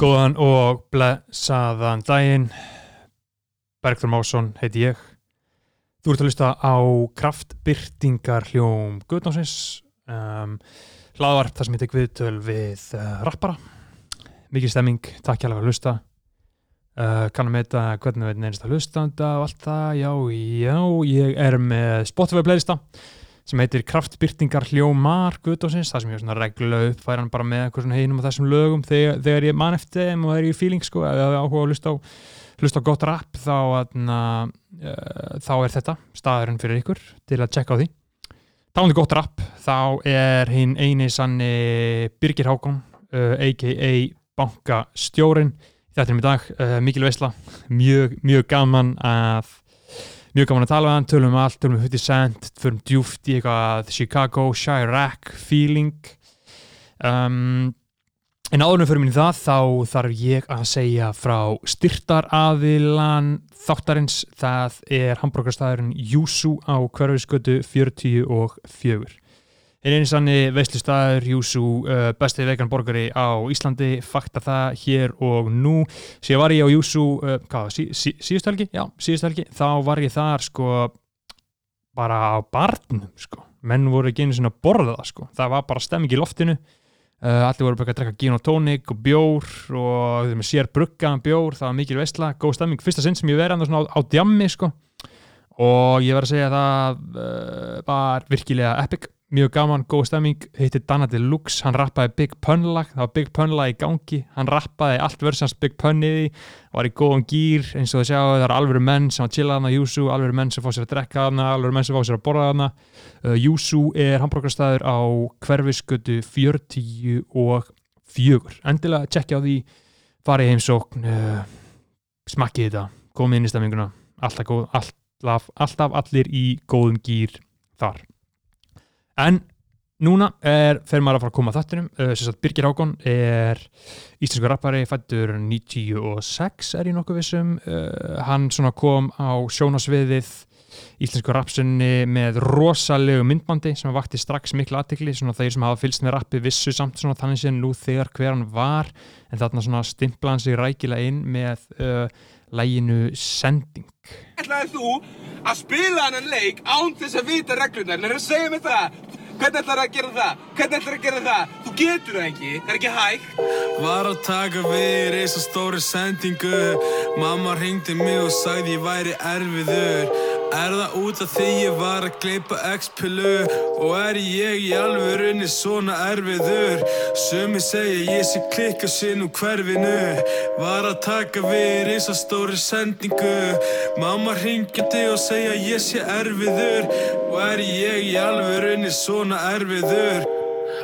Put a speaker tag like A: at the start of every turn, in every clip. A: Góðan og blessaðan daginn. Bergþór Másson heiti ég. Þú ert að hlusta á kraftbyrtingar hljóm Guðnánsins. Um, hlaðvarp þar sem ég tek viðtöl við uh, rappara. Mikið stemming, takk hjálpa að hlusta. Uh, kannum þetta hvernig við neynist að hlustanda og allt það. Já, já, ég er með Spotify playlista sem heitir Kraftbyrtingar hljómar Guðdósins, það sem ég svona regla upp fær hann bara með eitthvað svona hinum og þessum lögum þegar, þegar ég man eftir þeim og þegar ég er í feeling sko, eða ég áhuga að hlusta á, hlusta á gott rap þá, atna, uh, þá er þetta staðurinn fyrir ykkur til að checka á því Tándi gott rap, þá er hinn eini sanni Birgir Hákon uh, a.k.a. bankastjórin þetta er mér dag, uh, mikil veisla mjög, mjög gaman að mjög gaman að tala við hann, tölum um allt, tölum um 50 Cent, förum djúft í eitthvað Chicago, Chirac, feeling um, en áðurum fyrir minni það þá þarf ég að segja frá styrtaraðilan þáttarins, það er hambúrgarstaðurinn Júsú á hverfiskötu 40 og 4 En einu sannig veislustaður, Júsú, uh, besti vegan borgari á Íslandi, fakta það hér og nú síðan var ég á Júsú uh, hvað, sí, sí, síðustu helgi, já, síðustu helgi þá var ég þar sko bara á barnum sko menn voru ekki einu sinna að borða það sko það var bara stemming í loftinu uh, allir voru bara að drekka gin og tónik og bjór og þeir með sér bruggaðan bjór það var mikil veistla, góð stemming, fyrsta sinn sem ég verið annars svona á, á djammi sko og ég verið að segja að það uh, var virkilega epic mjög gaman, góð stemming, hitti Danna Deluxe hann rappaði Big Pun lag, það var Big Pun lag í gangi, hann rappaði allt versans Big Pun í því, var í góðan gýr eins og þið sjáu, það eru alvöru menn sem að chilla hana Júsú, alvöru menn sem fá sér að drekka hana alvöru menn sem fá sér að borða hana uh, Júsú er hambúrgarstaður á hverfiskötu 40 og 4, endilega tjekkja á því farið í heimsókn uh, smakkið þetta, komið inn í stemminguna alltaf, góð, alltaf, alltaf allir í góðum gýr þar En núna er, fer maður að fara að koma að þattunum, uh, sem sagt Birgir Hákon er íslensku rappari, fættur 96 er ég nokkuð vissum, uh, hann svona kom á sjónasviðið íslensku rapsunni með rosalegu myndbandi sem vakti strax mikla aðtikli, svona þeir sem hafa fylst með rappi vissu samt svona þannig sem nú þegar hver hann var, en þarna svona stimplaði hann sig rækilega inn með uh, læginu Sending.
B: ætlaðir þú að spila hann leik án þess að vita reglunar en er að segja mér það hvernig ætlar að gera það, hvernig ætlar að gera það þú getur það ekki, það er ekki hægt
C: Var að taka við í svo stóri sendingu Mamma ringdi mig og sagði ég væri erfiður Er það út af því ég var að gleypa X-pilu Og er ég í alvörunni svona erfiður Sumi segja ég sé klikka sinn úr hverfinu Var að taka við í svo stóri sendingu Mamma ringdi og segja ég sé erfiður Og er ég í alvörunni svona erfiður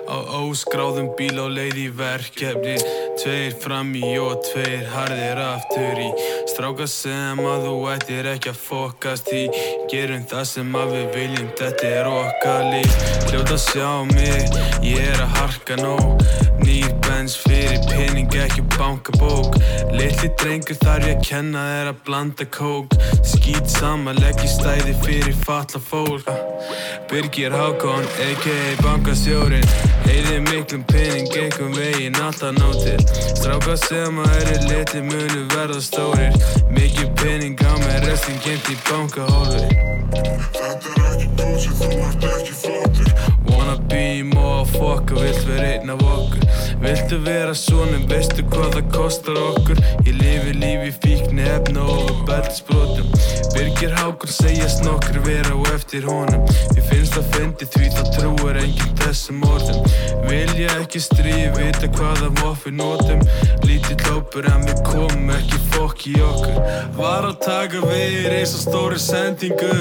C: Á óskráðum bíl á leið í verkefni Tveir fram í og tveir harðir aftur í Stráka sem að þú ættir ekki að fokast í Gerum það sem að við viljum, þetta er okkar líf Hljóta að sjá mig, ég er að harka nóg Nýr bens fyrir pening, ekki bankabók Litli drengur þarf ég að kenna þér að blanda kók Skýt saman, legg í stæði fyrir fatla fólk Birgir Hákon, a.k.a. bankastjórin Eyði miklum pening, einhver veginn alltaf nótir Stráka sem að eru litli munu verða stórir Mikið pening á með restin gemt í bankahólfi
D: Þetta er ekki bósi, þú ert ekki flottir
C: Wanna be more fucker, vilt vera einn af okkur Viltu vera svona, veistu hvað það kostar okkur Ég lifi lífi fíkni efna og beltisbrotum Birgir Hákon segjast nokkur vera á eftir honum Ég finnst það fyndi því það trúir enginn þessum orðum Vilja ekki stríði, vita hvaða voffi notum Lítið lópur en við komum ekki fokk í okkur Var að taka við í svo stóri sendingu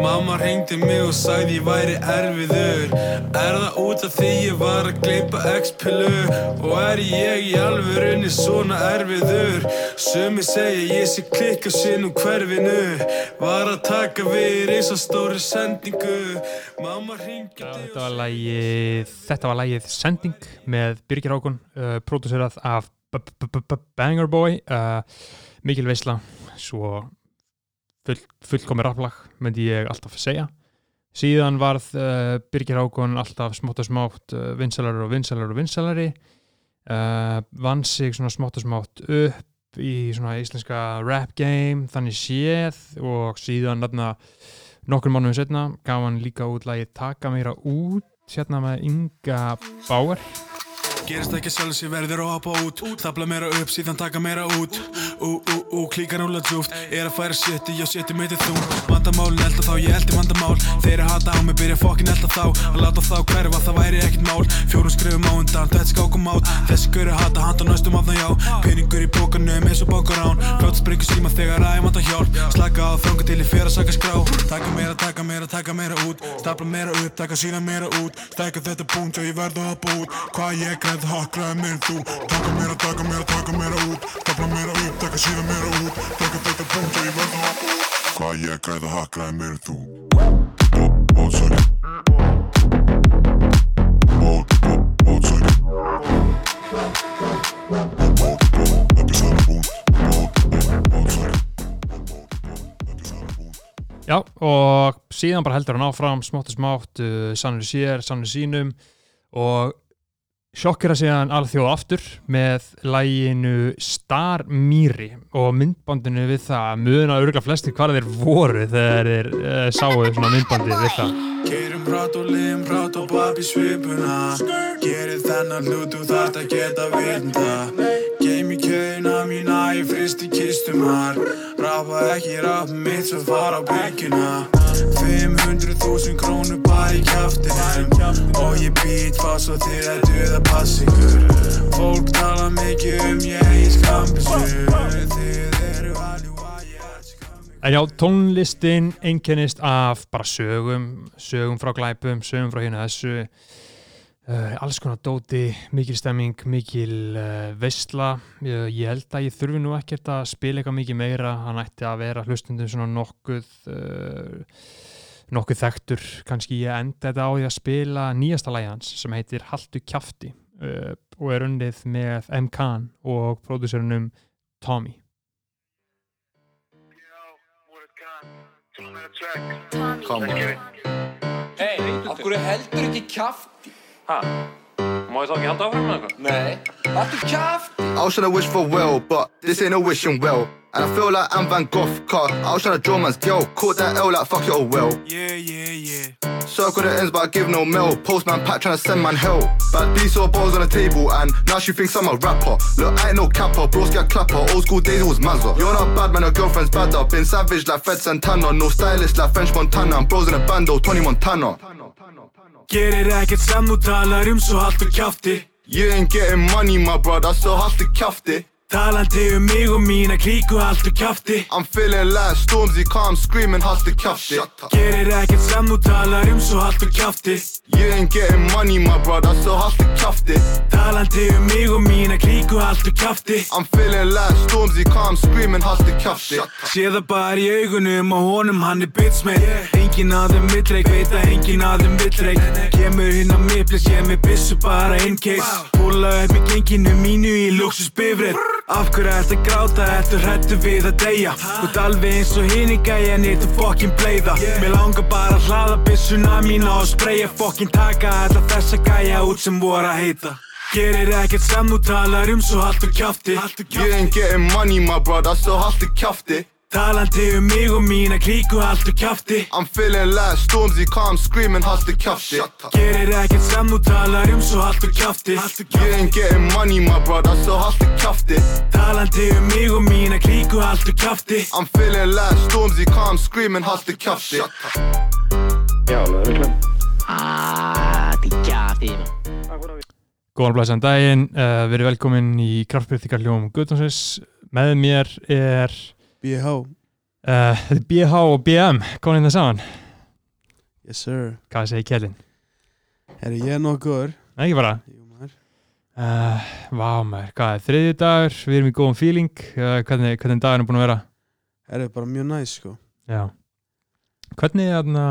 C: Mamma hringdi mig og sagði ég væri erfiður Er það út af því ég var að gleypa X-pilu Og er ég í alvörunni svona erfiður Sumi segja ég sé klikka sinn úr hverfinu Var að taka við í svo stóri sendingu Mamma hringdi
A: Já, þetta var lagið, þetta var lagið Sending með Birgir Hákon, uh, pródúserað af B- B- B- B- Banger Boy, uh, Mikil Veisla, svo full, fullkomi raflag, myndi ég alltaf að segja. Síðan varð uh, Birgir Hákon alltaf smátt og smátt uh, vinsalari og vinsalari og vinsalari, uh, vann sig svona smátt og smátt upp í svona íslenska rap game þannig séð og síðan þarna nokkur mánuðum setna gaf hann líka út lagið Taka meira út hérna með Inga Bauer
C: Gerist ekki sjálf sér verður að hoppa út Tafla meira upp síðan taka meira út Ú, ú, ú, klíkan rúla djúft Er að færa sétti, já sétti meiti þú Vandamálin elda þá, ég eldi vandamál Þeir að hata á mig, byrja fokkin elda þá Að láta þá hverfa, það væri ekkert mál Fjórum skrifum á undan, þetta skákum át Þessi gauri hata, handa næstum af það já Peningur í bókanum, eins og bankarán Fljótt springur síma þegar að ég vanda hjálp Slaka á þanga til ég fer að saka skrá Taka meira, taka meira, taka meira út Stapla meira upp, taka síðan meira út Stækja þetta búnt, já ég verð að hoppa út Hvað ég greið hakra en minn þú Taka meira, taka meira, taka meira út Stapla meira upp, taka síðan meira út Stækja þetta búnt, já ég verð að hoppa út
D: Hvað ég græði að hakraði meir þú Bó- Bótsæki Bó- bó- Bótsæki Bó- bó- Þetta er saman búnt Bó- bó- Bótsæki Bó- bó- Þetta er saman búnt
A: Já, og síðan bara heldur hann áfram smátt og smátt, uh, sannur sér, sannur sínum og sjokkera síðan alþjóð aftur með læginu Star Mýri og myndbandinu við það muna örgulega flestir hvar þeir voru þegar þeir uh, sáu svona myndbandið við það
C: Gerum prát og liðum prát og babi svipuna Gerir þennan hlut og þart að geta vinda Geim í kjöðina mína, ég frist í kistumar Rafa ekki raf mitt svo fara á byrgina 500.000 krónu bara í kjaftinum Og ég být fast og þér að duða pass ykkur Fólk tala mikið um ég í skambisu Þið eru aljú að ég elska mig
A: En já, tónlistin einkennist af bara sögum, sögum frá glæpum, sögum frá hérna þessu, uh, alls konar dóti, mikil stemming, mikil uh, veistla. Ég, ég held að ég þurfi nú ekkert að spila eitthvað mikið meira, hann ætti að vera hlustundum svona nokkuð, uh, nokkuð þekktur. Kanski ég enda þetta á því að spila nýjasta lagi hans sem heitir Haltu kjafti uh, og er undið með M. Khan og pródúsörunum Tommy.
E: Af hverju heldur ekki kjafti?
F: Má ég þá ekki halda áfram með eitthvað?
E: Nei. Haldur kjafti?
G: I was tryna wish for well, but this ain't no wishing well. And I feel like I'm Van Gogh, car. I was tryna draw man's deal. Caught that L like fuck it, oh well.
C: Yeah, yeah, yeah
G: Circle the ends, but I give no mail. Postman Pat tryna send man hell. But these saw balls on the table, and now she thinks I'm a rapper. Look, I ain't no capper, bros get clapper. Old school days it was Mazza. You're not bad, man, your girlfriend's bad up. Been savage like Fred Santana. No stylist like French Montana. And bros in a bando, Tony Montana.
C: Gerir ekkert sem þú talar um svo haltu kjafti
G: You ain't getting money, my bro, that's so hustle kjafti.
C: Talandi um mig og mína klíku haltu kjafti
G: I'm feeling like Stormzy, calm screaming hustle kjafti.
C: Gerir ekkert sem þú talar um svo haltu kjafti
G: You ain't getting money, my bro, that's so hustle kjafti.
C: Talandi um mig og mína klíku haltu kjafti
G: I'm feeling like Stormzy, calm screaming hustle kjafti.
C: Sé það bara í augunum og honum hann er bitch með Engin af þeim vitreik, veit að engin af þeim vitreik Kemur hinn að mér, bless ég er með byssu bara in case Púla upp í genginu mínu í luxusbifrið Af hverju ertu að gráta, ertu hrættu við að deyja Þú ert alveg eins og hinn í gæjan, eitt að fokkin bleiða Mér langar bara að hlaða byssuna mína og spreyja Fokkin taka alla þessa gæja út sem voru að heita Gerir ekkert sem þú talar um, svo haltu kjafti
G: You ain't getting money, my bro, that's so hustle kjafti.
C: Talandi um mig og mína klíku haltu kjafti
G: I'm feeling like Stormzy, calm screaming hustle kjafti.
C: Gerir ekkert sem þú talar um svo haltu kjafti
G: You ain't getting money, my bro, that's so hustle kjafti.
C: Talandi um mig og mína klíku haltu kjafti
G: I'm feeling like Stormzy, calm screaming hustle kjafti.
A: Góðan blæsan daginn, uh, verið velkomin í kraftbyrtingarljóðum Guðdónsins. Með mér er
H: BH
A: uh, BH og BM, komin það saman.
H: Yes sir
A: Hvað segir Kjellin?
H: Herri, ég er nokkur
A: Nei, ekki bara.
H: Jú maður
A: Uh, vá maður, hvað er þriðju dagur, við erum í góðum feeling, uh, hvernig, hvernig dagurinn er búin að vera?
H: Herri, bara mjög næs sko
A: Já. Hvernig, þarna,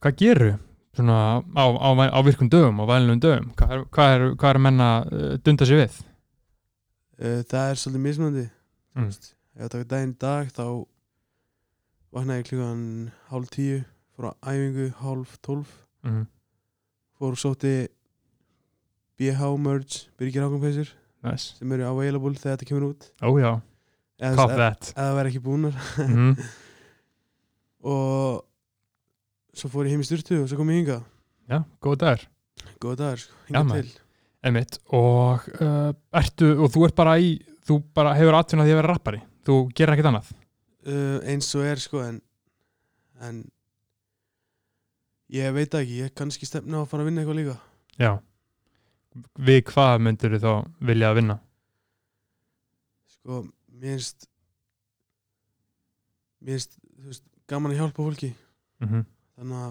A: hvað gerur svona á, á, á virkum dögum, á vælunum dögum? Hvað er, hvað er, hvað er að menna uh, dunda sér við?
H: uh, Það er svolítið mismunandi
A: Mm.
H: mm. Ef það er daginn í dag þá vaknaði ég klukkan hálf tíu Fór á æfingu hálf tólf
A: Mm.
H: Fór og sótti BH Merge Birgir Hákonpeysur
A: nice.
H: sem eru available þegar þetta kemur út
A: Ó já,
H: eða
A: cop
H: þú veist,
A: that
H: ef það verður ekki búnar
A: mm.
H: og svo fór ég heim í styrtu og svo kom ég hingað
A: Já, góð dagur
H: góða dagur sko,
A: Já,
H: hingað
A: maður.
H: til
A: Einmitt, og, uh, ertu, og þú ert bara í þú bara hefur atvinnað því að vera rappari þú gerir ekkert annað
H: uh, eins og er sko en, en ég veit það ekki, ég kannski stefna á að fara að vinna eitthvað líka
A: Já Við hvað myndir þá vilja að vinna?
H: sko, mér finnst mér finnst, þú veist, gaman að hjálpa fólki
A: Mm
H: þannig að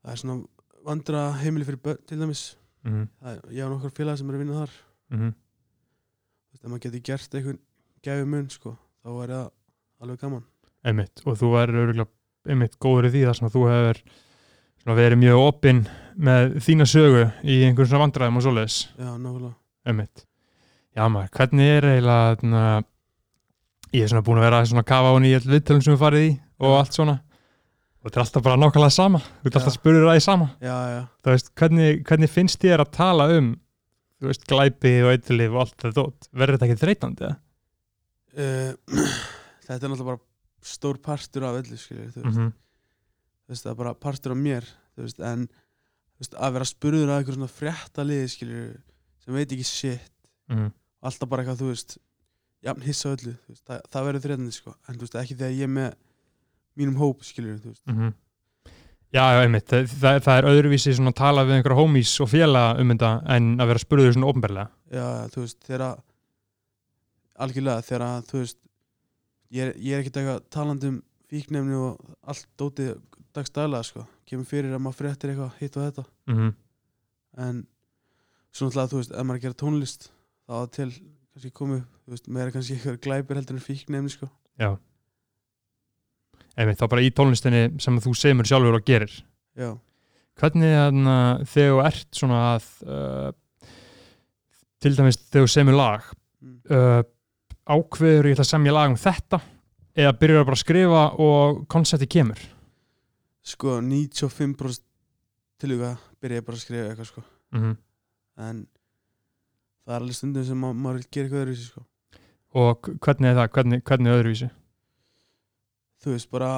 H: það er svona vandra heimili fyrir börn til dæmis
A: -hmm.
H: það, er- ég á nokkar félag sem er að vinna þar
A: Mm -hmm.
H: Þú veist, ef maður getur gert eitthvað gæfi mun sko, þá er það alveg gaman
A: Einmitt, og þú verður örgulega einmitt góður í því þar sem að þú hefur svona, verið mjög opinn með þína sögu í einhverjum svona vandræðum og svoleiðis
H: já, nákvæmlega
A: einmitt. Já maður, hvernig er eiginlega þarna, ég er svona búin að vera svona að kafa á henni í all viðtölum sem við farið í og allt svona og þetta er alltaf bara nákvæmlega sama þú ert alltaf
H: Já.
A: spurður að því sama
H: já, já,
A: þú veist, hvernig, hvernig finnst þér að tala um þú veist, glæpi og eitthulif og allt þetta dót, verður þetta ekki þreytandi eða?
H: uh, þetta er náttúrulega bara stór partur af öllu skilur, þú veist,
A: Mhm.
H: þú veist, það er bara partur af mér þú veist, en þú veist, að vera spurður að eitthvað svona frétta liði skilur, sem veit ekki shit
A: Mhm.
H: alltaf bara eitthvað, þú veist jafn hissa á öllu, þú veist, það, það verður þreitandi sko. en þú veist, ekki þegar ég er með mínum hóp, skilur, þú veist
A: -hmm. Já, já, einmitt, það, það, það er öðruvísi svona að tala við einhverja homies og félaga um þetta en að vera spurður svona ofnberlega
H: já, þú veist, þegar að- algjörlega, þegar að, þú veist ég er, ég er ekkert eitthvað talandi um fíknefni og allt dótið dagstæðlega, sko, kemur fyrir að maður fréttir eitthvað hitt og þetta,
A: mm -hmm.
H: en svona alltaf, þú veist, ef maður er að gera tónlist þá á það til, kannski komið upp, þú veist, meira kannski eitthvað glæpir heldur en fíknefni, sko
A: einmitt, þá bara í tónlistinni sem þú semur sjálfur og gerir
H: já,
A: Hvernig þannig að þegar þú ert svona að uh, til dæmis þegar þú semur lag
H: Mm.
A: uh, ákveður ég ætla að semja lag um þetta eða byrjar bara að skrifa og konsepti kemur
H: sko 95% tilhuga byrja ég bara að skrifa eitthvað, sko
A: mm
H: en það er alveg stundum sem ma maður vil gera eitthvað öðruvísi sko.
A: og hvernig er það, hvernig, hvernig er öðruvísi
H: þú veist bara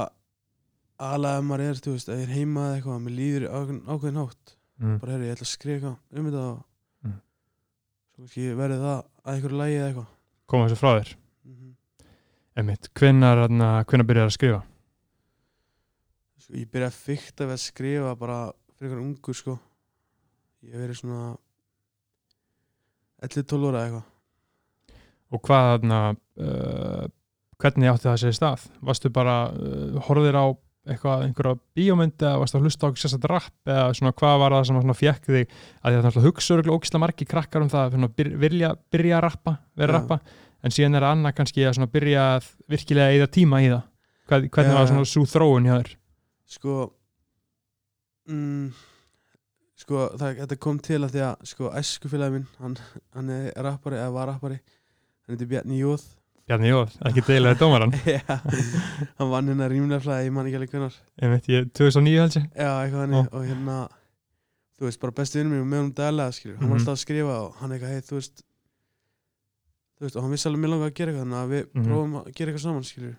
H: alveg ef maður er, þú veist, að ég er heima eða eitthvað mér líður í ákveðin, ákveðin hátt
A: mm.
H: bara herri, ég ætla að skrifa eitthvað um þetta og
A: Mm.
H: svo kannski verði það að einhverju lægi eða eitthvað
A: koma þessu frá þér
H: mm
A: einmitt, hvenar, hvenar byrjar að skrifa
H: sko, ég byrja að fykta við að skrifa bara fyrir einhvern ungur sko ég hef verið svona 11-12 óra eitthvað
A: og hvað þarna uh, hvernig átti það að segja stað varstu bara, uh, horfðir á eitthvað, einhverja bíómynd eða varstu að hlusta á sérstætt rapp eða svona hvað var það sem svona fekk þig að því að það hugsa örgulega ógislega margi krakkar um það að byr, vilja byrja að rappa, vera að
H: Já.
A: rappa en síðan er annað kannski að svona byrja að virkilega eða tíma í það Hvað, hvernig
H: Já,
A: var
H: já.
A: svona svo þróun hjá þér
H: sko mm, sko það, þetta kom til að því að sko æskufélagi minn hann, hann er rappari eða var rappari hann heitir Bjarni Jóð
A: Bjarni Jóð, ekki deilaði dómaran
H: hann vann hérna rýmleflaði ég man ekki alveg hvernar
A: ég veit, ég 2009 held ég
H: já eitthvað hann og hérna þú veist bara besti vinnum minn og með honum daglega skilur hann var
A: Mhm.
H: alltaf að skrifa og hann eitthvað hei þú veist þú veist og hann vissi alveg mér langaði að gera eitthvað þannig að við
A: Mhm.
H: prófum að gera eitthvað saman skilur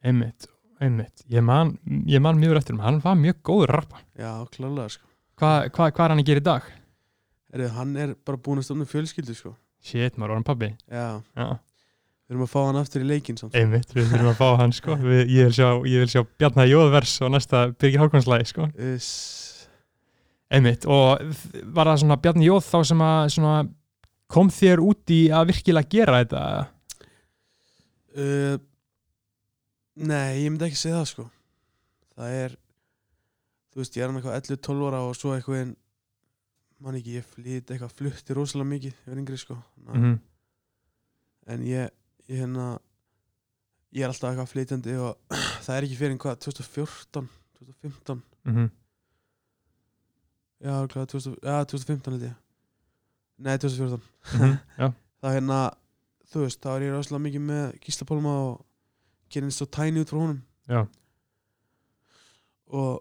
A: einmitt, einmitt, ég man, ég man mjög eftir um, hann var mjög góður rappa
H: já klálega sko
A: hvað hva, hva er hann að gera í dag?
H: Heyrðu, hann er bara búin að stofna fjölskyldu sko
A: Shit, maður orðan pabbi
H: já
A: Já,
H: við erum að fá hann aftur í leikinn samt
A: einmitt, við þurfum að fá hann sko við, ég, vil sjá, ég vil sjá Bjarnar Jóðvers og næsta Birgir Hákonslæði sko
H: Uss,
A: Einmitt, og þ- var það svona Bjarnar Jóð þá sem að svona, kom þér út í að virkilega gera þetta
H: uh, Nei, ég myndi ekki segja það sko Það er Þú veist, ég er hann eitthvað 11-12 ára og svo eitthvað en Man ekki, ég flýt eitthvað flutti rosalega mikið Ég var yngri sko Ná,
A: mm -hmm.
H: En ég, ég hérna Ég er alltaf eitthvað flytjandi og það er ekki fyrir en hvað, 2014, 2015 Já, hvað, 2000, já 2015 held ég Nei, 2014
A: Já,
H: það hérna, þú veist, þá er ég rosalega mikið með Gísla Pálma og gerinn svo tæni út frá honum
A: Já.
H: og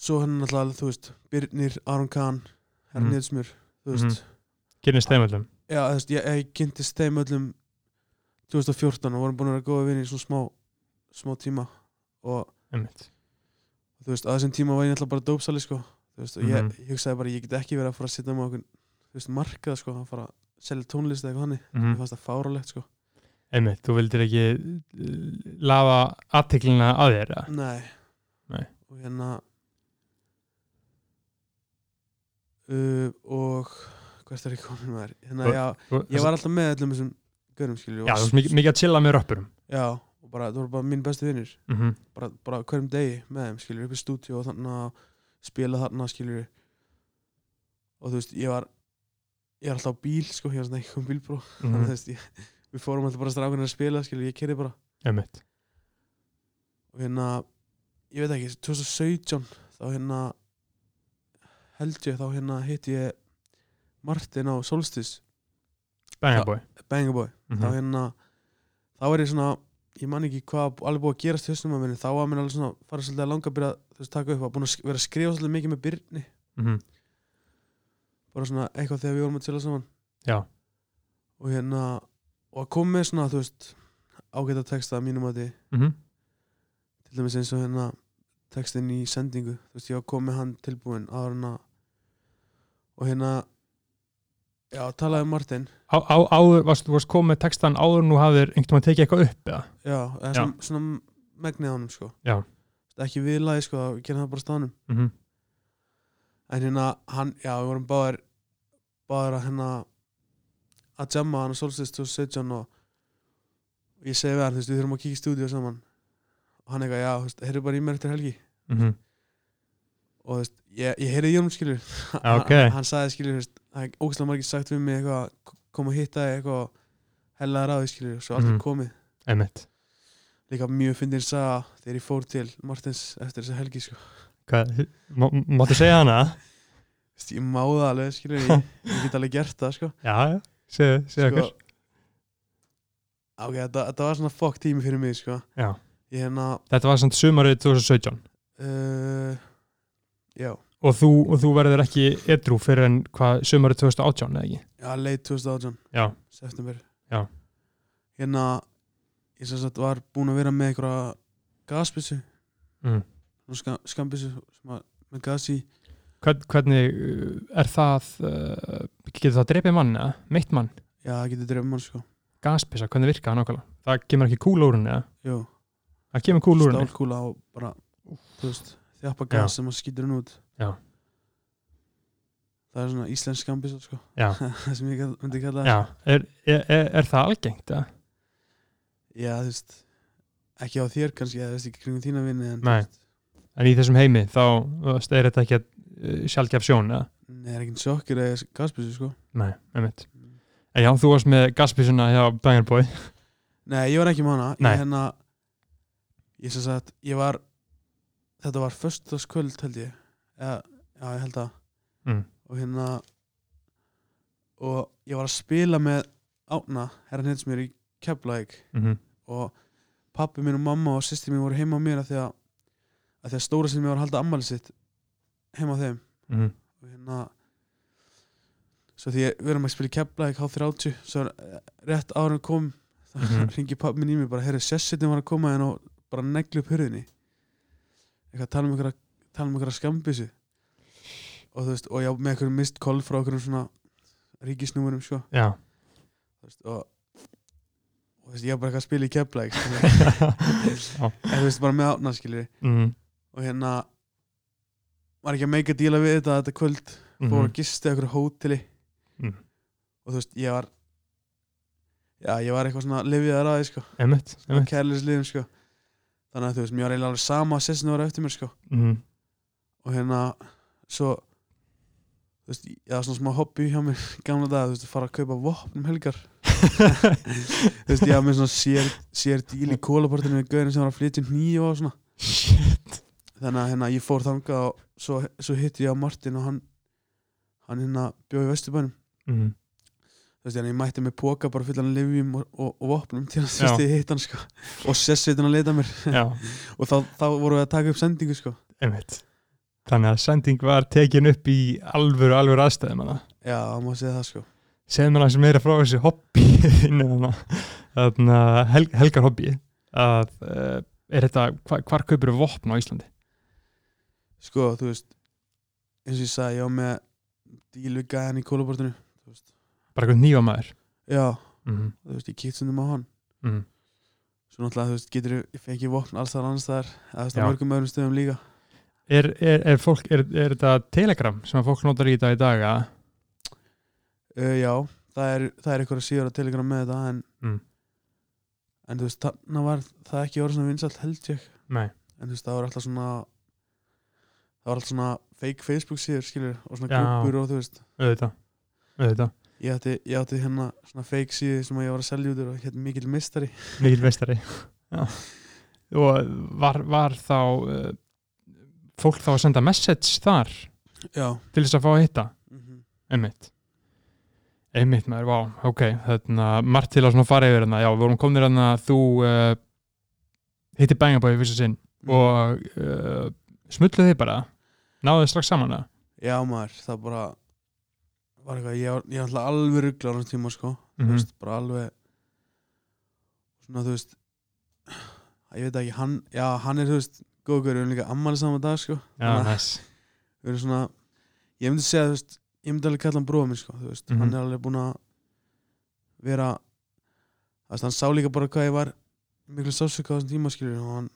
H: svo hann náttúrulega, þú veist, Birnir, Aron Kahn
A: Mhm.
H: Herr Nilsmur, þú veist
A: Kynnist þeim öllum.
H: já, þú veist, ég, ég kynntist þeim öllum 2014 og vorum búin að vera góða vinni í svona smá, smá tíma og
A: Einmitt.
H: þú veist, að þessum tíma var ég náttúrulega bara dópsali sko, þú veist, og
A: Mhm.
H: ég, ég hugsaði bara ég get ekki verið að fara að sitja með okkur þú veist, markað sko, að fara að selja tónlist eða eitthvað hannig,
A: Mm
H: mér fannst það fáralegt sko
A: Einmitt, þú vildir ekki eh, lafa aðteklina að þér, eða?
H: Nei.
A: Nei.
H: Og hérna uh, og hvert er ég komin maður? Hérna,
A: Og-
H: já,
A: Þú-
H: ég var alltaf með öllum þessum görum skilur
A: Já, þú veist mikið, mikið að chilla með röppurum.
H: já, og bara, það voru bara mín bestu vinnir
A: Mm -hmm.
H: bara, bara hverjum degi með þeim skilur upp í stúdíu og þannig að spila þarna skilur og þú veist, ég var ég er alltaf á bíl sko, ég var svona eitthvað um bílbró
A: Mhm.
H: þannig að þú veist, ég, við fórum alltaf bara strákunar að spila skilur, ég kerði bara
A: Einmitt.
H: og hérna ég veit ekki, 2017 þá hérna held ég, þá hérna hitti ég Martin á Solstis
A: Banga
H: Já.
A: boy.
H: Bangaboy,
A: Mm
H: þá hérna þá er ég svona, ég man ekki hvað alveg búið að gerast í höstum að minni, þá var mér alveg svona farið svolítið að langa að byrja, þú veist, taka upp að búin að sk- vera að skrifa svolítið mikið með Byrni
A: -hmm.
H: bara svona eitthvað þegar við vorum að tila saman
A: Já.
H: og hérna, og að koma með svona, þú veist ágæta texta að mínum að því
A: Mm -hmm.
H: til dæmis eins og hérna textin í sendingu þú veist ég var komið hann tilbúin áður en að og hérna já talaði um Martin
A: Á, á, áður, varst, þú varst komið með textan áður en þú hafðir einhvern veginn tekið eitthvað upp, eða?
H: já, eða svona, svona megnið á honum sko
A: Já.
H: Þú veist, ekki við lagi sko, þá gerði það bara á staðnum
A: Mm
H: en hérna hann, já við vorum báðir báðir að hérna að jamma hann á Solstice 2017 og og ég segi við hann, þú veist, við þurfum að kíkja í stúdíu saman og hann eitthvað, já, þú veist, heyrðu bara í mér eftir helgi
A: -hmm.
H: og þú veist, ég, ég heyrði í honum skilur
A: ok.
H: hann, hann sagði skilur, þú veist, það er ógæslega margir sagt við mig eitthvað, k- kom að hitta þig eitthvað hella ráði skilur, svo aldrei
A: Mhm.
H: komið
A: Einmitt.
H: líka mjög fyndin saga þegar ég fór til Martins eftir þessa helgi sko.
A: Hvað, má- máttu segja hana?
H: Þú veist, ég máða alveg skilur, ég, ég get alveg gert það sko.
A: já, já, segja, segja
H: Sko,
A: okkur.
H: ok, þetta, þetta var svona fokk tími fyrir mig sko.
A: Já.
H: ég hérna
A: Þetta var samt sumarið 2017
H: uh, já,
A: og þú, og þú verður ekki edrú fyrir en hvað sumarið 2018, eða ekki?
H: já leit 2018
A: Já.
H: september
A: Já.
H: hérna ég sem sagt var búinn að vera með einhverja gasbissu
A: Mm.
H: skam, skambissu sem að með gas í
A: Hvern, hvernig uh, er það, uh, getur það dreipið mann, eða? Meitt mann?
H: já það getur drefum hann sko
A: Gaspisa, hvernig virka það nákvæmlega? Það kemur ekki kúl úr henni, eða?
H: Jú,
A: Það kemur kúl úr henni?
H: stálkúla og bara þú veist þjappa gas sem að skýtur hann út
A: Já.
H: það er svona íslensk skambissa sko
A: Já.
H: það sem ég kall- myndi kalla það
A: Já, er, er, er, er það algengt? eða?
H: já þú veist ekki á þér kannski eða þú veist ekki kringum þína vinni en, þú
A: Nei.
H: veist,
A: En í þessum heimi þá þú veist, er þetta ekki uh, sjálfgef sjón eða?
H: nei, það er ekki sjokkir eða gasbissu sko
A: Nei, einmitt. En já, þú varst með gaspísuna hjá Banger Boy.
H: Nei, ég var ekki með hana
A: Nei.
H: Ég hérna Ég sem sagt, ég var Þetta var föstudagskvöld held ég Eða, Já, ég held það
A: Mm.
H: Og hérna Og ég var að spila með Átna, herra hins mér í Keflæk
A: Mm -hmm.
H: Og pappi minn og mamma og sýsti mín voru heima á mér af Því að, af því að stóra sinni mér var að halda ammæli sitt Heima á þeim
A: Mm -hmm.
H: og hérna svo því ég verðum að spila í Keflæk H30, svo eh, rétt ára kom þá
A: Mhm.
H: ringi pappi minn í mig bara heyrðu, sessetin var að koma en og bara negli upp hurðinni eitthvað tala um einhverja tala um einhverja skambissu og þú veist, og já, með einhverjum mist koll frá einhverjum svona ríkisnúmurum sko,
A: Já.
H: þú veist, og og þú veist, ég var bara eitthvað að spila í Keflæk
A: já.
H: en þú veist, bara með átna skilur
A: Mm
H: og hérna var ekki að meika díla við þetta þetta kvöld
A: -hmm.
H: fór að gista í okkur hóteli
A: Mm.
H: og þú veist, ég var já, ég var eitthvað svona lifið að ráði, sko,
A: Einmitt,
H: svona
A: einmitt.
H: kærlisliðum, sko þannig að þú veist, mér var eiginlega alveg sama að sessinu var eftir mér, sko,
A: Mm
H: og hérna svo, þú veist, ég var svona smá hobby hjá mér í gamla dag, þú veist, að fara að kaupa vopnum helgar, þú veist, ég var með svona sér, sér díl í kólaportinu við gauðin sem var að flytja nýju og svona þannig að hérna, ég fór þangað og svo, svo hitti ég á Martin og hann hann hérna bjóði í Vesturbænum
A: mm.
H: þú veist, þannig að ég mætti með póka bara fullan livjum og, og, og vopnum til að þú
A: Já.
H: veist, ég hitt hann sko og sessveitin að leita mér
A: Já,
H: og þá, þá vorum við að taka upp sendingu sko
A: einmitt. Þannig að sending var tekin upp í alvöru, alvöru aðstæðum hana.
H: Já, það má segja það sko
A: Segðu mér hans meira frá þessu hobby innu hana, þarna hel, helgar hobby að uh, er þetta, hva, hvar kaupir við vopn á Íslandi?
H: Sko, þú veist eins og ég sagði, ég var með díl við gæðan í kólabortinu
A: Bara eitthvað nýja maður.
H: Já,
A: Mm
H: þú veist, ég kíkt sundum á hann
A: mm.
H: Svo náttúrulega, þú veist, getur ég fengi vopn alls þar annars þar eða þú veist,
A: Já.
H: á mörgum öðrum stöðum líka
A: er, er, er, fólk, er, er þetta Telegram sem að fólk notar í þetta í dag að
H: uh, Já, það er, það er eitthvað síður á Telegram með þetta en,
A: Mm.
H: en þú veist, þarna var það ekki orðið svona vinsalt held ég
A: Nei.
H: en þú veist, það var alltaf svona það var alltaf svona fake Facebook síður, skilur og svona
A: Já.
H: grúpur og þú veist
A: auðvitað, auðvitað,
H: ég átti, ég átti hérna svona fake síðu sem að ég var að selja út úr og hérna mikil mistari
A: mikil vestari Já. og var, var þá uh, fólk þá að senda message þar
H: Já
A: til þess að fá að hitta
H: mm
A: einmitt einmitt maður, vá, ok þarna, margt til að svona fara yfir þarna já, við vorum komnir þarna að þú uh, hitti bængabæði fyrsta sinn og uh, smulluð þið bara náðuð þið strax saman að
H: Já maður, það bara var eitthvað, ég var, ég var alltaf alveg ruggla á þessum tíma sko,
A: Mhm.
H: þú veist, bara alveg svona þú veist ég veit ekki, hann já, hann er þú veist, góðgur, við erum líka ammali saman dag sko,
A: já,
H: Þannig að
A: næs
H: við erum svona ég myndi segja, þú veist, ég myndi alveg kalla hann bróða minn sko, þú veist,
A: Mhm.
H: hann er alveg búin að vera þú veist, hann sá líka bara hvað ég var miklu sásöka á þessum tíma skilur og hann,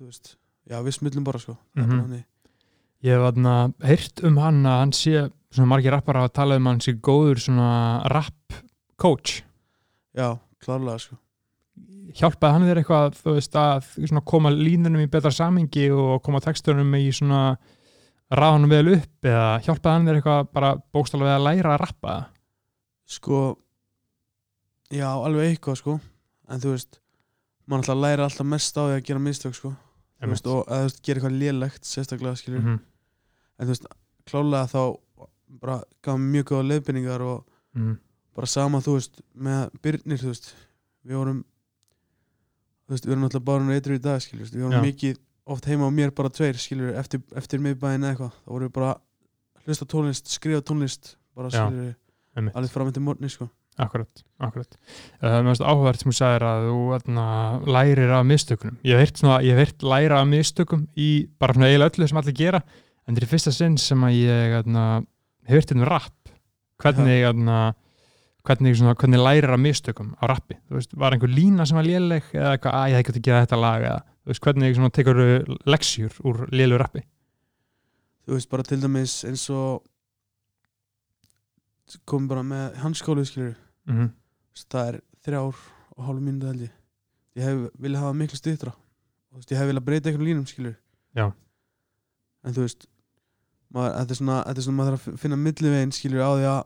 H: þú veist já, við smullum bara sko, það er bara
A: Mhm.
H: þannig
A: Ég hef aðna heyrt um hann að hann sé svona margir rappar að tala um að hann sé góður svona rap coach
H: já, klárlega sko
A: hjálpaði hann þér eitthvað þú veist að svona koma línunum í betra samingi og koma textunum í svona ráðanum vel upp eða hjálpaði hann þér eitthvað bara bókstálega við að læra að rappa
H: sko já, alveg eitthvað sko en þú veist, mann alltaf læra alltaf mest á því að gera mistök sko Þú veist, og að þú veist, gera eitthvað lélegt sérstaklega skilur
A: mm -hmm.
H: en þú veist, klálega þá bara gaf mér mjög góða leiðbynningar og
A: Mm
H: bara sama þú veist með Byrnir, þú veist við vorum þú veist, við vorum alltaf bara nú eitru í dag skilur við vorum
A: Já.
H: mikið, oft heima á mér bara tveir skilur eftir, eftir miðbæinn eða eitthvað þá vorum við bara að hlusta á tónlist, skrifa tónlist bara
A: Já,
H: skilur
A: einmitt.
H: alveg fram eftir morgni sko
A: Akkurat, akkurat. Uh, mér finnst áhugavert sem þú sagðir að þú atna, lærir af mistökunum. Ég hef heyrt, svona, ég hef heyrt læra af mistökum í bara svona eiginlega öllu sem allir gera en þetta er fyrsta sinn sem að ég atna, hef heyrt um rapp. Hvernig, atna, hvernig, svona, hvernig lærir af mistökum á rappi? Þú Veist, var einhver lína sem var léleg eða eitthvað að ég hef ekki að gera þetta lag eða þú veist, hvernig svona, tekur leksjur úr lélu rappi?
H: þú veist bara til dæmis eins og komum bara með hanskólu skilur
A: Mm -hmm.
H: það er þrjár og hálf mínúti held ég ég hef vilja hafa miklu stuttra og þú veist ég hef vilja breyta einhverjum línum skilur
A: Já.
H: en þú veist maður, þetta, er svona, þetta er svona maður þarf að finna millivegin skilur á því að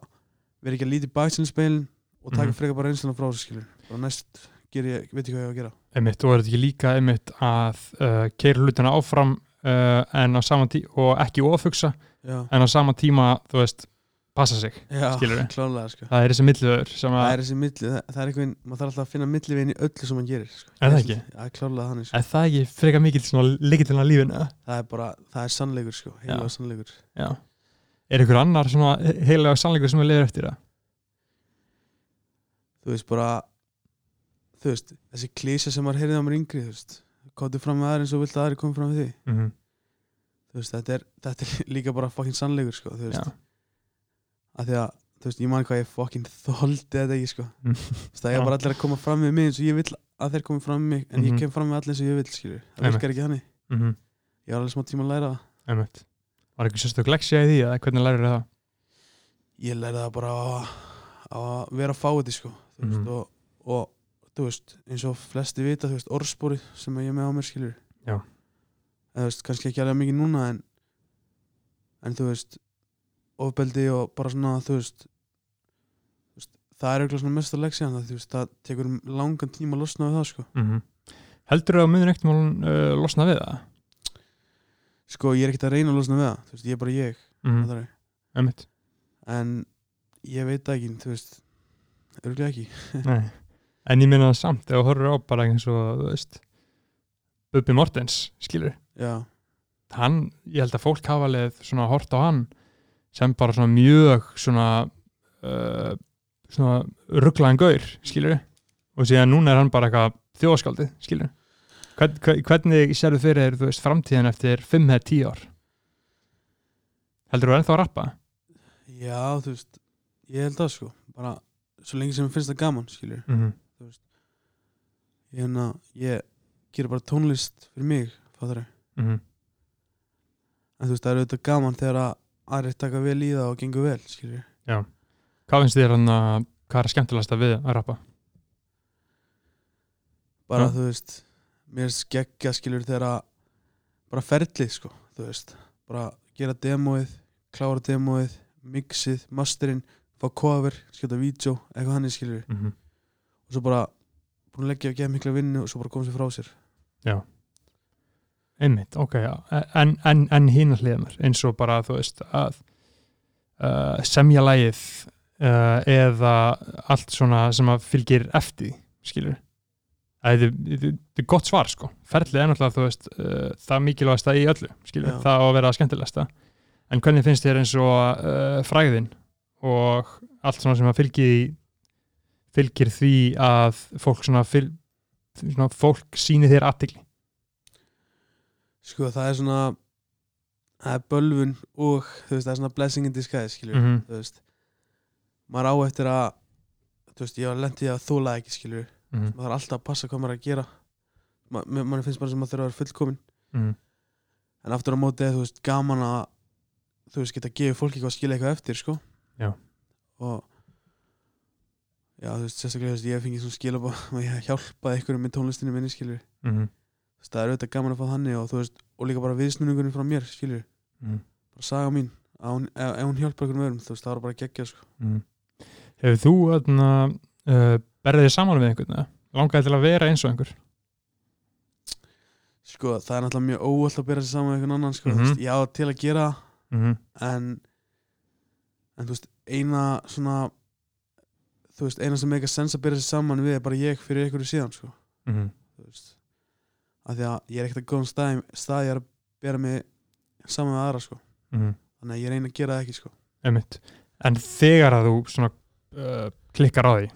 H: vera ekki að líti baksinspeilin og taka
A: Mhm.
H: frekar bara einsluna frá þessu skilur og næst ger ég, veit ég hvað ég á að gera
A: einmitt, og er þetta ekki líka einmitt að uh, keira hlutina áfram uh, en á sama tí og ekki ofugsa
H: já,
A: en á sama tíma, þú veist, passa sig
H: já
A: skilurðu?
H: klálega sko
A: það er þessi milliður sem
H: það
A: að,
H: er þessi milli, það, það er einhvern maður þarf alltaf að finna millivegin í öllu sem maður gerir sko.
A: Er það ekki?
H: Já, klálega þannig sko.
A: er það ekki frekar mikill svona leikillina lífinu
H: það er bara, það er sannleikur sko, heilaga
A: Já.
H: sannleikur
A: já, er ykkur annar svona heilega sannleikur sem við lifir eftir það
H: þú veist bara þú veist, þessi klísa sem maður heyrði á mér yngri þú veist, komdu fram með aðri eins og vilt að aðri komi fram með því,
A: mm -hmm.
H: þú veist, þetta er þetta er líka bara fokkin sannleikur sko, þú
A: já,
H: veist að því að, þú veist, ég man hvað ég fokkin þoldi þetta ekki sko
A: Mm.
H: þú veist, það
A: Já.
H: er bara allir að koma fram með mig eins og ég vil að þeir komi fram með mig, en
A: Mhm.
H: ég kem fram með allir eins og ég vil skilur, það
A: Einmitt.
H: virkar ekki þannig
A: mm -hmm.
H: ég var alveg smá tíma að læra það
A: einmitt var ekki sérstök leksja í því eða hvernig lærir það
H: ég lærði það bara á, á að vera fáið sko, þú veist,
A: Mhm.
H: og, og þú veist, eins og flesti vita þú veist, orðspórið sem ég er með á mér skilur
A: Já.
H: en þú veist, kannski ekki alveg mikið núna en, en þú veist ofbeldi og bara svona þú veist, þú veist það er eitthvað svona mesta leksíðan það, þú veist, það tekur langan tíma að losna við það sko.
A: mm -hmm. heldur þú að munir ekkert málun uh, losna við það
H: sko, ég er ekkert að reyna að losna við það þú veist, ég er bara ég
A: mm
H: mm.
A: einmitt
H: en ég veit það ekki, þú veist örgulega ekki
A: Nei. En ég minna það samt, þegar þú horfir á bara eins og, þú veist, Bubbi Mortens, skilur,
H: Já,
A: hann, ég held að fólk hafa leið svona hort á hann sem bara svona mjög svona uh, svona rugglaðan gaur, skilur og síðan núna er hann bara eitthvað þjóðskaldið, skilur Hvern, hver- hvernig sérðu fyrir þér, þú veist, framtíðin eftir 5-10 ár heldur þú ennþá að rappa?
H: Já, þú veist, ég held það sko bara svo lengi sem ég finnst það gaman skilur,
A: Mm -hmm.
H: ég hérna ég gera bara tónlist fyrir mig fattari.
A: Mm -hmm.
H: en þú veist, það er auðvitað gaman þegar að aðrið taka vel í það og gengur vel skilur,
A: hvað finnst þér hann að hvað er skemmtilegast að við að rappa?
H: bara
A: Já.
H: þú veist mér er skeggja skilur þegar að bara ferlið sko, þú veist bara gera demóið, klára demóið mixið, masterinn fá cover, skjóta vídeo, eitthvað hann skilur,
A: Mm -hmm.
H: og svo bara búin að leggja og gefa mikla vinnu og svo bara koma sér frá sér
A: einmitt, ok, já. en, en, en hína hliðanar, eins og bara þú veist að uh, semja lagið uh, eða allt svona sem að fylgir eftir, því, skilur það er, það er gott svar sko ferlið er náttúrulega, þú veist, uh, það mikilvægasta í öllu, skilur,
H: Já.
A: það á að vera skemmtilegasta en hvernig finnst þér eins og uh, fræðin og allt svona sem að fylgir því- fylgir því að fólk svona, fylg, svona fólk síni þér aðtigli
H: Sko það er svona það er bölvun og þú veist það er svona blessing in disguise skilur
A: mm -hmm.
H: þú veist maður á eftir að þú veist ég var lendið að þóla ekki skilur
A: Mhm.
H: maður þarf alltaf að passa hvað maður er að gera Ma- mér- manni finnst bara sem maður þurfa að vera fullkomin
A: Mhm.
H: en aftur á móti er þú veist gaman að þú veist geta að gefa fólki eitthvað að skilja eitthvað eftir sko
A: Já.
H: og já þú veist sérstaklega þú veist ég fengið svona skilabá að ég hjálpaði einhverjum með tónlistinu minni skilur
A: Mm -hmm.
H: Þú veist, það er auðvitað gaman að fá þannig og þú veist og líka bara viðsnúningurinn frá mér skilur
A: Mhm.
H: bara saga mín að hún, ef, ef hún hjálpa einhvern veginn þú veist það var bara geggja sko
A: Mm. Hefur þú öðna, uh, berðið þér saman við einhvern veginn? Langaði til að vera eins og einhver?
H: sko það er náttúrulega mjög óvöld að bera sér saman með einhvern annan sko
A: Mhm.
H: þú veist ég á til að gera það,
A: Mm -hmm.
H: en en þú veist eina svona þú veist eina sem meika sens að bera sér saman við er bara ég fyrir einhverju síðan sko
A: Mm -hmm.
H: þú veist af því að ég er ekkert að góðum stað, stað ég er að bera mig saman með aðra sko þannig að ég reyna að gera það ekki sko
A: Einmitt. En þegar að þú svona, uh, klikkar á því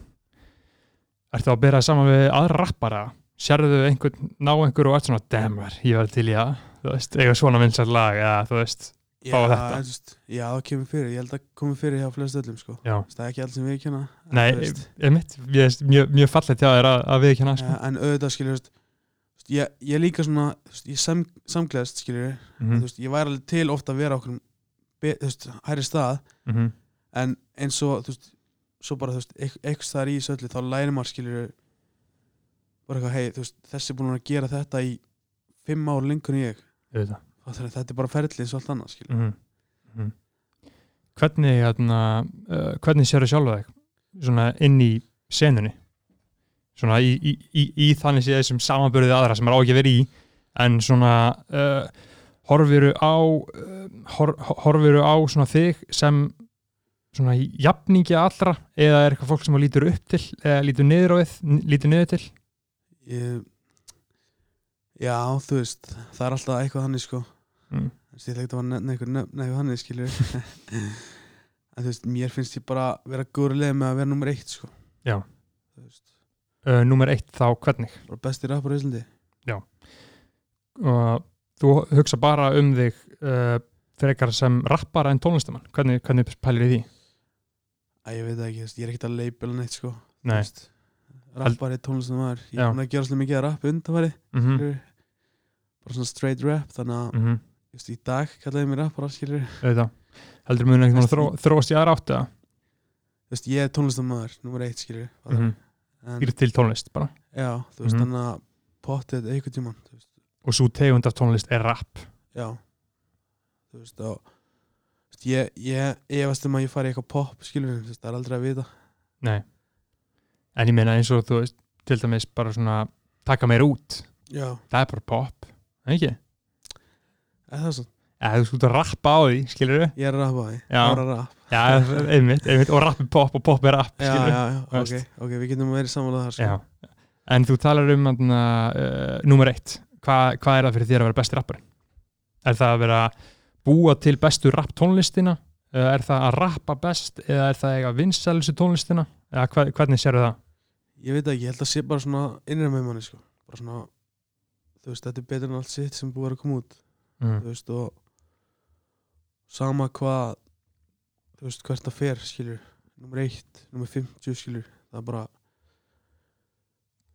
A: ertu að berðið saman við aðra rappara? Sérðu einhvern, ná einhver og ert svona damn ver, ég verð til í að þú veist, eiga svona vinsætt lag eða þú veist,
H: Já,
A: fá þetta.
H: en þú veist, já, það kemur fyrir, ég held að komi fyrir hjá flest öllum sko.
A: já,
H: Þú veist, Það er ekki allt sem við kenna en,
A: nei,
H: þú veist,
A: einmitt ég veist, mjög, mjög fallið til að þér að, að við ekki hana sko.
H: eh, en auðvitað skilur þú veist, þú veist, ég, ég er líka svona þú veist, ég sem, samgleðst skilur mm.
A: Mhm,
H: veist, ég væri alveg til oft að vera okkur be, þú veist, hærri stað
A: mhm,
H: en eins og þú veist, svo bara þú veist, eitthvað staðar í þessu öllu þá læri maður skilur bara eitthvað, hei, þú veist, þessi er búin að gera þetta í fimm ár lengur en ég
A: auðvitað.
H: Fattar þú? þetta er bara ferli eins og allt annað skilur
A: mm -hmm. hvernig hérna, uh, hvernig sérðu sjálfa þig svona inn í senunni svona í, í, í, í þannig séð sem samanbörðið aðra sem er á ekki að vera í en svona uh, horfiru á uh, hor, horfiru á svona þig sem svona jafningi allra eða er eitthvað fólk sem þú lítur upp til eða lítur niður á við, n- lítur niður til
H: ég, Já, þú veist það er alltaf eitthvað hannig sko
A: Mm.
H: Þú veist, ég ætla ekki að fara að nefna eitthvað nefna eitthvað hannig skilur en þú veist, mér finnst ég bara vera góður leið með að vera nummer eitt sko
A: Já.
H: Þú veist,
A: uh, nummer eitt þá hvernig
H: bara besti rappar í Íslandi
A: og þú hugsa bara um þig uh, frekar sem rappara en tónlistamann hvernig, hvernig pælir þið því?
H: Æ, ég veit það ekki, þú veist, ég er ekkert að labela neitt sko Þú
A: Nei.
H: veist, Rappari, tónlistum maður Ég
A: Já.
H: er búin að gera svolítið mikið að rapp undanfæri
A: Mm -hmm.
H: mm. bara svona straight rap þannig að,
A: Mm -hmm.
H: þú veist, í dag kallaði mig rappara skilur
A: heldur muni einhvern
H: Veist-
A: veginn að þróast í aðra átt eða
H: Þú veist, ég er tónlistum maður, nummer eitt skilur
A: mm -hmm.
H: en,
A: til tónlist bara
H: Já, þú veist,
A: Mhm.
H: þannig að pottið einhvern tímann, þú veist,
A: og svo tegund af tónlist er rapp
H: já þú veist, og þú veist, ég, ég efast um að ég fari í eitthvað pop, skilur við, þú veist, það er aldrei að vita
A: Nei. en ég meina eins og þú veist til dæmis bara svona taka meir út
H: Já,
A: það er bara pop, ekki?
H: eða það er svo,
A: eða þú skult að rappa á því, skilur við?
H: ég er að rappa á því
A: Já.
H: það er að rappa,
A: Já, einmitt, einmitt, og rapp er pop og pop er rapp,
H: já,
A: skilur við?
H: já, já,
A: Þú
H: ok,
A: veist.
H: ok, við getum að vera í samanlega þar, sko
A: Já. En þú talar um uh, uh, nummer eitt. Hva, hvað er það fyrir þér að vera besti rapparinn? er það að vera að búa til bestu rap tónlistina Eh, er það að rappa best eða er það að vinsælustu tónlistina eða hva, hvernig sérðu það
H: Ég veit það ekki, ég held að sé bara svona innra með manni sko. bara svona, þú veist, þetta er betur en allt sitt sem búið er að koma út
A: mm.
H: þú veist, og sama hvað þú veist, hvert það fer, skilur nummer 1, nummer 50, skilur það er bara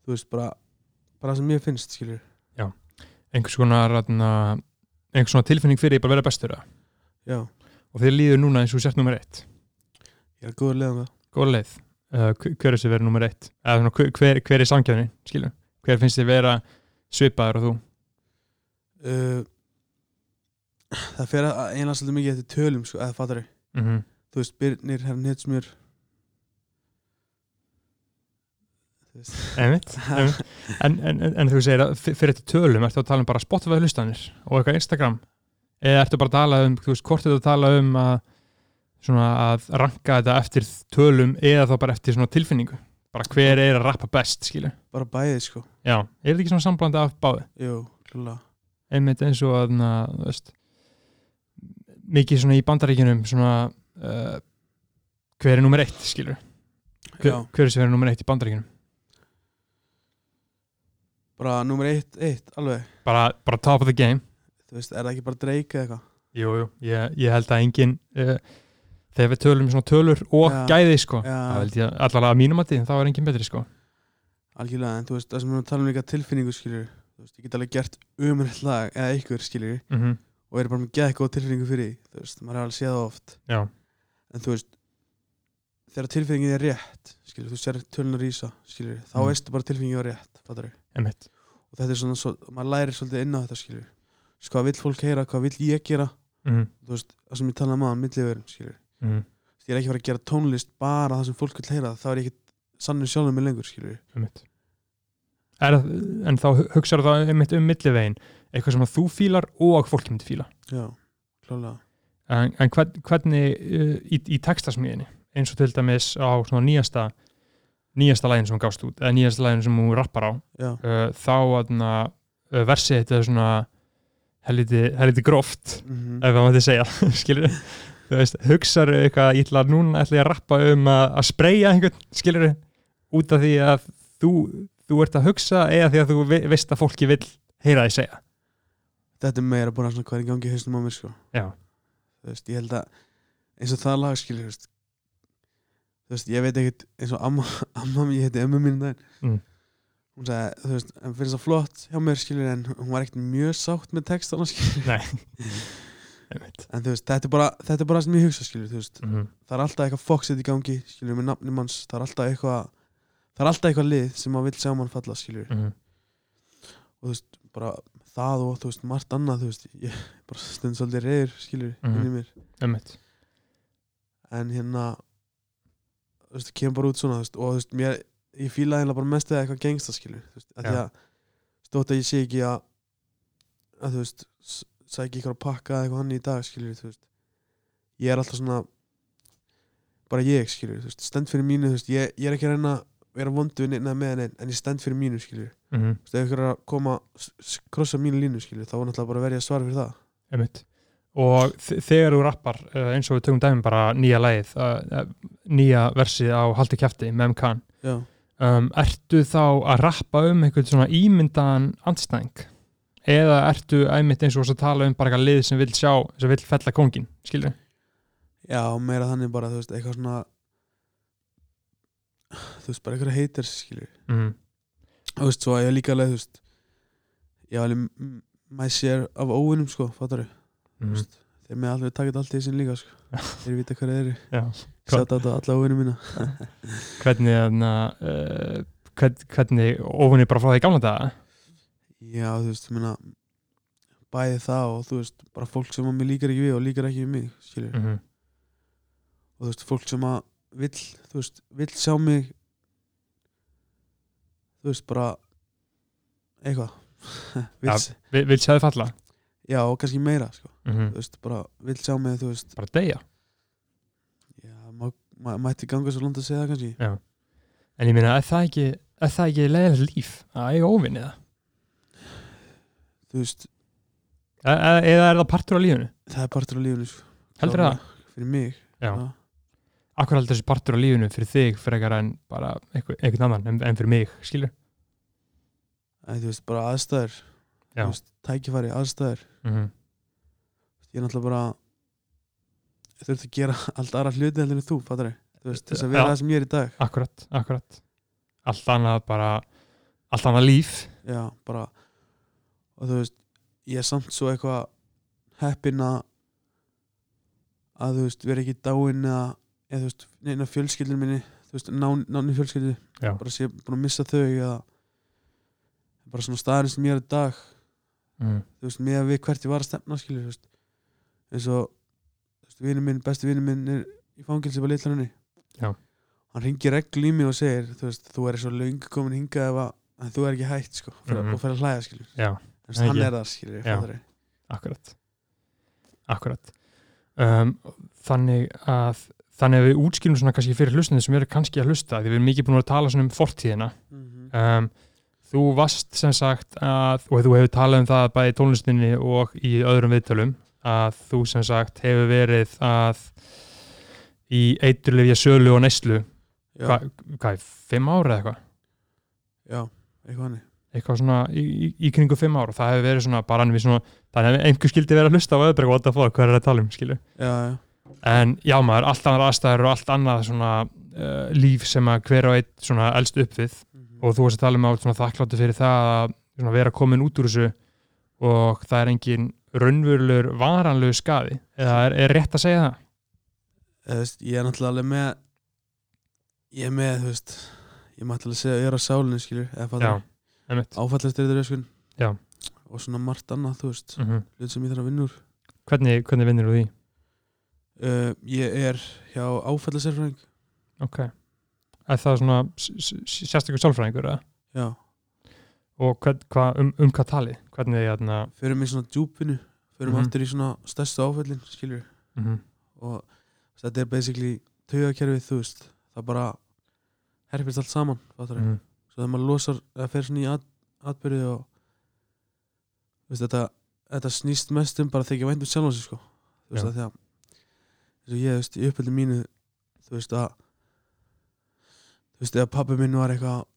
H: þú veist, bara, bara það sem mér finnst, skilur
A: einhvers konar atna, einhvers svona tilfinning fyrir ég bara að vera bestur eða?
H: já,
A: og þið líður núna eins og sért nummer eitt
H: ég er góður leiðan það
A: góða leið uh, hver hver er þessi verið nummer eitt eða svona, hver- hver, hver er samkjöfni skilur hver finnst þið vera svipaður og þú
H: uh, það fer að einlega svolítið mikið eftir tölum, sko, eða fattar ég
A: mm -hmm.
H: þú veist, Birnir, herrn Hetsmjör þú veist
A: einmitt, einmitt. En, en, en, en þú segir að fyr- fyrir þetta tölum ertu að tala um bara Spotify hlustanir og eitthvað Instagram eða ertu bara að tala um, þú veist, hvort þetta að tala um að svona að ranka þetta eftir tölum eða þá bara eftir svona tilfinningu bara hver er að rappa best, skilur
H: bara bæðið, sko,
A: já, er þetta ekki svona samblandi af báði
H: jú, klálega
A: einmitt eins og að na, þú veist, mikið svona í bandaríkinum svona uh, hver er nummer eitt, skilur hver,
H: Já.
A: hver er sem er nummer eitt í bandaríkinum
H: bara nummer 1, 1, alveg
A: bara, bara top of the game
H: þú veist, er það ekki bara dreika eða eitthvað
A: Jú, jú, ég, ég held að engin uh, þegar við tölum svona tölur og
H: Já,
A: gæði sko,
H: já.
A: það held ég allavega að mínum að því, þá er engin betri sko
H: algjörlega, en þú veist, það sem við erum að tala um líka tilfinningu skilur, þú veist, ég get alveg gert umrætt lag eða ykkur skilur,
A: mm -hmm.
H: og er bara með geða góð tilfinningu fyrir því, þú veist, maður er alveg séð það oft
A: Já,
H: en þú veist, þegar tilfinningin er rétt skilur, þú sér tölunar ísa skilur, þá
A: Mm.
H: veistu bara tilfinningin var rétt fattar
A: emitt,
H: og þetta er svona, svo, maður lærir svolítið inn á þetta skilur, Þú veist, hvað vill fólk heyra, hvað vill ég gera
A: mm
H: þú veist, það sem ég um talaði maður, milliðverum skilur,
A: -hmm.
H: Þú veist, ég er ekki að fara að gera tónlist bara það sem fólk vill heyra, þá er ég ekki sannur sjálfum mig lengur skilur,
A: emitt. Er, en þá hugsaðu það emitt um millivegin, eitthvað sem að þú fílar og fólk myndi fíla
H: já, klálega
A: en, en hvern, hvernig uh, í, í textasmiðinni, eins og til dæmis á svona nýjasta nýjasta lægin sem hún gafst út, eða nýjasta lægin sem hún rappar á,
H: já,
A: uh, þá aðna, uh, versið þetta er svona helviti, helviti gróft
H: mhm,
A: ef það mætti segja, skilur þú veist, hugsaðu eitthvað, ég ætla að núna ætla ég að rappa um að, að spreja einhvern, skilur út af því að þú þú ert að hugsa eða því að þú ve- veist að fólki vill heyra því segja
H: þetta er meira bara svona hvað er í gangi í hausnum á mér sko
A: já,
H: þú veist, ég held að eins og það lag skilur, þú veist þú veist, ég veit ekkert eins og amma, amma mín, ég heiti ömmu mín daginn
A: Mm.
H: hún sagði, þú veist, en finnst það flott hjá mér skilur, en hún var ekkert mjög sátt með textana skilur,
A: nei einmitt
H: en þú veist, þetta er bara þetta er bara það sem ég hugsa skilur, þú veist
A: mm -hmm.
H: það er alltaf eitthvað foxið í gangi, skilur, með nafni manns það er alltaf eitthvað það er alltaf eitthvað lið sem maður vill sjá mann falla skilur, og þú veist, bara það og þú veist, margt annað, þú veist ég er bara stund svolítið reyður, skilur,
A: Mhm.
H: inn í mér
A: einmitt
H: en hérna þú veist, kemur bara út svona þú veist, og þú veist, mér, ég fílaði hérna bara mest eða eitthvað gengsta skilur, þú veist, að
A: Já.
H: því að stótt að ég sé ekki að að þú veist, s- sæki ykkur að pakka eða eitthvað hann í dag skilur, þú veist ég er alltaf svona bara ég skilur, þú veist, stend fyrir mínu þú veist, ég, ég er ekki að reyna að vera vondu neina með neinn, en ég stend fyrir mínu skilur þú
A: mm -hmm.
H: veist, ef ykkur er að koma s- s- krossa mínu línu skilur, þá er náttúrulega bara að verja svar fyrir það
A: Einmitt. Og þ- þegar þú rappar, eh, eins og við tökum dæmi bara nýja lagið, eh, eh, nýja versið á Haldi kjafti með MKN,
H: já,
A: um, ertu þá að rappa um einhvern svona ímyndaðan andstæðing? Eða ertu einmitt eins og þess að tala um bara eitthvað lið sem vill sjá, sem vill fella kóngin, skilur?
H: Já, meira þannig bara, þú veist, eitthvað svona þú veist, bara eitthvað heitir skilju,
A: Mm.
H: þú veist, svo að ég líka alveg, þú veist ég var alveg m- my share af óvinnum, sko, fattar þau
A: Mm.
H: þeir með alveg takit allt í þessin líka, sko þeir vita hvað þeir eru,
A: Já.
H: sjátt á alla óvinnum mína
A: Hvernig, þarna, uh, hvern, hvernig ofinni bara frá því í gamla daga?
H: Já, þú veist, ég meina bæði það og þú veist, bara fólk sem að mér líkar ekki við og líkar ekki við mig, skilju
A: Mm
H: og þú veist, fólk sem að vill, þú veist, vill sjá mig þú veist, bara eitthvað vill,
A: Ja. Vi, vill sjá þið falla?
H: já, og kannski meira, sko
A: Mm
H: þú veist, bara vill sjá mig, þú veist
A: Bara deyja?
H: já, má, má, mætti ganga svo langt að segja það kannski
A: En ég meina, er það ekki, er það ekki leiðilegt líf að eiga óvinnið?
H: þú veist,
A: E- e- eða er það partur á lífinu
H: það er partur á lífinu sko.
A: heldur það,
H: fyrir mig
A: Já.
H: Já.
A: akkur heldur þessi partur á lífinu fyrir þig frekar en bara einhver, einhvern annan en, en fyrir mig, skilur
H: en þú veist bara aðstæður
A: Já.
H: Þú veist, tækifæri aðstæður
A: mm -hmm.
H: ég er náttúrulega bara þurfti að gera allt aðra hluti heldur en þú fattar þú veist þess að vera
A: Já.
H: það sem ég er í dag
A: akkurat, akkurat allt annað bara allt annað líf
H: já bara og þú veist ég er samt svo eitthvað heppin að að þú veist vera ekki dáin eða eða þú veist neina fjölskyldin minni þú veist nán, náni fjölskyldu
A: Já.
H: bara sé búin að missa þau eða bara svona staðarinn sem ég er í dag
A: mm.
H: þú veist, með að við hvert ég var að stefna skilur, þú veist, eins og þú veist, vinur minn, besti vinur minn er í fangilsi bara litla henni
A: Já.
H: hann ringir reglu í mig og segir þú veist, þú er svo löngu komin hingað ef að, að þú er ekki hætt, sko, fyrir,
A: Mhm.
H: og fer að hlæja skilur,
A: já,
H: þú veist, hann
A: Ekki.
H: er það skilur,
A: Já.
H: fattari
A: akkurat akkurat um, þannig að þannig að við útskýrum svona kannski fyrir hlustinu sem eru kannski að hlusta því við erum mikið búin að tala svona um fortíðina um, þú varst sem sagt að, og þú hefur talað um það bæði í tónlistinni og í öðrum viðtölum að þú sem sagt hefur verið að í eiturlefja sölu og neyslu
H: já,
A: hvað, hvað, er, fimm ára eða eitthvað
H: já, eitthvað hann
A: eitthvað svona í, í, í kringu fimm ára og það hefur verið svona bara en við svona þannig að einhver skildi vera að hlusta á öðbrekk og alltaf fóða hvað er að tala um skilju
H: já, já,
A: en já maður, allt annar aðstæður og allt annað svona uh, líf sem að hver og eitt svona elst upp við og þú varst að tala um að þú ert svona þakkláttu fyrir það að svona, vera komin út úr þessu og það er engin raunvörlur varanlegu skaði eða er, er rétt að segja það?
H: Eða, þú veist, ég er náttúrulega alveg með ég er með, þú veist ég má alltaf segja, ég er á sálinu skilur, eða fattari,
A: einmitt
H: áfallast er þetta
A: Já.
H: og svona margt annað, þú veist
A: mm
H: hlut sem ég þarf að vinna úr
A: hvernig, hvernig vinnur þú því?
H: Uh, ég er hjá áfallasérfræðing
A: Ok Er það svona s- s- sérstakur sálfræðingur eða?
H: Já,
A: og hvern, hva, um, um hvað talið? Hvernig hérna- er þarna
H: förum í svona djúpinu förum
A: Mhm.
H: aftur í svona stærstu áfallin skilur
A: mm
H: og þetta er basically taugakerfið þú veist það bara herpist allt saman fattar
A: Mhm.
H: mm. svo þegar maður losar það fer svona í at, atbyrði og þú veist, þetta, þetta snýst mest um bara að þykja vænt um sjálfansi sko. þú veist
A: Já.
H: að því að eins og ég þú veist, í uppöldu mínu þú veist að þú veist eða pabbi minn var eitthvað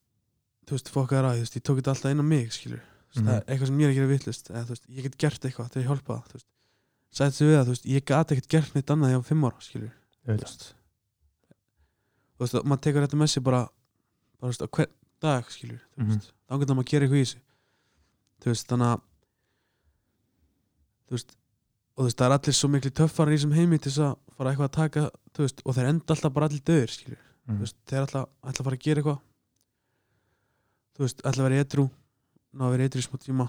H: þú veist fokkar að þú veist ég tók þetta alltaf inn á mig skilur þú veist, það
A: Mhm.
H: er eitthvað sem ég er að gera vitlust eða þú veist ég get gert eitthvað til að hjálpa það þú veist sætt sig við það þú veist ég gat ekkert gert neitt annað hjá fimm ára skilur þú veist þú veist, og maður tekur þetta með sér bara bara, þú veist, á hvern dag, skilur þú
A: Mhm.
H: veist, þá getur maður að gera eitthvað í þessu þú veist, þannig að þú veist og þú veist, það er allir svo miklu töffarar í þessum heimi til þess að fara eitthvað að taka, þú veist og þeir enda alltaf bara allir döður, skilur
A: Mhm.
H: þú veist, þeir alltaf, alltaf fara að gera eitthvað þú veist, alltaf vera edru ná að vera edru í smá tíma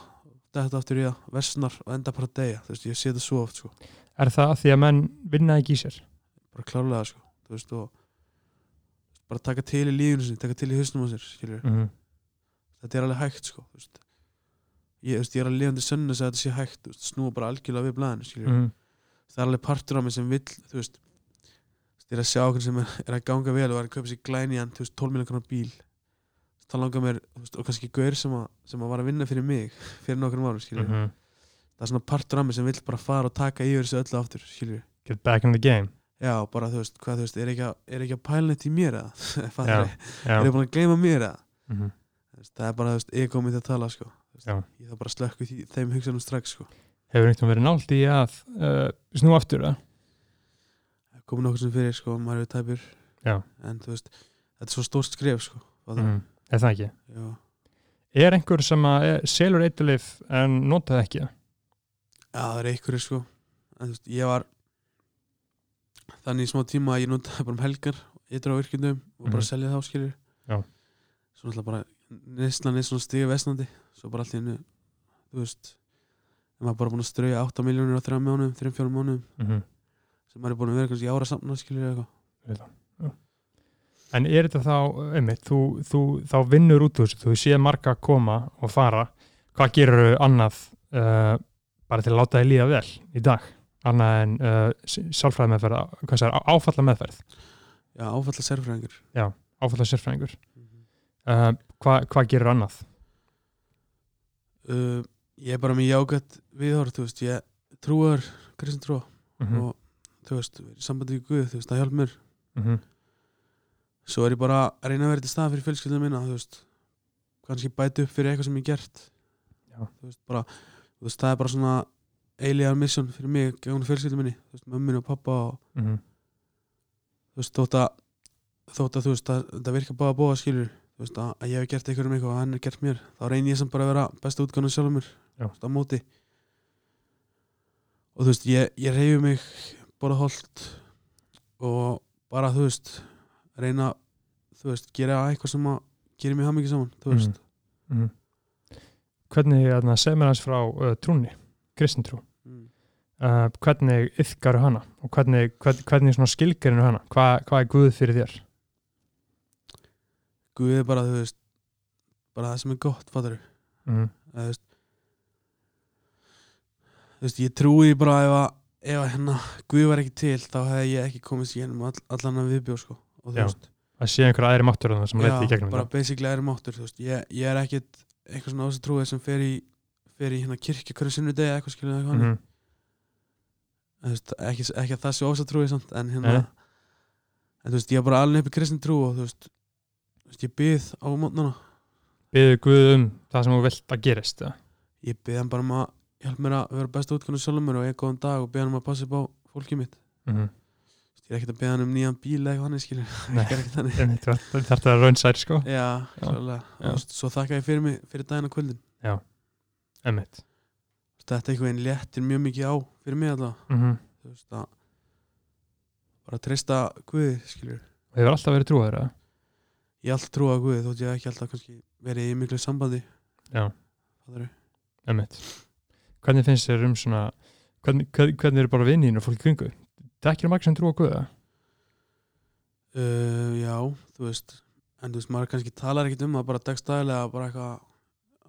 H: þetta aftur í það, versnar og enda bara að deyja þú veist, ég sé þetta svo oft, sko
A: Er það því að menn vinna ekki í sér?
H: bara klárlega sko þú veist og bara taka til í lífinu sinni, taka til í hausnum á sér skilur,
A: Mm
H: þetta er alveg hægt sko þú veist ég, þú veist, ég er að lifandi sönnu að þetta sé hægt þú veist, snúa bara algjörlega við blæðinu skilur
A: -hmm.
H: það er alveg partur af mig sem vill þú veist, ég er að sjá okkur sem er, er að ganga vel og er að kaupa sér glænjan þú veist, 12 miljón kronar bíl þá langar mér, þú veist, og kannski gaur sem að, sem að var að vinna fyrir mig, fyrir nokkrum árum skilur,
A: -hmm.
H: það er svona partur af mig sem vill bara fara og taka yfir þessu öllu aftur skilur
A: Get back in the game
H: Já, bara þú veist, hvað þú veist, er ekki að, er ekki að pæla neitt í mér eða? Fattar þig?
A: Já,
H: Er ég búin að gleyma mér eða?
A: mm
H: Þú veist, Það er bara, þú veist, ég komið til að tala, sko. Þú veist,
A: Já.
H: Ég þarf bara að slökku því, þeim hugsanum strax, sko.
A: Hefur einhvern verið nált í að uh, snú aftur það?
H: Það er komin okkur sem fyrir, sko, maður hefur tæpur.
A: Já.
H: En þú veist, þetta er svo stórt skref, sko. Fattar þig?
A: Mm. Er það ekki?
H: Já.
A: Er einhver sem að eh, selur eiturlif en notaði ekki? það?
H: Já, það er einhverju, sko. En þú veist, ég var þannig í smá tíma að ég notaði bara um helgar, ytra á virkindum og bara
A: Mhm.
H: selja þá, skilur.
A: Já.
H: Svo náttúrulega bara, neyslan er svona stiga vestnandi, svo bara allt í hennu, þú veist, en maður bara búin að strauja 8 miljónir á 3 mánuðum, 3-4 mánuðum
A: Mhm.
H: sem maður er búin að vera kannski í ára samna skilur eitthvað
A: En er þetta þá, einmitt, þú, þú þá vinnur út úr þessu, þú séð marga koma og fara, hvað gerur annað uh, bara til að láta þið líða vel í dag, annað en uh, sálfræði meðferð, hvað sér, áfalla meðferð,
H: já, áfalla sérfræðingur
A: áfalla
H: Mhm.
A: sérfræðingur, uh, hvað, hvað gerur annað?
H: uh, ég er bara með jágætt viðhorf, þú veist, ég trúar kristin trúa
A: Mhm,
H: og þú veist, í sambandi við Guð, þú veist, það hjálp mér
A: mhm,
H: svo er ég bara að reyna að vera til stað fyrir fjölskyldum minna, þú veist kannski bæti upp fyrir eitthvað sem ég hef gert
A: Já.
H: þú veist, bara, þú veist, það er bara svona eilíðar mission fyrir mig gegn fjölskyldum minni, þú veist, mömmin og pappa og
A: mhm,
H: þú veist, þótt að þótt að þú veist, að, það virka bara að búa skilur þú veist, að, að ég hef gert eitthvað um eitthvað og hann er gert mér, þá reyni ég samt bara að vera besta útgáðan sjálfur mér,
A: Já.
H: þú veist, á móti og þú veist, ég, ég reyfi mig bara holdt og bara, þú veist reyna, þú veist, gera eitthvað sem að gera mig hamingi saman, þú veist
A: mhm. Hvernig, þarna, segð mér hans frá uh, trúnni, kristintrú
H: mm.
A: uh, hvernig yfkaru hana og hvernig, hvernig, hvernig svona skilgerinu hana Hva, hvað er Guð fyrir þér
H: Guð er bara, þú veist bara það sem er gott, fattar
A: mm,
H: eða, þú veist þú veist, ég trúi bara ef að, ef að hérna Guð var ekki til, þá hefði ég ekki komist í hennum all, allan að viðbjóð, sko og þú
A: Já,
H: veist,
A: að sé einhverja aðri máttur þarna sem leiti í gegnum
H: bara
A: þetta
H: basically erum áttur, þú veist ég, ég er ekkit eitthvað svona ásett trúið sem fer í fer í hérna kirkju hverju sinni degi eitthvað skilur eitthvað mm
A: Mhm,
H: þú veist, ekki, ekki að það sé ásett trúið samt, en hérna
A: Nei.
H: en þú veist, ég er bara alveg upp í kristin trú og þú veist, þú veist ég byð á mótnana
A: Biður Guð um það sem þú vilt að gerist eða?
H: ég byð hann bara um að hjálp mér að vera besta útkunni sjálfum mér og ég góðan dag og byð hann um að passa upp á fólkið mitt
A: Mhm.
H: ég er ekkert að beða hann um nýjan bíl eða eitthvað þannig skilur
A: Nei.
H: ég er ekkert þannig
A: Einmitt, þú þarf þetta að raun særi sko
H: um já,
A: Já.
H: já.
A: Já.
H: svo þakka ég fyrir mig fyrir daginn og kvöldin
A: Emmitt
H: þetta eitthvað einn léttir mjög mikið á fyrir mig allavega
A: mm -hmm.
H: þú veist að bara að treysta Guði skilur
A: Hefur alltaf verið trúaður eða?
H: ég hef alltaf trúa Guði þótt ég hef ekki alltaf kannski verið í miklu sambandi
A: Já.
H: Fattarðu?
A: Emmitt Hvernig finnst þér um svona hvernig, hvernig, hvernig eru bara vinnin og fólk í kringu Það ekki er margir sem trúa á Guð eða?
H: uh, já, þú veist en þú veist, maður kannski talar ekkert um það bara dagstæðilega bara eitthvað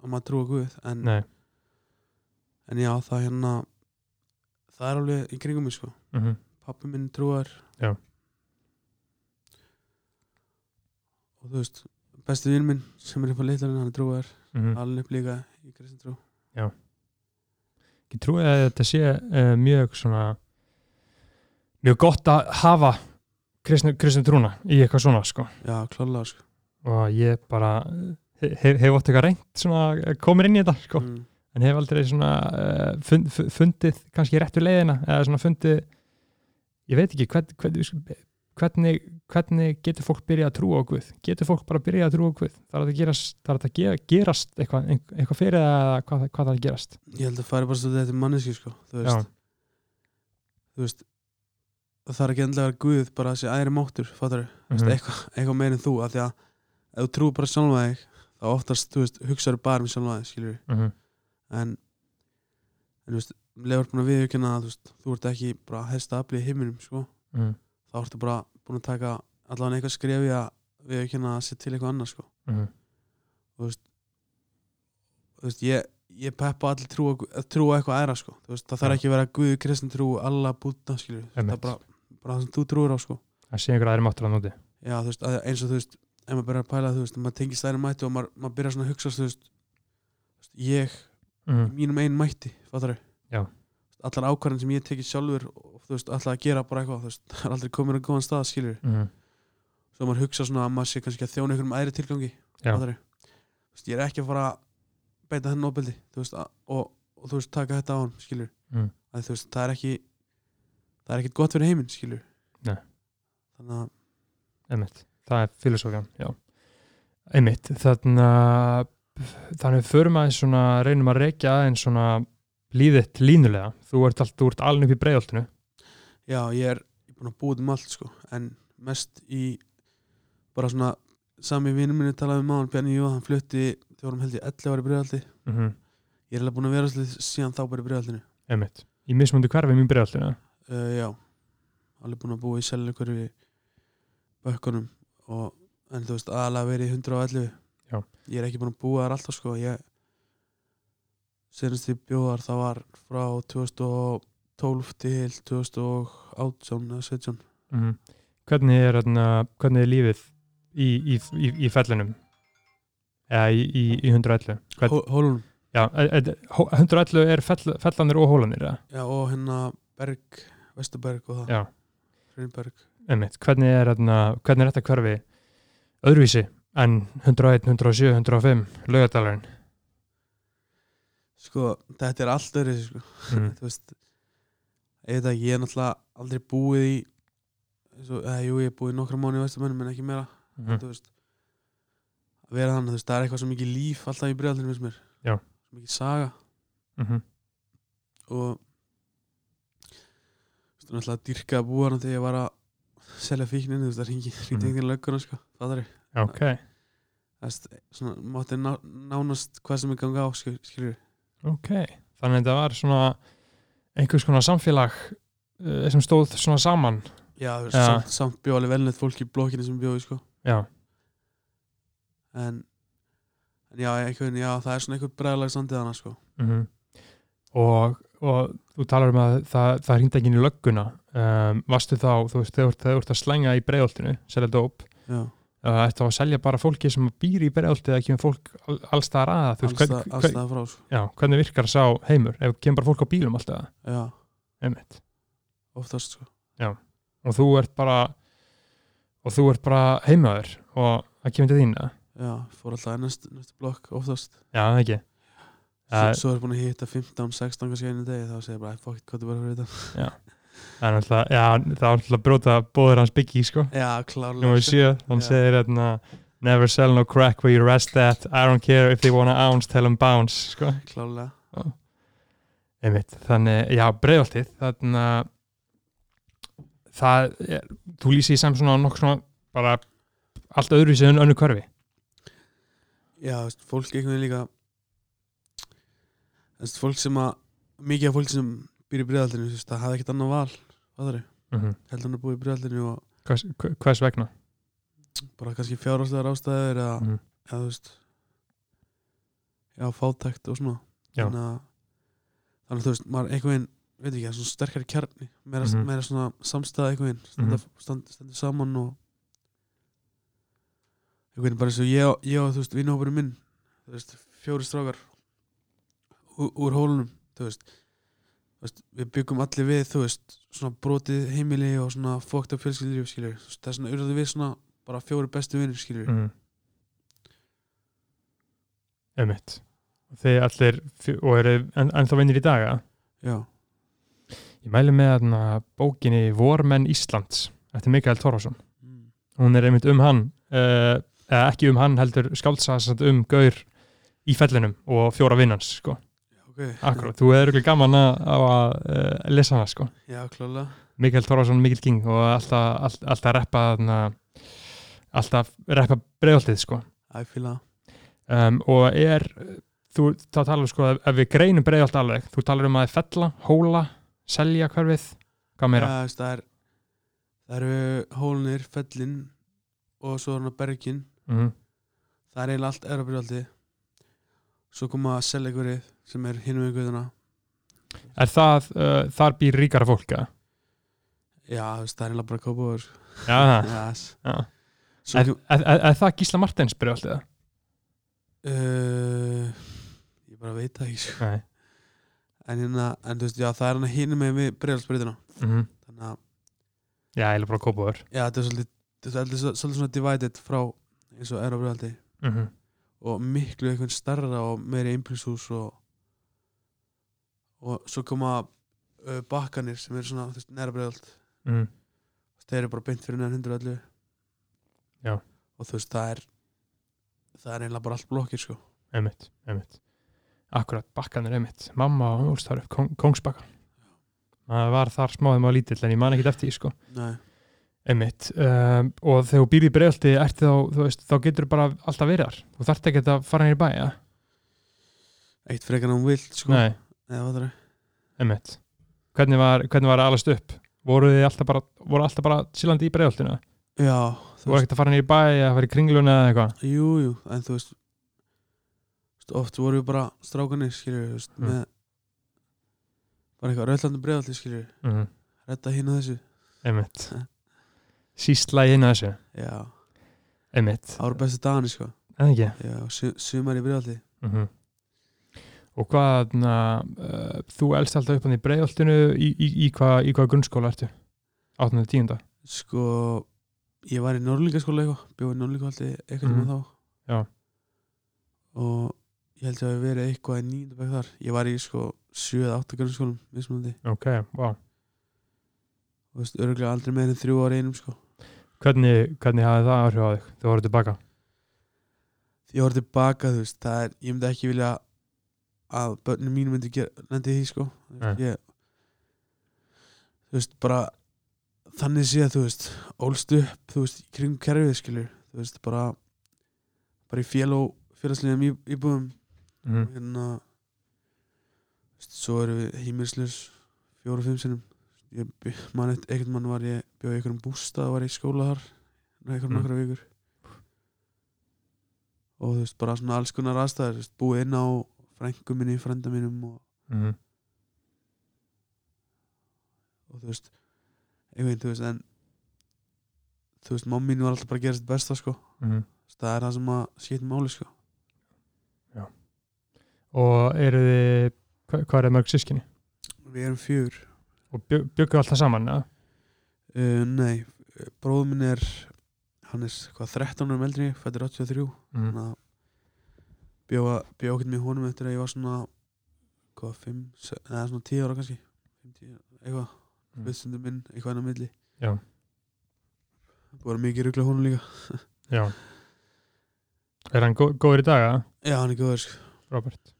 H: að maður trúa Guð en,
A: Nei
H: en já, það hérna það er alveg í kringum mig sko
A: mm
H: pappi minn trúar
A: Já.
H: og þú veist besti vinn minn sem er upp á litlarinn hann er trúar mm. alveg upp líka í kristin trú
A: ég trúi að þetta sé uh, mjög svona mjög gott að hafa kristnu, kristnu trúna í eitthvað svona sko.
H: já klálega sko
A: og ég bara eh, hef, hef ótt eitthvað reynt svona eh, komin inn í þetta sko.
H: mm.
A: en hef aldrei svona uh, fund, fu- fundið kannski réttu leiðina eða svona fundið ég veit ekki hvern, hvern, hvernig, hvernig getur fólk byrjað að trúa á Guð getur fólk bara byrjað að trúa á Guð þarf þetta að gerast, þarf þetta að ge- gerast eitthvað, eitthvað fyrir eða hvað, hvað það að gerast
H: ég held að fara bara svolítið þetta manneski sko þú
A: Já.
H: veist, þú veist það þarf ekki endlega að vera Guð bara þessi æri máttur fattar
A: mm
H: veist, eitthvað, eitthvað meir en þú af því að ef þú trúir bara sjálfa þig þá oftast, þú veist, hugsaður bara um sjálfa þig skilur
A: -hmm.
H: en, en þú veist, lefur búin að viðurkenna að þú veist, þú ert ekki bara helsta afli í heiminum, sko,
A: Mm
H: þá ertu bara búin að taka allavega eitthvað skrefi að viðurkenna að setja til eitthvað annað, sko
A: -hmm.
H: þú veist, ég, ég peppa allir trú að trúa eitthvað aðra, sko, þú veist, það þarf
A: Já.
H: ekki að vera guðu kristin trú, alla búta, skilur það
A: Einmitt.
H: er bara, bara það sem þú trúir á, sko
A: að sé einhver aðri máttur að núti
H: já, þú veist, að- eins og þú veist ef maður byrjar að pæla, þú veist, maður tengist aðra mætti og maður, maður byrjar svona að hugsa, þú veist þú veist, ég, í
A: mm.
H: mínum einn mætti fattar
A: Já.
H: allar ákvarðin sem ég hef tekið sjálfur og þú veist, allar að gera bara eitthvað þú veist, það er aldrei komin að góðan stað skilur
A: Mm.
H: svo maður hugsa svona að maður sé kannski að þjóna einhverjum æðri tilgangi
A: Já.
H: fattarðu? þú veist, ég er ekki að fara að beita henni ofbeldi þú veist, að, og, og þú veist, taka þetta á hann skilur
A: Mm.
H: að, þú veist, það er ekki það er ekkit gott fyrir heiminn skilur
A: Nei.
H: þannig að
A: einmitt, það er filosófjan já, einmitt þannig að þannig við förum aðeins svona, reynum að reykja aðeins svona líðitt línulega þú ert allt, þú ert alveg upp í breiðoltinu
H: Já, ég er ég er búinn að búa út um allt sko en mest í bara svona sami vinnum minni talaði um maður Bjarni Jó, hann flutti þegar hann held ég 11 ári bregðaldi
A: mm -hmm.
H: ég er alveg búinn að vera svolítið síðan þá bara í bregðaldinu
A: einmitt, í mismundi hverfum í breiðoltinu
H: uh, Já, alveg búinn að búa í selja ykkur við bökkunum og en þú veist aðalega verið í 111
A: Já.
H: Ég er ekki búinn að búa þar alltaf sko ég senast í bjóðar það var frá 2012 til 2018 eða 17
A: mm hvernig er þarna, hvernig er lífið í, í, í, í fellinum eða í, í, í 111 Hvern,
H: Hólunum
A: Já, e- e- hó- 111 er fell, fellanir og hólanir, eða?
H: Já, og hérna Berg, Vesturberg og það,
A: Já,
H: Hrinberg.
A: einmitt. Hvernig er, hérna, hvernig er þetta hverfi öðruvísi en 101, 107, 105, laugadalurinn?
H: Sko, þetta er allt öðru, sko.
A: Mm.
H: Þú veist, ég veit ekki, ég er náttúrulega aldrei búið í, svo, eða, jú, ég er búið í nokkra mánu í Vesturberg, en ekki meira.
A: Mm.
H: þú veist að vera þannig, þú veist, það er eitthvað svo mikið líf alltaf í bregðaldinu, finnst mér
A: Já.
H: svo mikið saga
A: Mm.
H: og þú veist, náttúrulega dyrka að búa hana þegar ég var að selja fíkninu, þú veist, það ringi ringi
A: Mhm.
H: ekkert lögguna, sko, það er
A: Ok,
H: það veist, svona, mátti ná, nánast hvað sem er ganga á, skil, skilur
A: ok. Þannig að þetta var svona einhvers konar samfélag eh, sem stóð svona saman.
H: já, þú veist,
A: Já.
H: samt, samt bjó alveg velnett fólk í blokkinu sem bjóði, sko
A: Já,
H: en, en já, einhvern, já, það er svona einhver bregðalag sandið hana, sko
A: -hmm. og, og þú talar um að það, það hringdi ekki inn í lögguna um, varstu þá, þú veist, þegar þú ert- þegar þú ert að slænga í breiðoltinu, selja dóp
H: já,
A: uh, eftir að selja bara fólki sem býr í breiðolti eða kemur fólk al- alls staðar að þú veist, hvern,
H: allstað
A: hvern,
H: allstað frá, sko
A: já, hvernig virkar sá heimur ef kemur bara fólk á bílum alltaf
H: já,
A: einmitt.
H: oftast, sko
A: og þú ert bara og þú ert bara heimaður og það kemur til þín eða?
H: já, fór alltaf í næst, næstu blokk, oftast
A: já, það ekki
H: Svo,
A: Það-
H: svo er búin að hitta 15, 16 kannski einu degi þá segir bara, "Æ, fuck, it, hvað þú bara fyrir þetta
A: það er alltaf, já, það er alltaf að bróta bóður hans byggi, sko
H: Já, klárlega
A: Númer
H: sko.
A: 7, hann
H: Já.
A: segir hérna Never sell no crack where you rest that I don't care if they wanna ounce, tell them bounce sko.
H: Klárlega
A: Einmitt, þannig, já, breiðaltið þannig að það, er, þú lýsir því sem svona nokkuð svona bara allt öðru sem önnu hverfi
H: Já, þú veist, fólk einhvern veginn líka þú veist, fólk sem að mikið af fólk sem býr í breiðaldinu þú veist, það hafði ekkert annað val aðri,
A: mm
H: heldur hann að búa í breiðaldinu og
A: hvers, hvers vegna
H: bara kannski fjárháslegar ástæður eða,
A: Mhm.
H: eða þú veist já, fátækt og svona
A: Já.
H: þannig að þannig að þú veist, maður einhvern veginn veit ekki, það er svona sterkari kjarni meira,
A: Mhm.
H: meira svona samstæða einhvern veginn standa, standa, standa saman og einhvern veginn bara eins og ég, og- ég og þú veist, vinnhópurinn minn þú veist, fjóri strákar úr, úr hólunum, þú veist Þú veist, við byggum allir við, þú veist svona brotið heimili og svona fókt af fjölskyldur, skilur, það er svona urðu við svona bara fjóri bestu vinnir, skilur
A: mm. Einmitt Þið allir, fjö- og eru en, ennþá vinnir í daga
H: já,
A: Ég mæli með hérna, bókinni Vormenn Íslands eftir Mikael Torfason
H: mm.
A: hún er einmitt um hann uh, eða ekki um hann heldur skáldsasand um gaur í fellinum og fjóra vinnans sko.
H: ok,
A: Akkurat, þú hefur ekki gaman að, á að uh, lesa hana sko.
H: já, klálega
A: Mikael Thorvarsson, Mikael King og alltaf, all, alltaf reppa þarna, alltaf reppa bregðaldið sko.
H: I feel that
A: um, og er þú, þá talar við sko ef, ef við greinum bregðald alveg, þú talar um að fella, hóla selja hverfið, hvað meira
H: Já, þú veist, það er það eru hólunir, fellin og svo er hann að bergin
A: Mhm,
H: það er eiginlega allt eðra byrjaldi svo koma að selja ykkur sem er hinum við guðuna
A: Er það, uh, þar býr ríkara fólk eða?
H: já, þú veist, það er eiginlega bara að kópa úr
A: Já, já.
H: svo
A: Er,
H: kom,
A: er, er, er það Gísla Martins bregðaldið?
H: uh, ég bara veit það ekki sko.
A: Nei
H: en, hérna, en þú veist, já, það er hann að hinum við byrjaldsbyrjaldina
A: mm
H: þannig að,
A: Já, ég er bara að kópa þér
H: já, þetta er svolítið þetta er svolítið svolítið svona divided frá eins og eðra byrjaldi
A: mm -hmm.
H: og miklu einhvern starra og meiri einbjörnshús og og svo koma uh, bakkanir sem eru svona þú veist, næra bregðald
A: mm.
H: þeir eru bara beint fyrir neðan hundur öllu
A: Já.
H: og þú veist það er það er einlega bara allt blokkir sko
A: Einmitt, einmitt Akkurat, bakkan er einmitt Mamma og úlst þar upp, kong, kongsbakkan Það var þar smáðum og lítill en ég man ekkert eftir því sko
H: Nei.
A: Einmitt, um, og þegar þú býr í bregjaldi ertu þá, þú veist, þá getur bara alltaf verið þar Þú þarft ekki að fara nýr í bæja
H: eitt frekar en hún vilt sko
A: Nei,
H: Eða, hvað það er?
A: einmitt Hvernig var, hvernig var að alast upp? Voru þið alltaf bara, voru alltaf bara sílandi í bregjaltinu?
H: já
A: Þú voru ekkert að fara nýr í bæja, að fara í kringluna eða eitthvað
H: jú, jú, en þú veist þú veist, oft voru við bara strákanir skilur þú veist,
A: Mm.
H: með bara eitthvað röllandu bregðaldi skilur
A: mm -hmm.
H: retta hinn og þessu
A: Einmitt
H: Ha.
A: Sýsla í hinn að þessu
H: já
A: Einmitt
H: það voru bestu dagarnir sko
A: En ekki
H: Já, su sumar í byrjaldi
A: mm -hmm. Mhm. og hvað na, uh, þú elst alltaf upp hann í breiðoltinu í, í, í hvað hva grunnskóla ertu 18. og 10.
H: sko ég var í Norrlíkaskóla eitthvað bjóði í Norrlíkahaldi eitthvað mm
A: Mhm.
H: þá
A: Já.
H: og ég held að hafi verið eitthvað í nýjunda bekk þar ég var í sko 7 eða 8 grunnskólum mismunandi,
A: ok, wow
H: þú veist, örgulega aldrei meir en þrjú ára einum sko
A: hvernig, hvernig hafði það áhrif á þig þegar voru tilbaka
H: því ég horf tilbaka, þú veist, það er ég myndi ekki vilja að börnum mínu myndi gera, lendi í því, sko Þú veist, ég þú veist, bara þannig sé að, þú veist, ólst upp þú veist, í kring kerfið, skilur þú veist, bara bara í fél og félagslegum í- íbúðum
A: mm.
H: hérna þú veist, svo erum við heimilislaus fjóra og fimm sinnum ég, bý- man eitt, einhvern mann var ég bjóði einhverjum bústað og var í skóla þar einhverjum
A: Mm.
H: mm. nokkra vikur og þú veist bara svona alls konar aðstæður þú veist, búið inn á frængum minni, frænda mínum og,
A: Mm.
H: og þú veist einhvern veginn, þú veist, en þú veist, mamma mín var alltaf bara að gera sitt besta sko,
A: Mm.
H: Þú veist, það er það sem að skipta máli sko,
A: og eru þið hva, hvað er mörg sískinni
H: við erum fjör
A: og bjö- bjuggu alltaf saman ja?
H: Uh, nei, bróður minn er hann er hvað 13 árum eldri fættir
A: mm.
H: 83 þannig að eh, bjóða bjóða okkur með honum eftir að ég var svona hvað 5, eða svona 10 ára kannski 5, 10, eitthvað
A: Mm.
H: mm. viðstundum minn, eitthvað enn á milli
A: Já.
H: Búið að vera mikið rugla honum líka
A: já er hann gó, góður í dag að
H: Já, hann er góður sko
A: Robert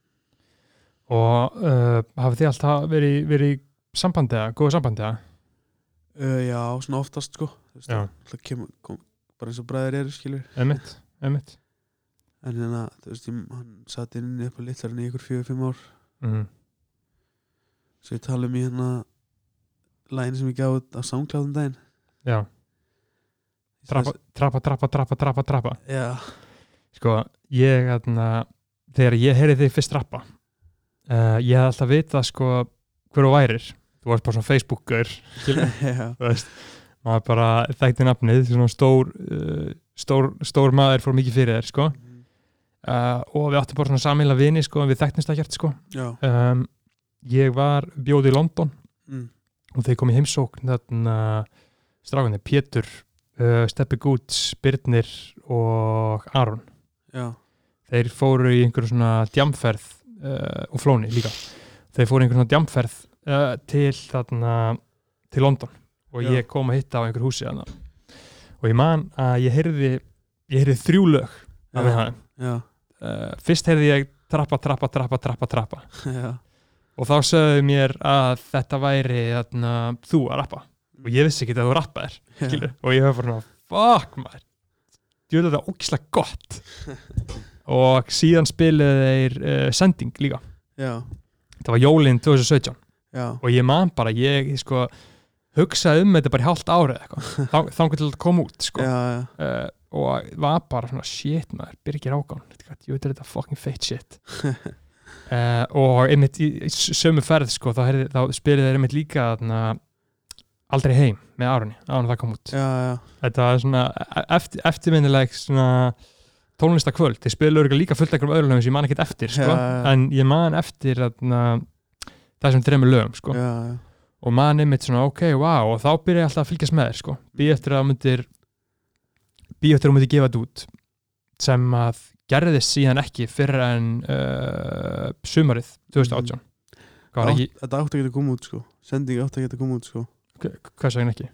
A: og uh, hafið þið alltaf verið, verið í sambandi eða, góðu sambandi eða?
H: uh, Já, svona oftast sko Þú veist,
A: Já.
H: það kem, kom, bara eins og bræðir eru skilur
A: emitt, emitt
H: en hérna, þú veist, ég, hann satt inn upp á litlar en í ykkur 4-5 ár
A: mm.
H: svo ég tala um í hérna lægin sem ég gaf út á SoundCloud um daginn
A: já,
H: Ég
A: trappa,
H: sagði-
A: trappa, trappa, trappa, trappa, trappa
H: Já,
A: sko, ég atna, þegar ég heyrði þig fyrst rappa uh, ég hef alltaf vitað sko hver þú værir, þú varst bara svona Facebook-gaur
H: já,
A: þú veist, maður bara þekkti nafnið, svona stór uh, stór, stór maður fór mikið fyrir þér sko,
H: Mhm.
A: uh, og við áttum bara svona samíla vini sko, en við þekktumst það hjart sko
H: já
A: um, ég var bjóð í London
H: mm.
A: og þeir kom í heimsókn þarna strákunni, Pétur uh, Steppi Goods, Birnir og Aron
H: Já,
A: þeir fóru í einhverjum svona djamferð uh, og flóni líka þeir fóru í einhverjum svona djamferð uh, til þarna til London og
H: Já.
A: ég kom að hitta á einhver húsi þarna og ég man að ég heyrði ég heyrði þrjú lög af
H: Já.
A: þeim uh,
H: já,
A: fyrst heyrði ég trappa, trappa, trappa, trappa, trappa
H: já
A: og þá sögðu mér að þetta væri þarna, þú að rappa og ég vissi ekki að þú rappa þér skilur, og ég hef bara svona, fuck maður ég veit að það er ógislega gott og síðan spiluðu þeir uh, sending líka,
H: Já,
A: það var jólin 2017
H: já,
A: og ég man bara, ég sko hugsaði um þetta bara í hálft árið eitthvað, þá- þangað til að koma út sko,
H: já, já,
A: uh, og var bara svona shit maður, Birgir Ágán veit hvað, ég veit að þetta er fucking feitt shit uh, og einmitt í, í sömu ferð sko, þá, heyrði- þá spiluðu þeir einmitt líka þarna, aldrei heim með árunni, árunni það kom út
H: já, já,
A: þetta er svona eftir, eftirminnileg svona tónlistakvöld, þeir spilu örgulega líka fullt ekkur um öðru lögum sem ég man ekkert eftir sko.
H: Já, já.
A: en ég man eftir þarna, þessum þreymur lögum sko.
H: já, já,
A: og man einmitt svona ok, wow og þá byrja ég alltaf að fylgjast með þér sko. býja eftir að það myndir býja eftir að þú myndir gefa þetta út sem að gerðist síðan ekki fyrr en uh, sumarið
H: Mhm.
A: 2018 hvað var
H: Átt-
A: ekki,
H: Þetta átti að geta koma út sko Sending átti að geta koma út sko
A: hvað sagði ekki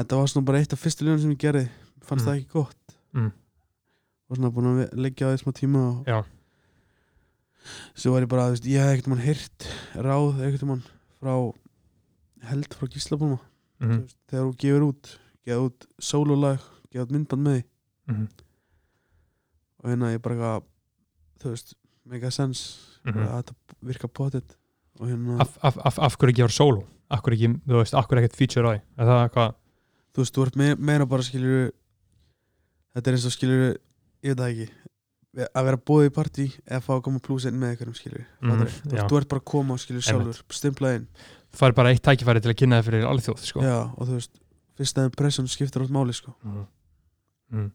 H: Þetta var svona bara eitt af fyrstu ljónum sem ég gerði Fannst
A: Mm.
H: það ekki gott
A: Mm.
H: Og svona búin að ve- leggja á því smá tíma og...
A: Já.
H: Svo var ég bara, þú veist, ég hef ekkert mann heyrt Ráð ekkert mann frá Held frá Gíslabólma
A: mm
H: Þú veist, Þegar þú gefur út Geða út sólulag, geða út myndband með því
A: Mhm.
H: Og hérna ég bara eitthvað, Þú veist, mega sens
A: Mhm.
H: Bara að Þetta virka potið Og hérna
A: af, af, af, af hverju ekki var solo af hverju ekki, þú veist, af hverju ekkert feature á því er það hvað,
H: þú veist, þú ert me- meira bara skilur þetta er eins og skilur ég veit það ekki ve- að vera bóðið í partí eða fá að koma plúsinn með einhverjum skilur
A: Mhm,
H: mm, þú,
A: já.
H: veist, þú ert bara að koma og skilur sjálfur stimplað inn
A: þú fær bara eitt tækifæri til að kynna það fyrir alþjóð sko.
H: já, og þú veist, fyrsta impression skiptir átt máli sko.
A: mm. Mm.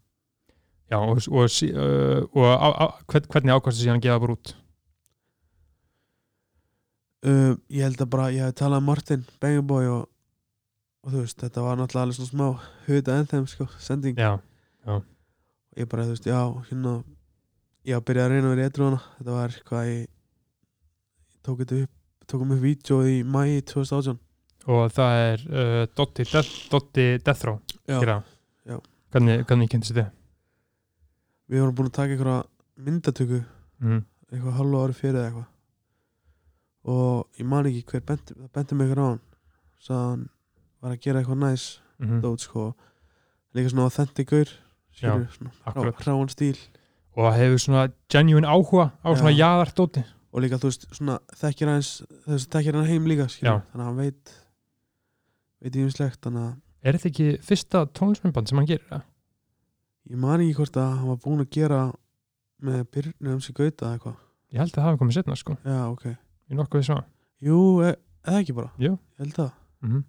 A: já og, og, sí- uh, og á, á, hvern- hvernig ákvæmstu síðan að gefa bara út
H: uh, ég held að bara, ég hef talað um Martin Bengaboy og, og þú veist, þetta var náttúrulega alveg svona smá huta enn þeim, sko, sending
A: já,
H: ég bara, þú veist, já, hérna ég var byrjað að reyna að vera edru hana þetta var hvað ég ég tók þetta upp, tókum upp vídeo í mæi 2018
A: og það er uh, Dotti, Death, Dotti Death Row
H: já,
A: já.
H: já.
A: hvernig, hvernig kynntist þið
H: við vorum búin að taka einhverja myndatöku
A: mm.
H: eitthvað halva ári fyrir eða eitthvað og ég man ekki hver benti, það benti mig eitthvað á hann sagði hann var að gera eitthvað næs
A: Mm
H: dót sko líka svona authentic gaur skilur, svona
A: akkurat.
H: hrá- hráan stíl
A: og það hefur svona genuine áhuga á
H: Já.
A: svona jaðar Dotti
H: og líka þú veist svona þekkir hans þess að þekkir hann heim líka skilur,
A: Já.
H: þannig að hann veit veit ímislegt þannig að
A: er þetta ekki fyrsta tónlisminnband sem hann gerir það?
H: ég man ekki hvort að hann var búinn að gera með Byrnu um sig gauta eða eitthvað
A: ég held að það hafi komið setna sko,
H: já ok,
A: í nokkuð svona
H: jú, e- eða ekki bara
A: Jú.
H: ég held að,
A: -hmm.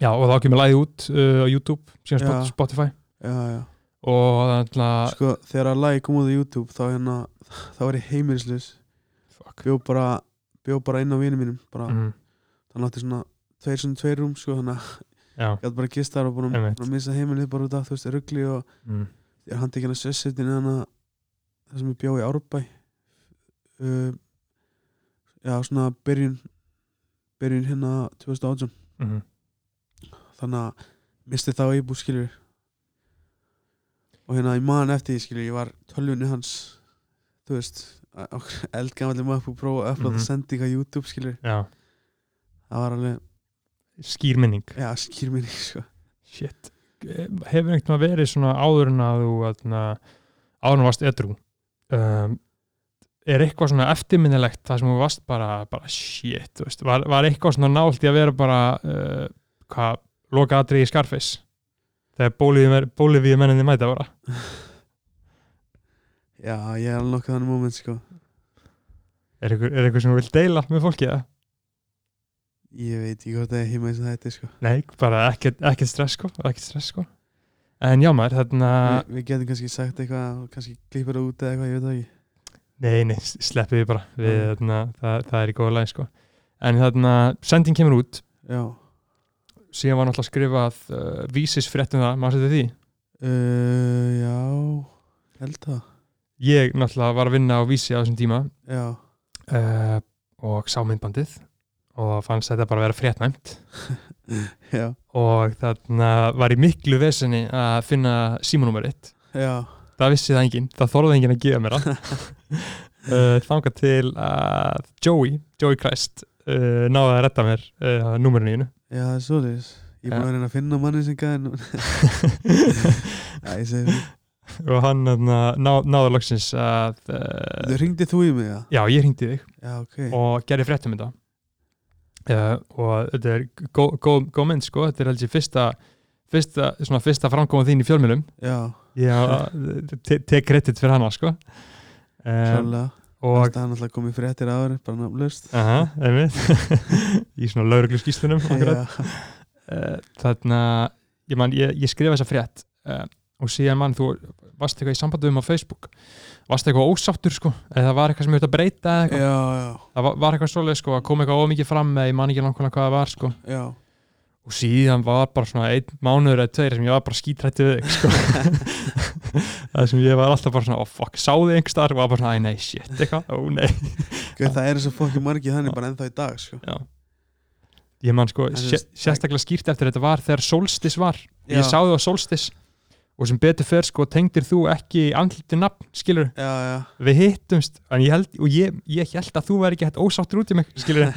A: Já, og þá kemur lagið út uh, á YouTube, síðan
H: Já.
A: Spot- Spotify
H: já já
A: og það er alltaf
H: sko þegar að lagi kom út á YouTube þá hérna, þá var ég heimilislaus
A: fuck
H: bjó bara, bjó bara inn á vinum mínum bara,
A: mm,
H: þannig átti svona tveir sem tveir rúm sko þannig að
A: Já,
H: ég átt bara að gista þar og búin að,
A: Einmitt.
H: búin að missa heimilið bara út af þú veist ruggli og
A: mm,
H: ég er handtekinn að sessetin en að það sem ég bjó í Árbæ uh, já svona byrjun byrjun hérna 2018
A: mm.
H: þannig að misti þá íbú skilur og hérna ég man eftir því skilur ég var tölvunni hans þú veist eldgamallið maður upp og prófa að upplata
A: Mhm.
H: sending á YouTube skilur
A: já,
H: það var alveg,
A: skýrminning
H: já skýr minni sko
A: Shit, Eh, hefur einhvern veginn verið svona áður en að þú aðna, áður en þú varst edru um, er eitthvað svona eftirminnilegt það sem þú varst bara, bara shit, þú veist, var, var eitthvað svona nált í að vera bara uh, hvað, loka atrið í Scarface þegar bólivíu menninni mæta bara
H: já ég er alveg nokkuð þannig moment sko
A: Er eitthvað, er eitthvað sem þú vilt deila með fólki eða?
H: Ég veit ekki hvort það er heima eins og þetta sko.
A: Nei, bara ekkert, ekkert stress sko, ekkert stress sko. En já maður, þarna,
H: Vi, Við getum kannski sagt eitthvað og kannski klippar það út eða eitthvað, ég veit það ekki
A: nei, nei, s- sleppið við bara, við,
H: Mm.
A: þarna, það, það er í góða læg sko. En þarna, sending kemur út,
H: Já,
A: síðan var náttúrulega skrifað uh, vísisfréttum það, maður setið því.
H: uh, já held það
A: Ég náttúrulega var að vinna á vísi á þessum tíma
H: Já,
A: uh, og sá myndbandið og fannst þetta bara að vera fréttnæmt.
H: já,
A: Og þarna var í miklu vesinni að finna símanúmerið
H: já
A: það vissi það enginn, það þorði enginn að gefa mér það uh, þanga til að Joey, Joey Christ uh, náði að retta mér uh, númerinu mínu
H: Já, það er svoleiðis Ég er
A: Já.
H: búin að reyna að finna manni sem gæði nú Já, ég segi því
A: og hann þarna, ná, náði loksins að uh,
H: Þú ringdi þú í mig, já
A: já, ég hringdi í þig
H: Já, ok
A: og gerði fréttum þetta uh, og þetta er góð gó, gó mynd sko, þetta er heldur fyrsta fyrsta, svona fyrsta framkoma þín í fjölmjölum
H: Já,
A: ég te- tek kredit fyrir hana sko um,
H: klálega
A: og
H: Það er náttúrulega komið fréttir áður, bara nafnlaust
A: Aha, einmitt í svona lauruglu skýslunum
H: Já,
A: þannig að Eh, ég, man, ég, ég skrifa þessa frétt uh, og síðan mann þú varst eitthvað í sambandi um á Facebook varst eitthvað ósáttur sko eða var eitthvað sem ég ætti að breyta eða eitthvað
H: já, já,
A: það var, var eitthvað svoleið sko að kom eitthvað ómikið fram eða ég man ekki nákvæmlega hvað það var sko
H: já
A: og síðan var bara svona einn mánuður eða tveir sem ég var bara skítrætti við þig sko. það sem ég var alltaf bara svona oh fuck, sáði einhver starf og var bara svona æ nei shit eitthvað, ó nei
H: Guð, Það eru svo fokkin margið þannig bara ennþá í dag, sko
A: ég man sko
H: En þú
A: sé,
H: veist,
A: sérstaklega skýrt eftir þetta var þegar solstis var
H: Já.
A: ég sá þú á solstis og sem betur fer sko tengdir þú ekki andliti nafn skilur
H: Já, já,
A: við hittumst en ég held, og ég, ég held að þú væri ekki hægt ósáttur út í mig skilur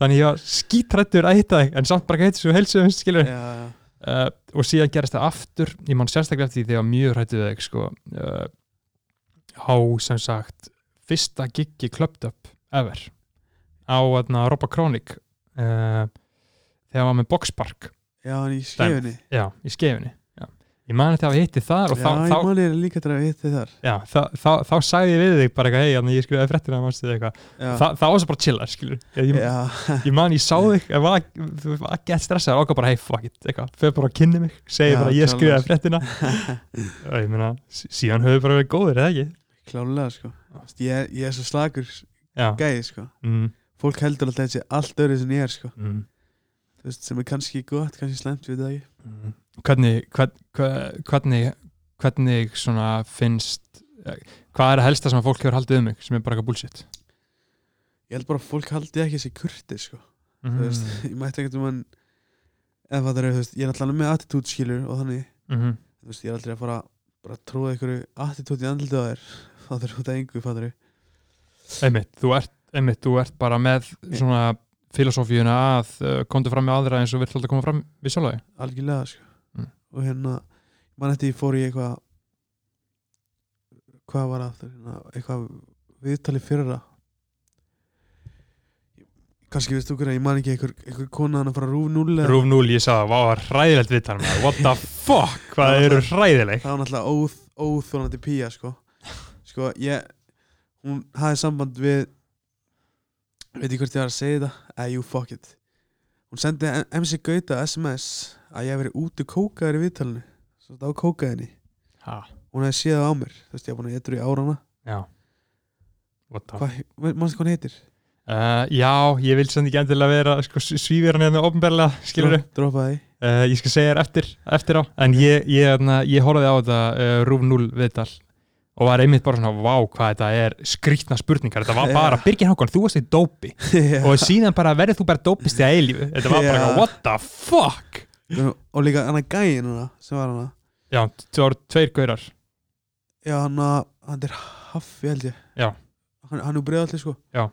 A: þannig ég var skítrættur að hitta þig en samt bara heitt svo heilsuðumst skilur
H: já, já
A: uh, og síðan gerist það aftur ég man sérstaklega eftir því þegar ég var mjög hrættu við þig sko uh, á sem sagt fyrsta giggi klöpt upp ever á aðna Robba Kronik uh, þegar hann var með Boxpark
H: Já, hann í skifinni
A: já, í skefinni já. ég man eftir að hafa hitti þar og
H: Já,
A: þá,
H: ég
A: þá,
H: man ég líka til að hitti þar
A: já, þá, þá, þá sagði ég við þig bara eitthvað, hei, þarna, ég skrifaði fréttina manstu þig eitthvað,
H: Já,
A: Þa, það var svo bara chillar skilur, ég, ég,
H: já,
A: ég man ég sá þig ég var, þú var ekki að stressa og ákvað bara hey fuck it, eitthvað, fyrir bara að kynni mig segi
H: Já,
A: bara ég skrifaði
H: klálega.
A: fréttina og ég meina, sí- síðan höfðu bara verið góðir eða ekki
H: klálega sko Þú veist, ég, er- ég er svo slagur
A: já,
H: gæði sko
A: mm,
H: fólk heldur alltaf þessi allt öðru sem ég er sko
A: mm,
H: Þú veist, sem er kannski gott, kannski slæmt við það ekki
A: mm. hvernig hvern, hver- hvernig hvernig svona finnst eh, hvað er að helsta sem að fólk hefur haldið um mig sem er bara eitthvað bullshit
H: ég held bara að fólk haldi ekki þessi kurti sko þú veist,
A: mm,
H: ég mætti ekkert um hann eða fattar þau, þú veist, ég er alltaf með attitút skilur og þannig,
A: mm,
H: þú veist, ég er aldrei að fara bara að tróða ykkur attitút í andlitið á þér fattar þú þetta engu, fattar þau
A: einmitt, þú ert, einmitt, þú ert bara með svona filosófíuna að uh, komdu fram með aðra eins og vilt alltaf koma fram við sjálfa þig
H: algjörlega sko.
A: Mm.
H: og hérna, mann eftir ég fór í eitthvað hvað var aftur hérna, eitthvað viðtalið fyrra kannski veist þú hverja, ég man ekki einhver, einhver kona hann að fara rúf núll
A: Rúf 0, ég sagði, vá, hræðilegt viðtal maður. what the fuck, hvað
H: Það
A: þeir
H: var
A: eru hræðileg
H: það var náttúrulega óð, óþólandi pía sko. sko ég hún hafði samband við veit ég hvort ég var að segja þetta eh, you fuck it hún sendi M- MC Gauta SMS að ég hef verið út og kókaður í viðtalinu svo þetta á kókaðinni
A: ha,
H: hún hefði séð það á mér þú veist ég var búin að eitthvað í árana
A: já what the
H: hvað, mannstu hvað hann heitir?
A: Uh, já, ég vil samt ekki endilega vera sko, svífir hann hérna ofnberlega, skilur
H: Dro- droppaði því.
A: uh, ég skal segja þér eftir, eftir á en ég, ég, hérna, ég horfði á þetta uh, rúf 0 viðtal og var einmitt bara svona, vá, hvað þetta er skrýtna spurningar, þetta var
H: Já.
A: bara Birgir Hákon, þú varst í dópi
H: Já.
A: og síðan bara verður þú bara dópist í að eilífu þetta var bara,
H: Já.
A: eitthvað, what the fuck
H: og líka hann að gæin hana sem var hana
A: já, það voru tveir gaurar
H: já hann að hann er haffi held ég
A: Já.
H: hann, hann er breið allir sko
A: Já.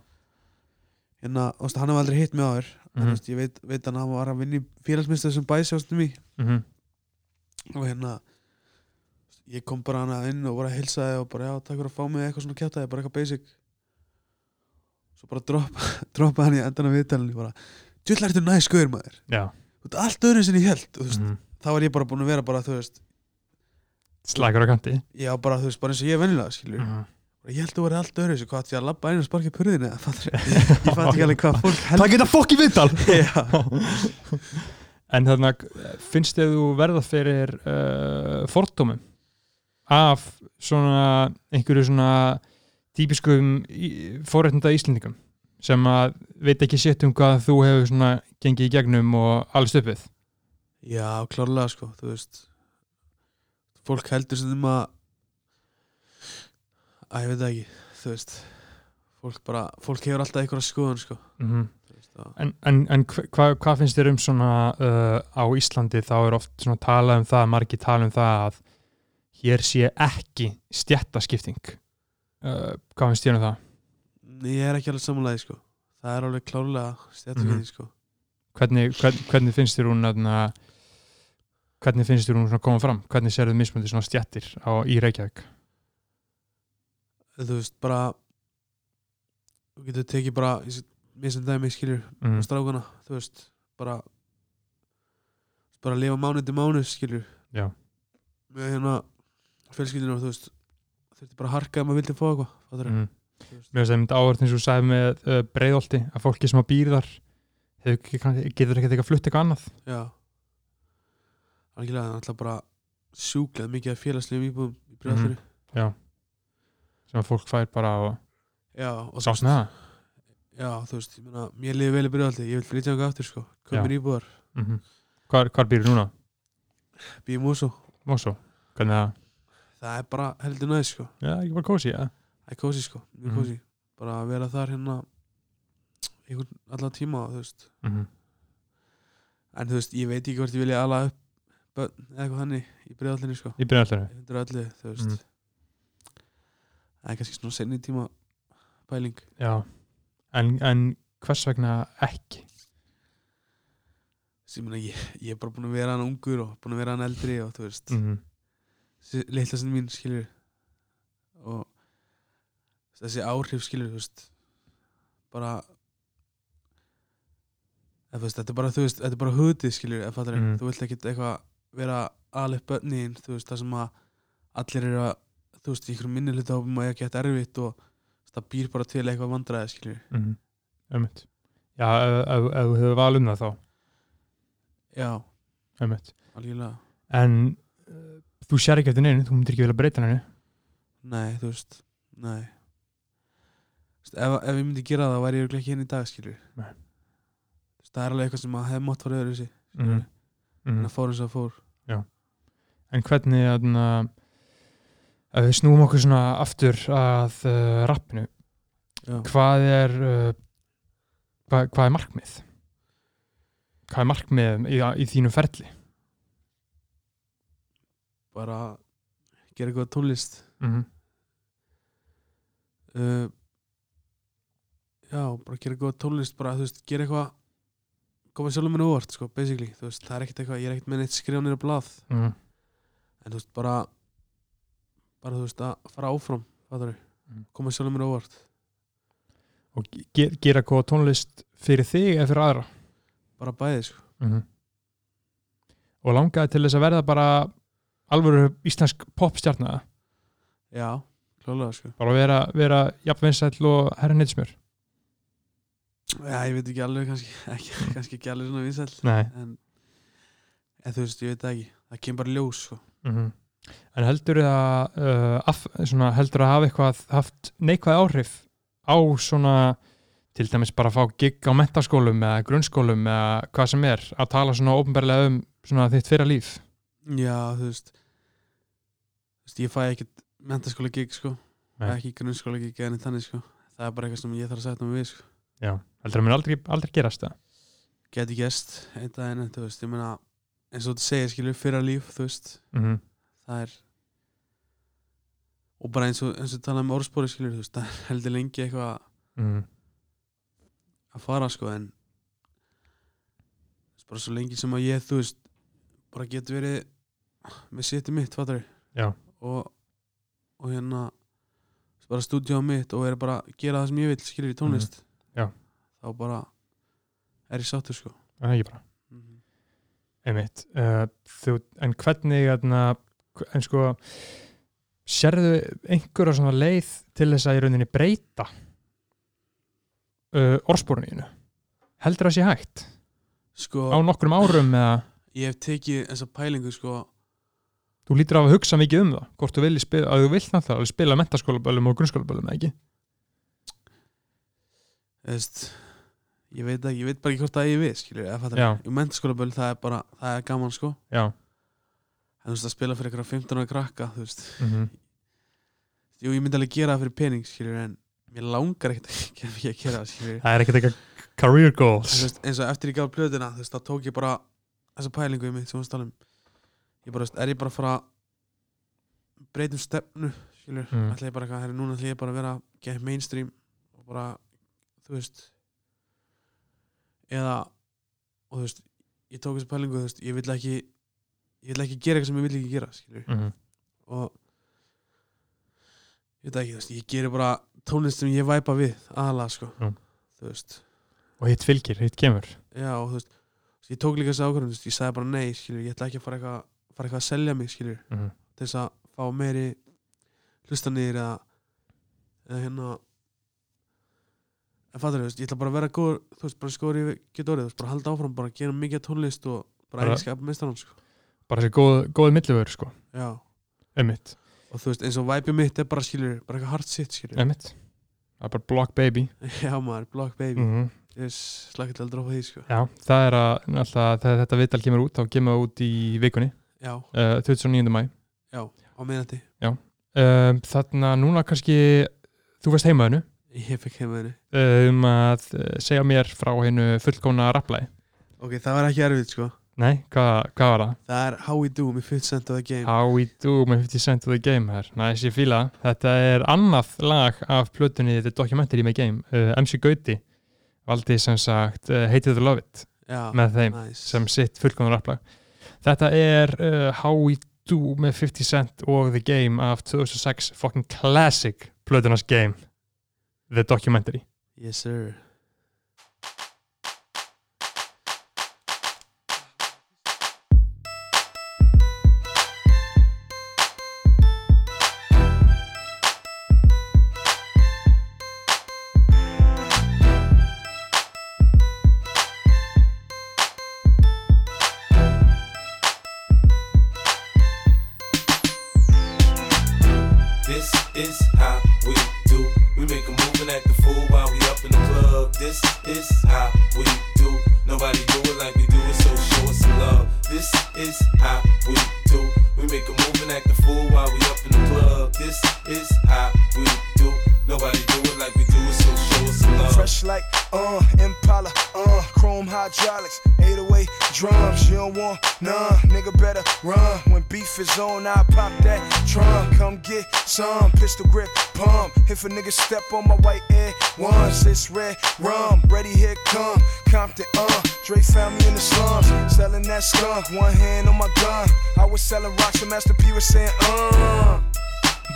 H: hérna þú veist, hann hef aldrei hitt mig á þér mm
A: Mhm.
H: veist, ég veit, veit hann að hann var að vinna í félagsmyndstöð sem bæsjástum í
A: mm -hmm.
H: og hérna ég kom bara hana inn og bara hilsaði og bara já takk fyrir að fá mig eitthvað svona kjátaði bara eitthvað basic svo bara droppa, droppa hann í endan af viðtalinu bara djúll ertu næs skoður maður
A: já,
H: þú veist allt öðru sem ég held og, þú veist,
A: mm
H: þá var ég bara búin að vera bara þú veist
A: slagur á kanti
H: já bara þú veist bara eins og ég er venjulega skilur
A: Mhm.
H: ég held þú verið allt öðru sem hvað átti ég að labba einu og sparka í purðinu eða fattar ég fatt ekki alveg hvað fólk held
A: takk þetta fokk í viðtal
H: já,
A: En þarna, finnst þið þú verða fyrir uh, fordómum af svona einhverju svona típiskum í- forréttinda Íslendingum sem að veit ekki sétt um hvað þú hefur svona gengið í gegnum og alveg stöpið
H: já klárlega sko þú veist fólk heldur sem þeim að að ég veit það ekki þú veist fólk bara fólk hefur alltaf einhverja skoðun sko
A: mm
H: þú veist, að,
A: En, en, en hva- hvað hvað finnst þér um svona uh, á Íslandi þá er oft svona talað um það, margir tala um það að hér sé ekki stjættaskipting uh, Hvað finnst þér um það?
H: ég er ekki alveg samanlega sko það er alveg klárlega sko. stjættu
A: Mhm. hvernig, hvern, hvernig finnst þér hún aðna, hvernig finnst þér hún svona koma fram hvernig sérðu mismöndi svona stjættir á, í Reykjavík
H: þú veist bara þú getur tekið bara ég sé- mér sem dæmi skilur
A: mm.
H: mm. strákana þú veist bara bara lifa mánuð til mánuð skilur
A: Já.
H: með hérna fjölskyldinu þú veist þurfti bara að harka ef maður vildi fá eitthvað fattarðu?
A: mm.
H: Þú veist,
A: mér finnst það myndi áhverð eins og þú sagði með uh, breiðolti að fólki sem að býr þar hefur ekki- kannski- getur ekki eitthvað flutt eitthvað annað
H: já algjörlega það er alltaf bara sjúklað mikið af félagslegum íbúðum
A: Mhm.
H: í breyðafyrir
A: sem að fólk fær bara og,
H: já og
A: og sátt með það
H: já þú veist ég meina mér liði vel í breyðaldi ég vil flytja þangað aftur sko
A: Já.
H: komin íbúðar
A: mm -hmm. hvar, hvar býr núna?
H: býjum úr svo
A: Mosó, hvernig það?
H: það er bara heldur næð sko
A: Já, ekki bara kósi, já
H: það er kósi sko mjög
A: Mhm.
H: kósi bara að vera þar hérna einhvern allan tíma þú veist
A: mm
H: En þú veist, ég veit ekki hvort ég vilja ala upp börn eða eitthvað hannig í breiðallinni sko
A: í breiðoltinu
H: Ég hundur öllu, þú veist
A: Mm.
H: Það er kannski svona senni tíma pæling
A: Já, en, en hvers vegna ekki?
H: Þessi, ég, meina, ég, ég er bara búin að vera hann ungur og búin að vera hann eldri og þú veist
A: Mm
H: mm. Leitla sem mín skilur og þessi áhrif skilur, þú veist bara eða, þú veist, þetta er bara, þú veist, þetta er bara hudið skilur, eða fattar
A: Mm.
H: þú vilt ekki eitthvað vera alveg bönniðin, þú veist, það sem að allir eru að, þú veist, í einhverjum minni hluta hópum að ég ekki þetta erfitt og þú veist, það býr bara til eitthvað vandræði, skilur
A: -hmm. Ömmit. Já, ef- ef ef þú hefur valið um það þá,
H: já,
A: ömmit.
H: algjörlega,
A: En uh, þú sér ekki eftir neinu, þú myndir ekki vilja breyta neinu.
H: nei, þú veist nei, Þú veist, Þú veist, ef, ef ég myndi gera það væri ég örugglega ekki henni í dag skilur
A: Nei.
H: það er alveg eitthvað sem að hefði mátt fara öðru sig
A: Mhm. Mhm.
H: en að fór eins og það fór
A: en hvernig þarna, ef við snúum okkur svona aftur að uh, rappinu
H: Já.
A: hvað er uh, hvað, hvað er markmið hvað er markmið í, í þínu ferli
H: bara gera eitthvað tónlist
A: mm -hmm.
H: uh, já, bara gera góða tónlist bara, þú veist, gera eitthvað koma sjálfum minni óvart, sko, basically þú veist, það er ekkert eitthvað, ég er ekkert með neitt skrifa nýra blað
A: Mm
H: en þú veist, bara bara, þú veist, að fara áfram fattar við,
A: Mm.
H: koma sjálfum minni óvart
A: og ge gera góða tónlist fyrir þig eða fyrir aðra
H: bara bæði, sko,
A: mm og langaði til þess að verða bara alvöru íslensk popstjarna
H: já, klálega, sko
A: bara vera, vera jafnvinsæll og herra nýtsmjör
H: já, ég veit ekki alveg, kannski ekki, kannski ekki alveg svona vinsæll
A: nei
H: en, en þú veist, ég veit það ekki það kemur bara í ljós, sko
A: -hmm. En heldur að, uh, af, svona, heldur að hafa eitthvað haft neikvæð áhrif á svona til dæmis bara að fá gig á mentaskólum eða grunnskólum eða hvað sem er að tala svona ópenbarlega um svona þitt fyrra líf
H: já, þú veist þú veist, ég fæ ekkert mentaskóla gig, sko
A: Nei.
H: ekki grunnskóla gig en þannig sko það er bara eitthvað sem ég þarf að setja mig við sko
A: Já, heldur að mér aldrei, aldrei gerast það
H: geti gæst einn daginn en þú veist ég meina eins og þú segir skilur fyrra líf þú veist
A: mm -hmm.
H: það er og bara eins og eins og talað með orðspóri skilur þú veist það er heldur lengi eitthvað að fara sko en þú veist, bara svo lengi sem að ég þú veist bara get verið með seti mitt fattur
A: Já.
H: og og hérna þú veist, bara stúdíu á mitt og er bara að gera það sem ég vil skilur í tónlist
A: Mhm. Já.
H: þá bara er ég sáttur sko
A: Það er ekki bara Einmitt, uh, þú, en hvernig hérna, hv- en sko sérðu einhverja svona leið til þess að í rauninni breyta uh, orðspóruninu heldur það sé hægt
H: sko
A: á nokkrum árum eða
H: ég hef tekið þessa pælingu sko
A: þú lítur af að hugsa mikið um það hvort þú vilji spila, að þú vilt náttúrulega alveg spila mentaskólaböllum og grunnskólaböllum eða ekki
H: þú veist ég veit ekki, ég veit bara ekki hvort það ég við skilur eða fattur
A: Já.
H: í mentaskólaböll það er bara það er gaman sko
A: já,
H: en þú veist að spila fyrir ykkur 15 ára krakka þú veist
A: mm -hmm.
H: Jú, ég myndi alveg gera það fyrir pening, skiljur, en mér langar ekkert ekki að gera það, skiljur.
A: það er ekkert eitthvað career goals
H: Veist, eins og eftir ég gaf plöðuna, þú veist, þá tók ég bara þessa pælingu í mig, sem hún stálum. um. Ég bara, þú veist, er ég bara að fara að breyta um stefnu, skiljur,
A: Mm.
H: mm. ætla ég bara eitthvað, herri, núna ætla ég bara að vera get mainstream og bara, þú veist, eða, og þú veist, ég tók þessa pælingu, þú veist, ég vil ekki, ég vil ekki gera eitthvað sem ég vil ekki gera, skiljur
A: mm -hmm.
H: og ég veit ekki, þú veist, ég gerir bara tónlist sem ég væpa við, aðalega sko
A: Já.
H: þú veist,
A: og hitt fylgir, hitt kemur
H: já, og þú veist ég tók líka þessi ákvörðum, þú veist, ég sagði bara nei skilur, ég ætla ekki að fara eitthvað, fara eitthvað að selja mig skilur,
A: Mhm.
H: til þess að fá meiri hlustanir eða eða hérna en fattur, þú veist, ég ætla bara að vera góður þú veist, bara skóri við getur orðið, þú veist, bara halda áfram bara gera mikið af tónlist og bara
A: Bara-
H: einskapa meistanum, sko,
A: bara þessi góð, góð millivöður sko,
H: já
A: emitt,
H: og þú veist, eins og væpið mitt er bara skilur, bara eitthvað hard shit skilur
A: emitt það er bara block baby
H: já maður, Block Baby
A: mm -hmm.
H: Ég slakka til að droppa því sko
A: Já, það er að náttúrulega þegar þetta viðtal kemur út, þá kemur það út í vikunni,
H: Já,
A: uh, 29. mæ
H: já, á miðnætti
A: um, Þannig að núna kannski þú veist heimaðinu
H: Ég fekk heima henni
A: um að eh, segja mér frá hennu fullkóna rapplæði.
H: Ok, það var ekki erfitt sko
A: Nei, hvað, hvað var það?
H: Það er How We Do með 50 Cent of the Game
A: How we do með 50 cent of the game her. Næs, ég fíla. það. Þetta er annað lag af plötunni The Documentary með game. Uh, MC Gauti valdi sem sagt uh, Hated to Love It
H: Já,
A: með þeim.
H: nice.
A: sem sitt fullkomna rapplag þetta er uh, How We Do með 50 Cent og The Game af 2006 fucking classic plötunars game The Documentary
H: Yes sir
I: This is how we do. We make a move Jumping at the fool while we up in the club. This is how we do. Nobody do it like we do it, so show us some love. This is how we do. We make a move and act the fool while we up in the club. This is how we do. Nobody do it like we do it, so show us some love.
J: Fresh like, uh, Impala, uh, chrome hydraulics, 808 drums. You don't want none, nigga better run. When beef is on, I pop that drum. Come get some pistol grip pump. If a nigga step on my white air once, it's red rum. Ready, here come Compton, uh, Dre found me in the slums, selling that skunk. One hand on my gun, I was selling rocks, and Master P was saying, uh.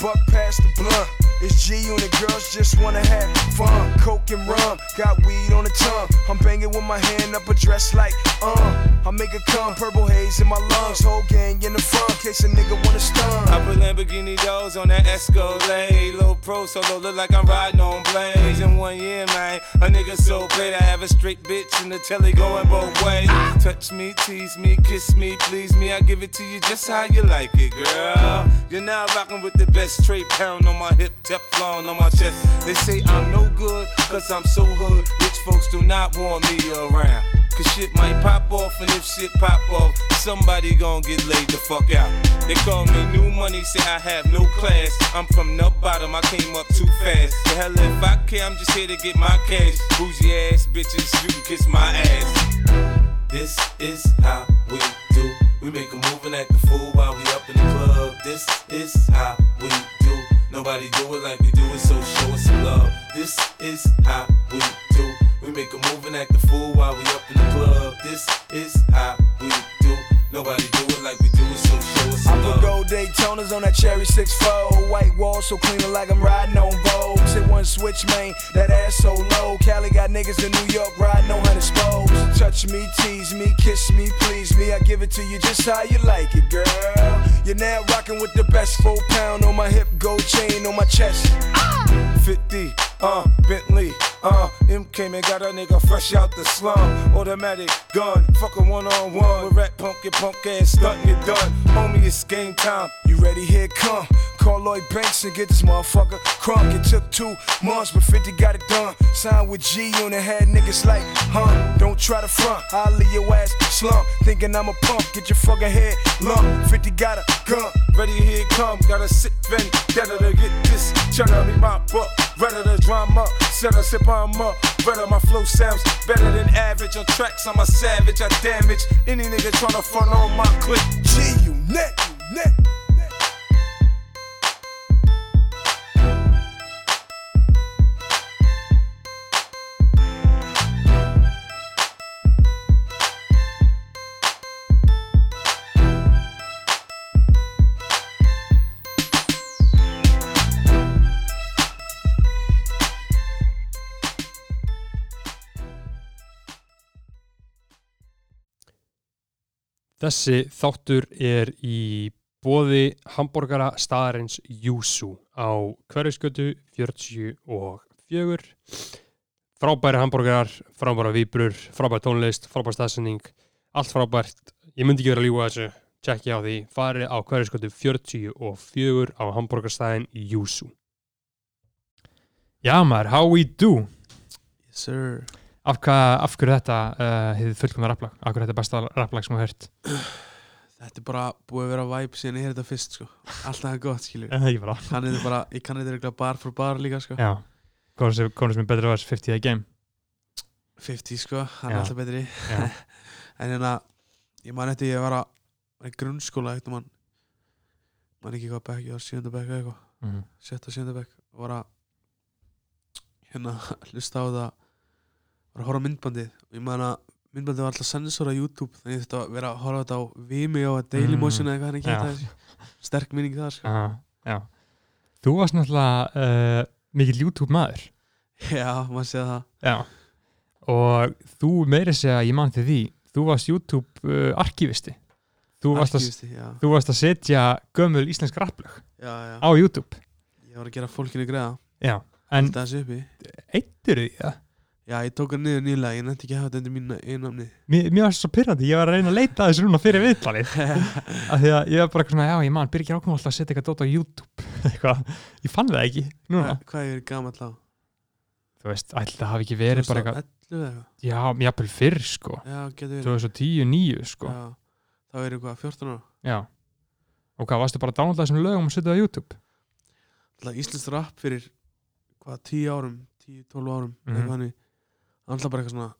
J: Buck past the blunt. It's G unit, girls just wanna have fun. Coke and rum, got weed on the tongue. I'm banging with my hand up a dress like, uh. I make it come, purple haze in my lungs. Whole gang in the front, case a nigga wanna stun.
I: I put Lamborghini doors on that Escalade. Low pro solo, look like I'm riding on blades. In one year, man, a nigga so paid. I have a straight bitch in the telly going both ways. Touch me, tease me, kiss me, please me. I give it to you just how you like it, girl. You're now rocking with the best straight pound on my hip, Teflon on my chest. They say I'm no good, cause I'm so hood. Rich folks do not want me around. Cause shit might pop off, and if shit pop off, somebody gon' get laid the fuck out. They call me new money, say I have no class. I'm from the bottom, I came up too fast. The hell if I care, I'm just here to get my cash. Bougie ass bitches, you can kiss my ass. This is how we do. We make a move and act the fool while we up in the club. This is how we do. Nobody do it like we do it, so show us some love. This is how we do. We make a move and act the fool while we up in the club. This is how we do. Nobody do it like we do it, so show us
J: I
I: some
J: put
I: love.
J: gold Daytonas on that cherry 6-4 White wall so clean like I'm riding on Vogue Sit one switch, man, that ass so low Cali got niggas in New York riding on hundred spokes Touch me, tease me, kiss me, please me I give it to you just how you like it, girl You're now rocking with the best four pound On my hip, gold chain on my chest
I: 50, uh, Bentley, uh, M came and got a nigga fresh out the slum. Automatic gun, fuck a one on one. With rat punk, your punk ass stunt, you done. Homie, it's game time.
J: You ready? Here it come. Call Lloyd Banks and get this motherfucker crunk. It took two months, but 50 got it done. Signed with G Unit, had niggas like, huh? Don't try to front. I'll leave your ass slump. Thinking I'm a punk, get your fucking head lump. 50 got a gun.
I: Ready, here it come, got a sit vendetta to get this. Tryna be my book, rather the drama. Set a sip on up, better my flow sounds better than average. On tracks, I'm a savage, I damage any nigga tryna front on my clip.
J: G Unit, Unit.
A: Þessi þáttur er í bóði hambúrgara staðarins Júsú á hverfiskötu 44. Frábæri hambúrgarar, frábæra víbrur, frábæra tónlist, frábæra staðsending, allt frábært. Ég myndi ekki vera að ljúga þessu, tjekki á því, farið á hverfiskötu 44 á hambúrgarstaðin Júsú. Já maður, how we do?
H: Yes sir
A: Af, hva, af hverju þetta uh, hefði fullkomna rapplag? Af hverju þetta er besta rapplag sem þú hört?
H: Þetta er bara búið að vera væp síðan ég heyrði þetta fyrst sko Alltaf það gott skilur
A: Ég var að
H: Kann þetta bara, ég kann þetta regla bar for bar líka sko
A: Já, konur sem, konur sem er betra var 50 að game
H: 50 sko, hann
A: Já.
H: er alltaf betri
A: Já.
H: En hérna, ég man eftir ég var að var í grunnskóla eitt og mann Man ekki hvað bekk, ég var sjönda bekk eða eitthvað
A: mm.
H: sjötta sjönda bekk og var að hérna hlusta á það var að horfa á myndbandið og ég man að myndbandið var alltaf sensor á YouTube þannig ég þurfti að vera að horfa á þetta á Vimeo eða Dailymotion eða eitthvað hann ekki
A: Mm. Já.
H: þetta þessi sterk minning það sko
A: Aha, Já Þú varst náttúrulega uh, mikill YouTube maður
H: já, maður sé það
A: Já Og þú meiri segja, ég man til því Þú varst YouTube uh, arkivisti þú varst, að,
H: Arkivisti, já.
A: þú varst að setja gömul íslensk rapplög
H: Já, já.
A: á YouTube
H: ég var að gera fólkinu greiða
A: Já, en
H: þetta þessi uppi
A: eittur því það
H: já, ég tók hann niður nýlega ég nætti ekki að hafa þetta undir mínu e- einnamni
A: Mér, mér var svo pyrrandi, ég var að reyna að leita að þessu núna fyrir viðtalið af því að ég var bara eitthvað svona, já ég man, Birgir ákvæm alltaf að setja eitthvað dót á YouTube eitthvað, ég fann það ekki núna
H: hvað ég verið gamall á
A: þú veist, ætli það hafi ekki verið bara eitthvað
H: 2011 eða eitthvað?
A: já, jafnvel fyrr sko
H: Já, getur verið.
A: 2010-9 sko já.
H: Já, þá er eitthvað 14 ára
A: og hvað, varstu bara að downloada þessum lögum og setja það á YouTube
H: alltaf Íslands rap fyrir hvað, 10 árum, 10-12 árum
A: Mhm.
H: mm -hmm. alltaf bara eitthvað svona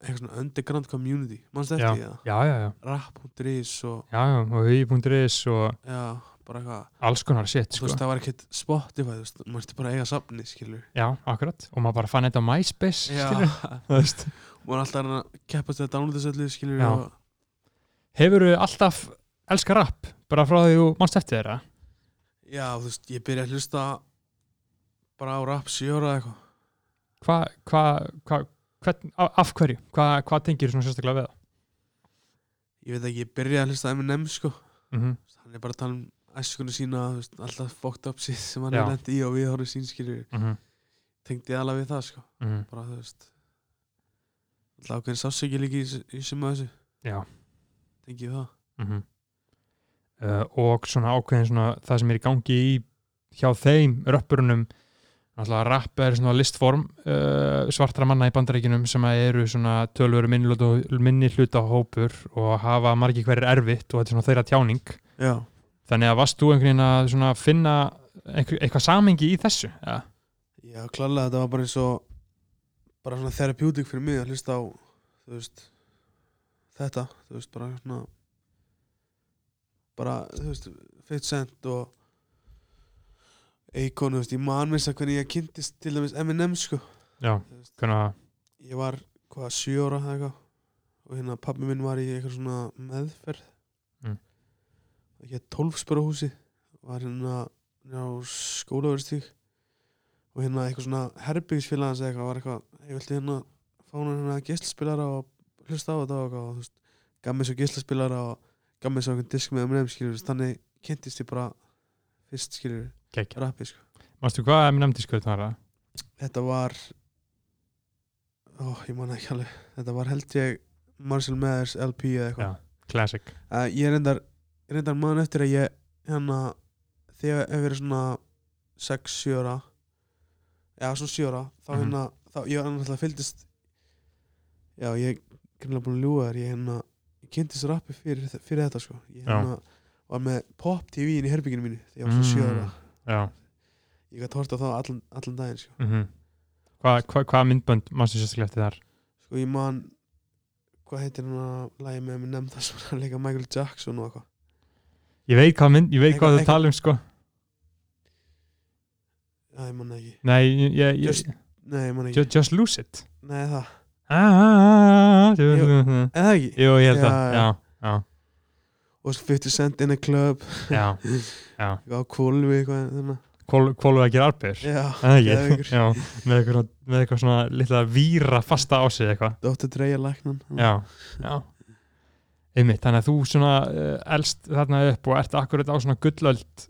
H: eitthvað svona underground community mannstu
A: já,
H: eftir því
A: já,
H: það?
A: já, já,
H: Rap.ris og
A: já, já, og hugi.is og
H: já, bara eitthvað
A: alls konar shit
H: þú
A: sko
H: veist, það var ekkert Spotify, þú veist, mannstu bara að eiga safni, skilur
A: já, akkurat, og maður bara fann þetta á MySpace
H: Já.
A: skilur, þú veist
H: maður er alltaf að reyna að keppast við að downloada þessu öllu, skilur
A: Já.
H: og,
A: hefurðu alltaf elskar rap bara frá því þú mannst eftir þeirra
H: já, þú veist, ég byrja að hlusta bara á rap 7 ára eða eitthvað
A: hva, hva, hva, hvern, af, af hverju, hvað hva tengir svona sérstaklega við það
H: ég veit ekki, ég byrja að hlusta á Eminem, sko
A: mm -hmm.
H: hann er bara að tala um æskunni sína þú veist, alltaf fucked up shit sem hann
A: Já.
H: er lent í og við horfum sínskilur
A: Mhm.
H: tengdi ég alveg við það sko
A: Mhm.
H: bara þú veist alltaf ákveðin sásöki líka í, þessu- í sem að þessu
A: Já.
H: tengi ég það
A: -hmm. uh, og svona ákveðin svona það sem er í gangi í hjá þeim röppurunum náttúrulega rapp er svona listform uh, svartra manna í bandaríkinum sem að eru svona tölveru minni hluta hópur og hafa margi hverjir erfitt og þetta er svona þeirra tjáning
H: já,
A: þannig að varst þú einhvern veginn að svona finna einhver, eitthvað samengi í þessu ja.
H: já klálega þetta var bara eins og bara svona therapeutic fyrir mig að hlusta á þú veist þetta, þú veist bara svona bara, þú veist 50 cent og Eikon, þú veist, ég man minnst að hvernig ég kynntist til dæmis Eminem sko
A: já, hvernig að
H: ég var hvað sjö ára eða eitthvað og hérna pabbi minn var í eitthvað svona meðferð
A: Mm.
H: það hétt tólfspörahúsi var hérna á skólaverstík og hérna eitthvað svona herbyggisfélagans eða eitthvað var eitthvað ég vilti hérna fána hérna gíslaspilara og hlusta á þetta og eitthvað og þú veist gaf mér svo gíslaspilara og gaf mér svo einhvern disk með umreim skilur við, þannig kynntist ég bara fyrst skilur við,
A: kekja
H: rappi sko
A: Mástu hvað minn nefndi skurðin var það?
H: þetta var ó, ég man ekki alveg þetta var held ég Marcel Mathers LP eða eitthvað
A: Já. Classic
H: uh, ég reyndar, reyndar mann eftir að ég hérna þegar ég hef verið svona 6-7 ára já svona 7 ára þá
A: Mhm.
H: hérna þá ég var náttúrulega fylgdist já ég greinlega búin að ljúga þér ég hérna ég kynntist rappi fyrir, þe- fyrir þetta sko ég
A: Já. Mm.
H: hérna var með pop tv inn í herbygginu mínu þegar ég var svona 7 ára
A: Já
H: ég gæti horta þá allan, allan daginn sko
A: mm Hvað hva, hva myndbönd mástu sérstaklega eftir þar?
H: sko ég man hvað heitir hann að lægi með mér nefnda sem hann leika Michael Jackson og eitthvað
A: Ég veit hvað, mynd, ég veit
H: Eitthvað-
A: hvað þú tala um sko
H: já ég man það ekki
A: Nei, ég, ég,
H: Just-
A: just,
H: nei ég man það
A: just,
H: ekki
A: just lose it
H: nei það
A: ah, ah, ah, ah,
H: Jú. eða ekki
A: Jú, ég held
H: Já,
A: það Já,
H: já.
A: já,
H: og svo 50 cent in a club
A: já
H: eitthvað á kólvi eitthvað þannig
A: Kvólu Kol, ekki arpir
H: já geðveikur.
A: Já, með eitthvað, með eitthvað svona litla víra fasta á sig eitthvað
H: Dr. Dre að læknan hérna.
A: Já, já einmitt, þannig að þú svona uh, elst þarna upp og ert akkurat á svona gullöld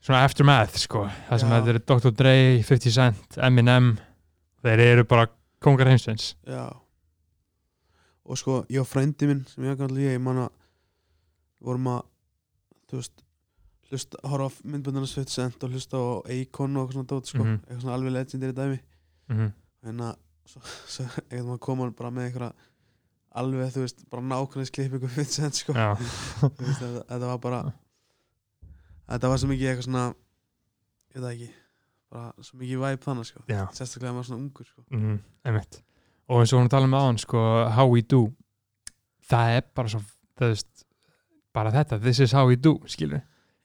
A: svona aftermath sko, það sem
H: Já.
A: þetta eru Dr. Dre 50 Cent, Eminem þeir eru bara kongar heimsins
H: já og sko ég og frændi minn sem ég kalli ég ég man að vorum að þú veist hlusta horfa á myndbundarnas 50 cent og hlusta á Akon og eitthvað svona dót sko
A: Mhm.
H: eitthvað svona alveg legendary dæmi
A: mm
H: þannig að Hérna, svo, svo eitthvað maður koma bara með einhverja alveg þú veist bara nákvæmlega klipp ykkur fyrir sent sko
A: Já,
H: Þú veist, þetta, þetta var bara þetta var svo mikið eitthvað svona ég veit það ekki bara svo mikið væp þannig sko
A: já,
H: sérstaklega ef maður er svona ungur sko
A: mm, einmitt og eins og hún talaði með aðan sko, how we do það er bara svo það veist, bara þetta, this is how we do skilur,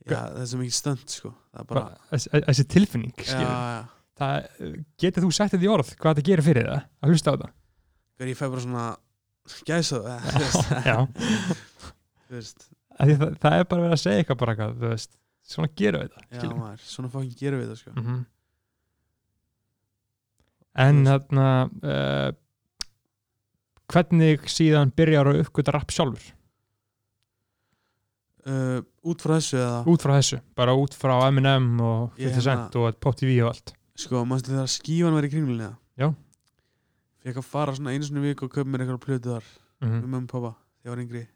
H: já það er svo mikið stönd sko það er bara
A: bara þessi- þessi tilfinning
H: já
A: skilur,
H: já
A: það getur þú sett þetta í orð hvað þetta gerir fyrir það, að hlusta á það
H: þegar ég fæ bara svona gæsa
A: já,
H: þú veist
A: Af því það, það er bara verið að segja eitthvað bara eitthvað, þú veist, svona gerum við
H: já
A: það skilur.
H: maður svona fokkin gerum við það sko
A: mm en
H: Þú veist.
A: þarna uh, hvernig síðan byrjar að uppgöta rapp sjálfur
H: uh, út frá þessu eða
A: út frá þessu, bara út frá M&M og
H: Ég hérna-
A: 50 Cent og Pop TV og allt
H: sko, mannstu þegar skífan var í kringlunni
A: Já.
H: Fekk að fara svona einu sinni í viku og köpa mér eitthvað plötu þar með
A: Mhm,
H: mömmu og pappa, þegar ég var yngri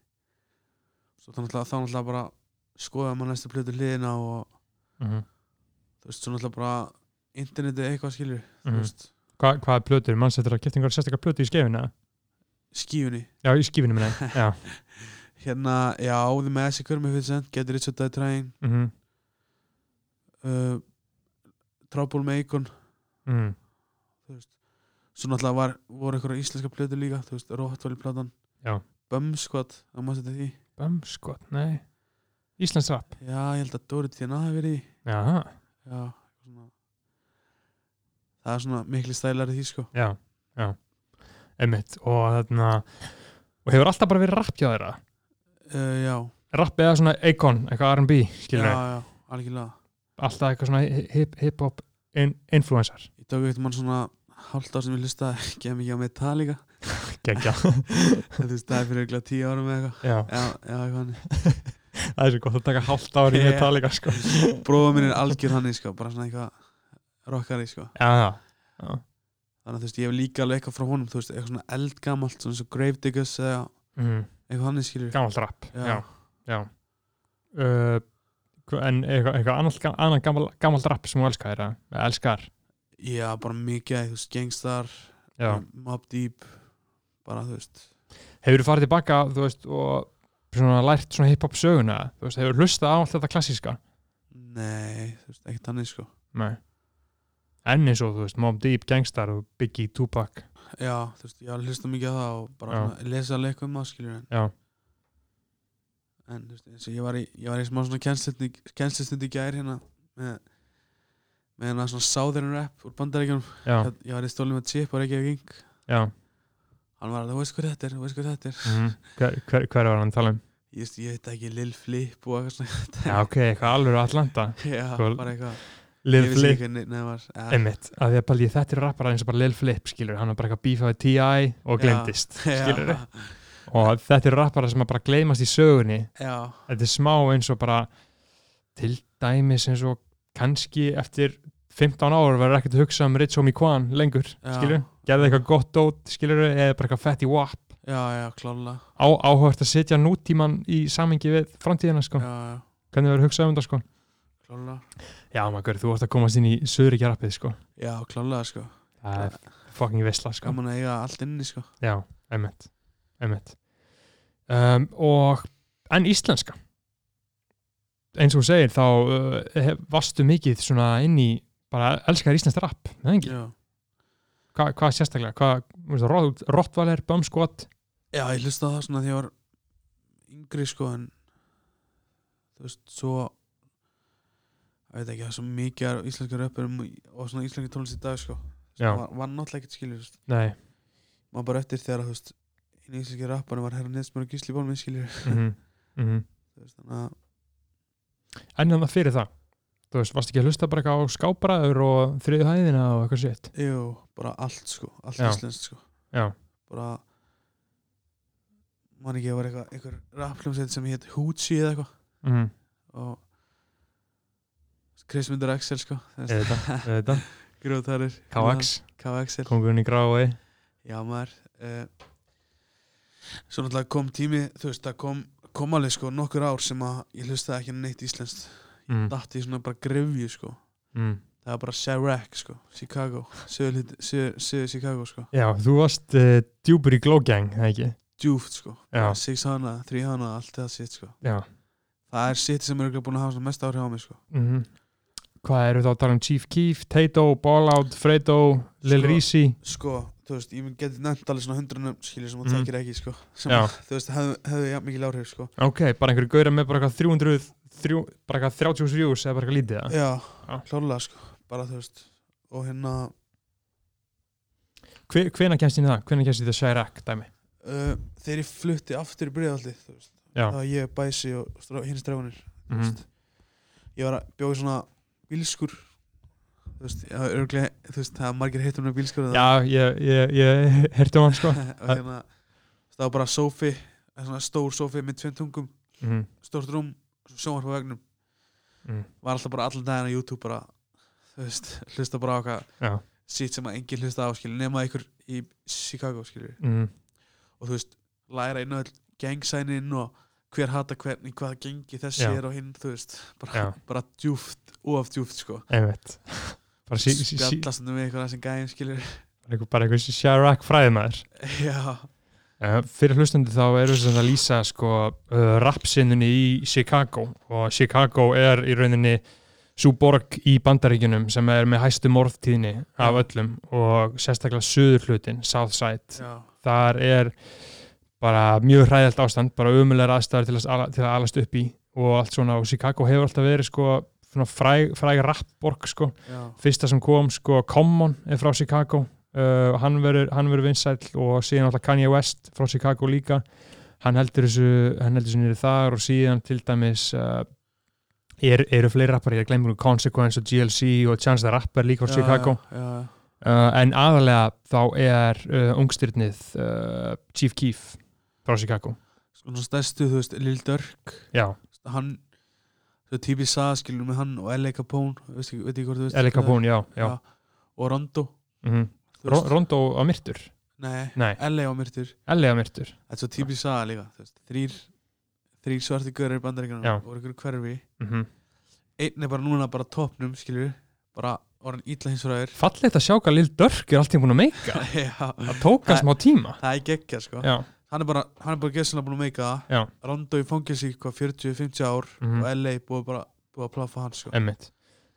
H: Svo þá náttúrulega, þá náttúrulega bara skoðaði maður næstu plötu hliðina og
A: mhm,
H: þú veist, svo náttúrulega bara internetið eitthvað skilur
A: mhm.
H: þú veist,
A: Hva, hvað er plötur? Mannstættir að kipta einhverja sérstakar plötu í skefina?
H: Skífunni
A: Já, í skífinu minna, já.
H: Hérna, já, The Massacre með 50 Cent Get Rich or Die Trying
A: Mhm.
H: uh, Trouble með Akon
A: Mm.
H: þú veist svo náttúrulega var, voru einhverja íslenska plötur líka þú veist, Róhatvali platan
A: Já.
H: Bömskvat, það mást þetta því
A: Bömskvat, nei Íslands rap
H: Já, ég held að Dóri Tjana hafi verið í
A: Jaha,
H: Já, svona Það er svona miklu stælar í því sko
A: já, já Einmitt, og þarna og hefur alltaf bara verið rapp hjá þeirra
H: uh, Já,
A: rapp eða svona Akon, eitthvað R&B
H: já,
A: skilur
H: já, algjörlega
A: alltaf eitthvað svona hi- hip- hip-hop in influencer
H: Ég tók eitthvað mann svona hálft á sem ég hlusta ekki að mikið á Metallica
A: Gegja.
H: Þú veist, það er fyrir eitthvað tíu árum eða eitthvað
A: Já.
H: já, já eitthvað hannig
A: það er svo gott að taka hálft ári í
H: Já.
A: Metallica sko
H: Bróða minn er algjör hannig sko, bara svona eitthvað rockari sko
A: Já, já, já.
H: Þannig að þú veist, ég hef líka alveg eitthvað frá honum, þú veist, eitthvað svona eldgamalt, svona svo Gravediggers eða
A: Mhm.
H: eitthvað hannig skilur
A: Gamalt rap, já, já. Uh, hva- en eitthvað, eitthvað annað, annað gammal, gammalt rap sem þú elskar þeirra, eða elskar
H: Já, bara mikið, þú veist, Gangstar
A: Já.
H: Mobb Deep, bara þú veist
A: hefur þú farið tilbaka þú veist, og svona, lært svona hip-hop söguna þú veist, hefur hlustað á allt þetta klassíska
H: Nei, þú veist, ekkert þannig sko
A: Nei. enn eins og þú veist, Mobb Deep, Gangstar og Biggie, Tupac
H: Já, þú veist, ég alveg hlusta mikið á það og bara
A: Já.
H: svona, lesa alveg eitthvað um það skilur en,
A: Já.
H: en þú veist, eins og ég var í, ég var í smá svona kennslistund í gær hérna með, með hérna svona Southern Rap úr bandaríkjunum
A: Já.
H: Hér- ég var í stólum með Chip og Reykjavík Inc
A: Já.
H: hann var alveg, þú veist hvað þetta er, þú veist hvað þetta er
A: Mhm. hver, hver, hver var hann að tala um
H: ég, veist, ég veit ekki Lil Flip og eitthvað svona
A: já, ok, eitthvað alveg Atlanta
H: Já,
A: Sko,
H: bara eitthvað
A: Lil
H: Ég vissi
A: Flip
H: ekki hvernig- nei, var- ja.
A: Einmitt, að því að pæli ég þetta er rappara eins og bara Lil Flip skilur, hann var bara eitthvað bífaði T.I. og
H: Já.
A: glemdist
H: Já.
A: skilur og þetta er rappara sem að bara gleymast í sögunni
H: Já.
A: þetta er smá eins og bara til dæmis eins og kannski eftir 15 ár verður ekkert að hugsa um Rich Homie Kwan lengur
H: Já.
A: skilur, gerði eitthvað gott dót skilur, eða bara eitthvað fett í WAP
H: já, já, klála
A: á, áhört að setja nútíman í samengi við framtíðina sko.
H: já.
A: hvernig verður hugsað um þetta sko.
H: klála
A: já maður, þú ert að komast inn í söðuríkjarappið sko.
H: Já, klálega sko
A: Það er fucking veistla sko.
H: Gaman að eiga allt inni sko
A: já, einmitt, einmitt. Um, og en íslenska eins og þú segir þá uh, hef, varstu mikið svona inn í bara elskar íslenskt rapp eða ekki?
H: Já.
A: Hva, hvað sérstaklega, hvað rott, rottvaler, bömskot
H: Já, ég hlusta á það svona því ég var yngri sko en þú veist, svo ég veit ekki, það er svo mikið af íslenska röpurum og svona íslenska tónlist í dag sko
A: Já.
H: var, var náttúrulega ekkert skilur þú veist.
A: Nei.
H: maður bara eftir þegar að, þú veist einu íslenski rapparum var herra neðsmur og gísli bólmi skilur
A: Mhm, mhm.
H: Þú veist, þannig að
A: en þannig fyrir það þú veist, varstu ekki að hlusta bara eitthvað á skáparaður og þriðu hæðina og eitthvað sétt
H: Jú, bara allt sko, allt
A: Já.
H: íslenskt sko
A: Já.
H: Bara Man ekki, það var eitthvað einhver rappljómsveit sem hétt Hoochie eða eitthvað
A: Mhm.
H: og Chris Myndur Axel sko
A: Auðvitað, auðvitað.
H: Gróðarir
A: KX.
H: KX er
A: Kóngurinn í grái
H: Já maður uh, Svo náttúrulega kom tími þú veist, það kom, kom alveg sko nokkur ár sem að ég hlustaði ekki á neitt íslenskt Ég
A: Mm.
H: datt í svona bara grefju sko
A: Mm.
H: Það var bara Chirac sko, Chicago Söður hluti- söður- söður Chicago sko
A: já, þú varst uh, djúpur í glógang, eða ekki?
H: djúft sko
A: Já.
H: Six hana, þrý hana, allt það sitt sko
A: Já.
H: Það er sitt sem er örugglega búin að hafa svona mest áhrif á mig sko
A: mm hvað eru þá að tala um Chief Keef, Tato, Ballout, Fredo Lil
H: Sko-
A: Reezy
H: Sko, þú veist, ég mun getið nefnt alveg svona hundrunum skilur sem þú
A: Mhm.
H: tekir ekki sko sem,
A: Já.
H: Þú veist, hefðu, hefðu jafn mikil áhrif sko
A: ok, bara einhverju gauðra með bara eitthvað 300 þrjú, bara eitthvað 30 views eða bara eitthvað lítið eða?
H: Já, klárlega sko, bara þú veist Og hérna,
A: Hve, hvena kemst inn í það? hvena kemst inn í það Chirac dæmi?
H: uh, þegar ég flutti aftur í breiðaldi Þú veist,
A: Já.
H: það var ég bæsi og strá, hinn strefunir
A: Mhm.
H: Ég var að bjóði svona bílskur Þú veist, já, örglega, þú veist, það er margir heitum með bílskur en það-
A: já, ég, ég, ég herti um hann sko
H: og hérna það var bara sófi svona stór sófi með tveim tungum
A: Mhm.
H: stórt rúm, svo sjónvarp á vegnum
A: Mm.
H: var alltaf bara allan daginn á YouTube bara, þú veist, hlusta bara á
A: Já.
H: hvað sitt sem að enginn hlusta á skilur nema ykkur í Chicago skilur
A: Mhm.
H: og þú veist, læra inn á all gangsænin og hver hata hvernig hvað gengi þessi
A: Já.
H: er og hinn, þú veist
A: Já.
H: bara, bara djúft, of djúft sko
A: Einmitt. Bara sí- sí- sí-
H: spjallast um við ykkur að sem gæðin skilur
A: Bara einhver, bara einhver Chirac fræðmaður.
H: Já.
A: Uh, fyrir hlustendu þá eru sem að lýsa sko uh, rapsinnunni í Chicago og Chicago er í rauninni svo borg í bandaríkjunum sem er með hæstu morðtíðni af öllum og sérstaklega söðurhlutin, Southside
H: Já.
A: þar er bara mjög hræðalt ástand, bara umulegar aðstæður til að, ala- til að alast upp í og allt svona og Chicago hefur alltaf verið sko svona fræg, fræg rappborg sko
H: Já.
A: fyrsta sem kom sko Common er frá Chicago uh, og hann verður hann verður vinsæll og síðan alltaf Kanye West frá Chicago líka hann heldur þessu, hann heldur þessu nýri þar og síðan til dæmis uh, er, eru fleiri rappar, ég glemur Consequence og GLC og Chance the Rapper líka frá
H: Já,
A: Chicago
H: já, já, já.
A: Uh, en aðalega þá er uh, ungstyrnið uh, Chief Keef frá Chicago
H: svona Sko, stærstu, þú veist, Lil Durk
A: Já.
H: hann, þú veist, típið saða skilur með hann og L.A. Capone veist ekki, veit ekki hvort þú veist
A: LA
H: hver það er.
A: Capone, já, já.
H: og Rondo
A: Mhm.
H: Þú
A: Ro-
H: veist.
A: Rondo á myrtur
H: Nei,
A: Nei.
H: L.A. og Myrtur
A: LA á myrtur
H: Þetta er svo típið saga líka þú veist, þrýr, þrýr svarti görir í
A: Já.
H: bandaríkjana og ykkur hverfi
A: Mhm.
H: einn er bara núna bara á topnum skilur, bara orðin ítla hins fræður
A: Fallegt að sjá hvað Lil Durk er alltaf búin að meika
H: það
A: tók hann smá tíma.
H: það er geggja sko
A: Já.
H: hann er bara, hann er bara gessanlega búin að meika
A: Já.
H: það Rondo í fangelsi í hvað 40-50 ár
A: Mhm.
H: og LA búið bara búið að plafa hann sko
A: Emmitt,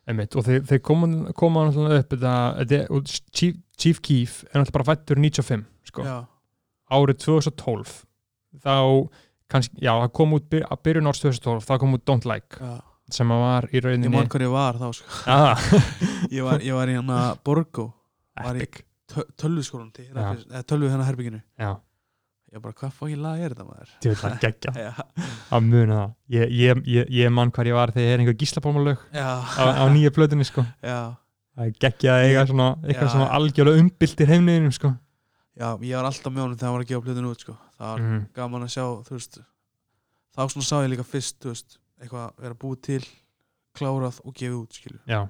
A: emmitt og þeir, þeir koma, koma náttúrulega upp þetta, þetta, er- og Chief, Chief Keef er náttúrulega bara fættur 95 sko.
H: Já.
A: árið 2012 þá kannski, já, það kom út byr- að byrjun árs 2012, það kom út Don't Like
H: Já.
A: sem að var í rauninni
H: ég man hvað ég var þá sko
A: Ah.
H: ég, var, ég var í hann að Borgo var í
A: Epic.
H: töl- tölvuskólanum til
A: Já.
H: eða tölvu hennar herbygginu
A: Já.
H: ég bara hvað fokkin lag er þetta maður
A: Djú, það er geggjað.
H: Já.
A: að muna það, ég, ég, ég, ég man hvar ég var þegar ég er einhver gíslapálmalög
H: Já.
A: á, á nýja plötunni sko.
H: Já.
A: það er geggjað að eiga svona, eitthvað
H: Já.
A: svona algjörlega umbylltir heimniðinum sko.
H: Já, ég var alltaf með honum þegar hann var að gefa plöðinu út sko. það var
A: Mhm.
H: gaman að sjá þú veist, þá svona sá ég líka fyrst þú veist, eitthvað vera búið til klárað og gefið út skilju.
A: Já.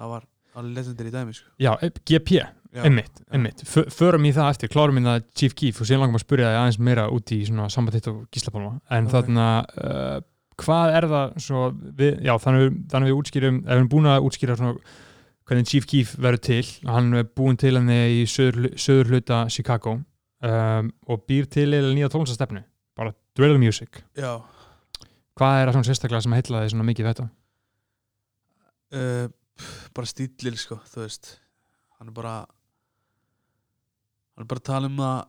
H: það var alveg lesendir í dæmi sko.
A: Já, e- GP,
H: Já,
A: einmitt, einmitt. Fö- Förum í það eftir, klárum í það Chief Keef og síðan langum að spyrja það aðeins meira út í svona sambanditt og gíslapálma en
H: Ok.
A: þarna, uh, hvað er það svo við, já, þannig við, þannig við útskýrum ef við erum búin að útskýra svona hvernig Chief Keef verður til, hann er búin til hann í söður, söður hluta Chicago um, og býr til eða nýja tónlistastefnu, bara drill music
H: Já.
A: Hvað er það svona sérstaklega sem heitlaði svona mikið við þetta?
H: uh, pff, bara stílil sko, þú veist hann er bara hann er bara að tala um það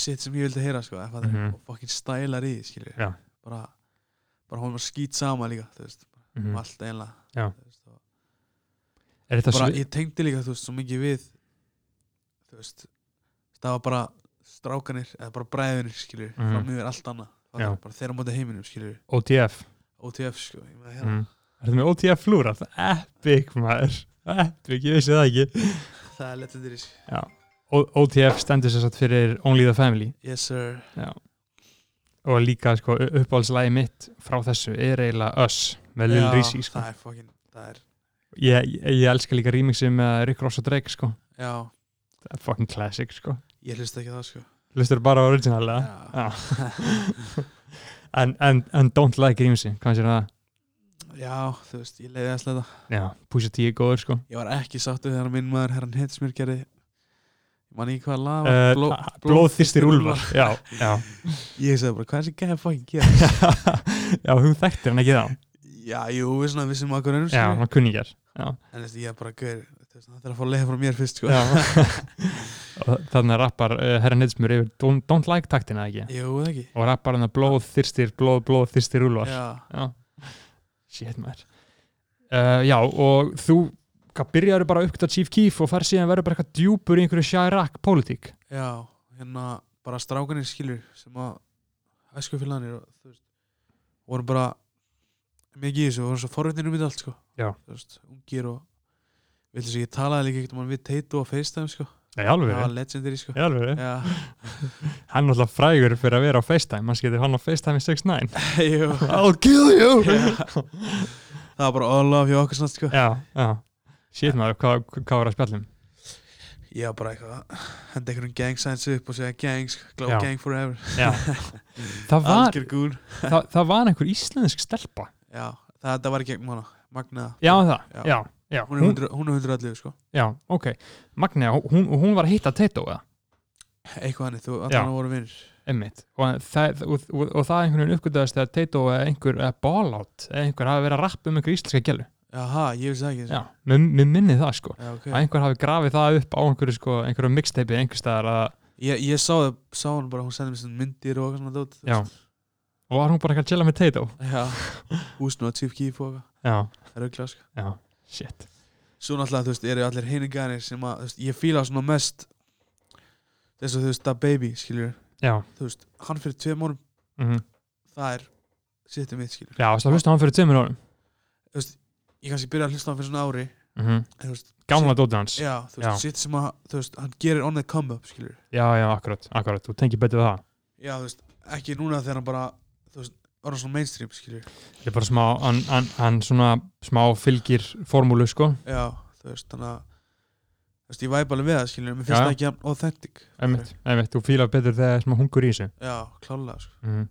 H: shit sem ég vildi heyra sko, mm
A: Mhm.
H: -hmm. og fucking stælar í, því, skilju
A: Já.
H: bara, bara hún var skýt sama líka þú veist,
A: Mhm.
H: allt einlega
A: Já.
H: þú veist, og-
A: Er þetta
H: bara,
A: svi-
H: ég tengdi líka, þú veist, svo mikið við þú veist það var bara strákanir eða bara bræðinir, skilju, mm
A: Mhm.
H: -hmm. fram yfir allt annað Það
A: Já.
H: var bara þeirra móti heiminum, skilju
A: OTF
H: OTF, sko, ég með hérna
A: Mm. Ertu með OTF flúrað? Epic maður Epic, ég vissi það ekki
H: það er legendir í,
A: Já. O- OTF stendur sér satt fyrir Only the Family
H: yes sir
A: Já. og líka sko, uppáhaldslægi mitt frá þessu er eiginlega Us með Lil
H: Já,
A: Reezy sko.
H: það er fucking, það er
A: ég, ég, ég elska líka remixið með Rick Ross og Drake sko.
H: Já,
A: það er fucking classic sko.
H: ég hlusta ekki á það sko
A: hlustur bara á originalega
H: Já.
A: en, en, en Don't Like remixið, hvað sér það?
H: Já, þú veist, ég leiði að sleta
A: Já, Pusha T er góður sko
H: Ég var ekki sáttu þegar minn maður herran Hitsmir gerði Ég man ekki hvað lag
A: Eh,
H: var,
A: ha- Blóðþyrstir úlfar. Já, já.
H: Ég sagði bara, hvað er þessi gæði að fucking gera
A: Já, þú þekktir hann ekki þá
H: Já, jú, við svona vissum að hvernig
A: Já, hann kunningjar Já
H: En þessi, ég er bara gaur þú veist, Það þarf að fá að leiða frá mér fyrst sko
A: Já. Og þannig að rappar uh, herra Neidsmur yfir don't, don't like taktina ekki
H: Jú, það ekki.
A: og rappar hann að blóð þyrstir blóð, blóð þyrstir úlvar
H: Já.
A: shit maður uh, já og þú hvað, byrjar bara að uppgöta Chief Keef og fær síðan verður bara eitthvað djúpur í einhverju Chirac pólitík
H: Já, hérna bara strákanir skilur sem að æskufélaganir og þú veist vorum bara mikið í þessu vorum svo forvitnir um þetta allt sko
A: Já.
H: þú veist, ungir og við þess að ég talaði líka ekkert um hann við Taito og FaceTime sko
A: Nei, í alvöru?
H: það var legendary sko
A: Í alvöru?
H: Já,
A: hann er alltaf frægur fyrir að vera á FaceTime hann skilur hann á FaceTime í 6ix9ine
H: Jú.
A: I'll kill you
H: Já. það var bara all of you okkur snart sko
A: já, já. shit maður, hvað hva var að spjallum
H: ég var bara eitthvað henda einhverjum gang signs upp og segja gang sko glow
A: Já.
H: gang forever
A: Já. það var,
H: algjör gúl
A: það, það var einhver íslensk stelpa
H: Já, það, það var í gegnum hana Magnaða
A: Já, það, já, Já,
H: Hún er 100 hún er 111 sko
A: Já, ok. Magnea, hún, hún var að hitta Tato, eða?
H: Eitthvað hannig, þú
A: Já.
H: allan að voru vinnir
A: Einmitt. Og það, og, og, og það einhvern veginn uppgötaðist þegar Tato eða einhver eða Ballout eða einhver hafi verið að rappa um einhver íslenska gælu.
H: Jaha, ég vissi það ekki sko.
A: Já, mér, mér minni það sko.
H: Já, ok.
A: Að einhver hafi grafið það upp á einhverju sko, einhverju mixteipi einhverstaðar að,
H: Ég, ég sá það, sá hann bara, hún sendi mér svona myndir og eitthvað svona dót þú
A: já.
H: veist.
A: Og var hún bara eitthvað að chilla með Tato?
H: Já, húsinu að tíf kýf og
A: Já.
H: eitthvað Röggla, sko
A: Já, shit.
H: Svo náttúrulega, þú veist, eru allir heiningarnir sem að, þú veist, ég fíla svona mest Þess að, þú veist, Da Baby, skiljur
A: Já.
H: Þú veist, hann fyrir tveim árum,
A: Mhm.
H: það er sittum mitt, skiljur
A: Já, þú veist að hlusta á hann fyrir tveimur árum.
H: Þú veist, ég kannski byrja að hlusta á hann fyrir svona ári
A: Mhm.
H: en þú veist,
A: Gamla
H: shit-
A: dótið hans.
H: Já, þú veist, sitt sem að, þú veist, hann gerir on the come up, skiljur
A: Já, já, akkurat, akkurat. Þú tengir betur við það.
H: Já, þú veist, ekki núna þegar hann bara, þú veist, var hann svona mainstream, skiljur
A: Ég er bara smá, hann, hann, hann svona smá fylgir formúlu sko.
H: Já, þú veist, þannig að Þú veist, ég væp alveg við það, skiljum,
A: Já,
H: mér finnst
A: já.
H: það ekki jafn authentic
A: Einmitt, einmitt, þú fílar betur þegar það er smá hungur í þessu.
H: Já, klálega, sko
A: mm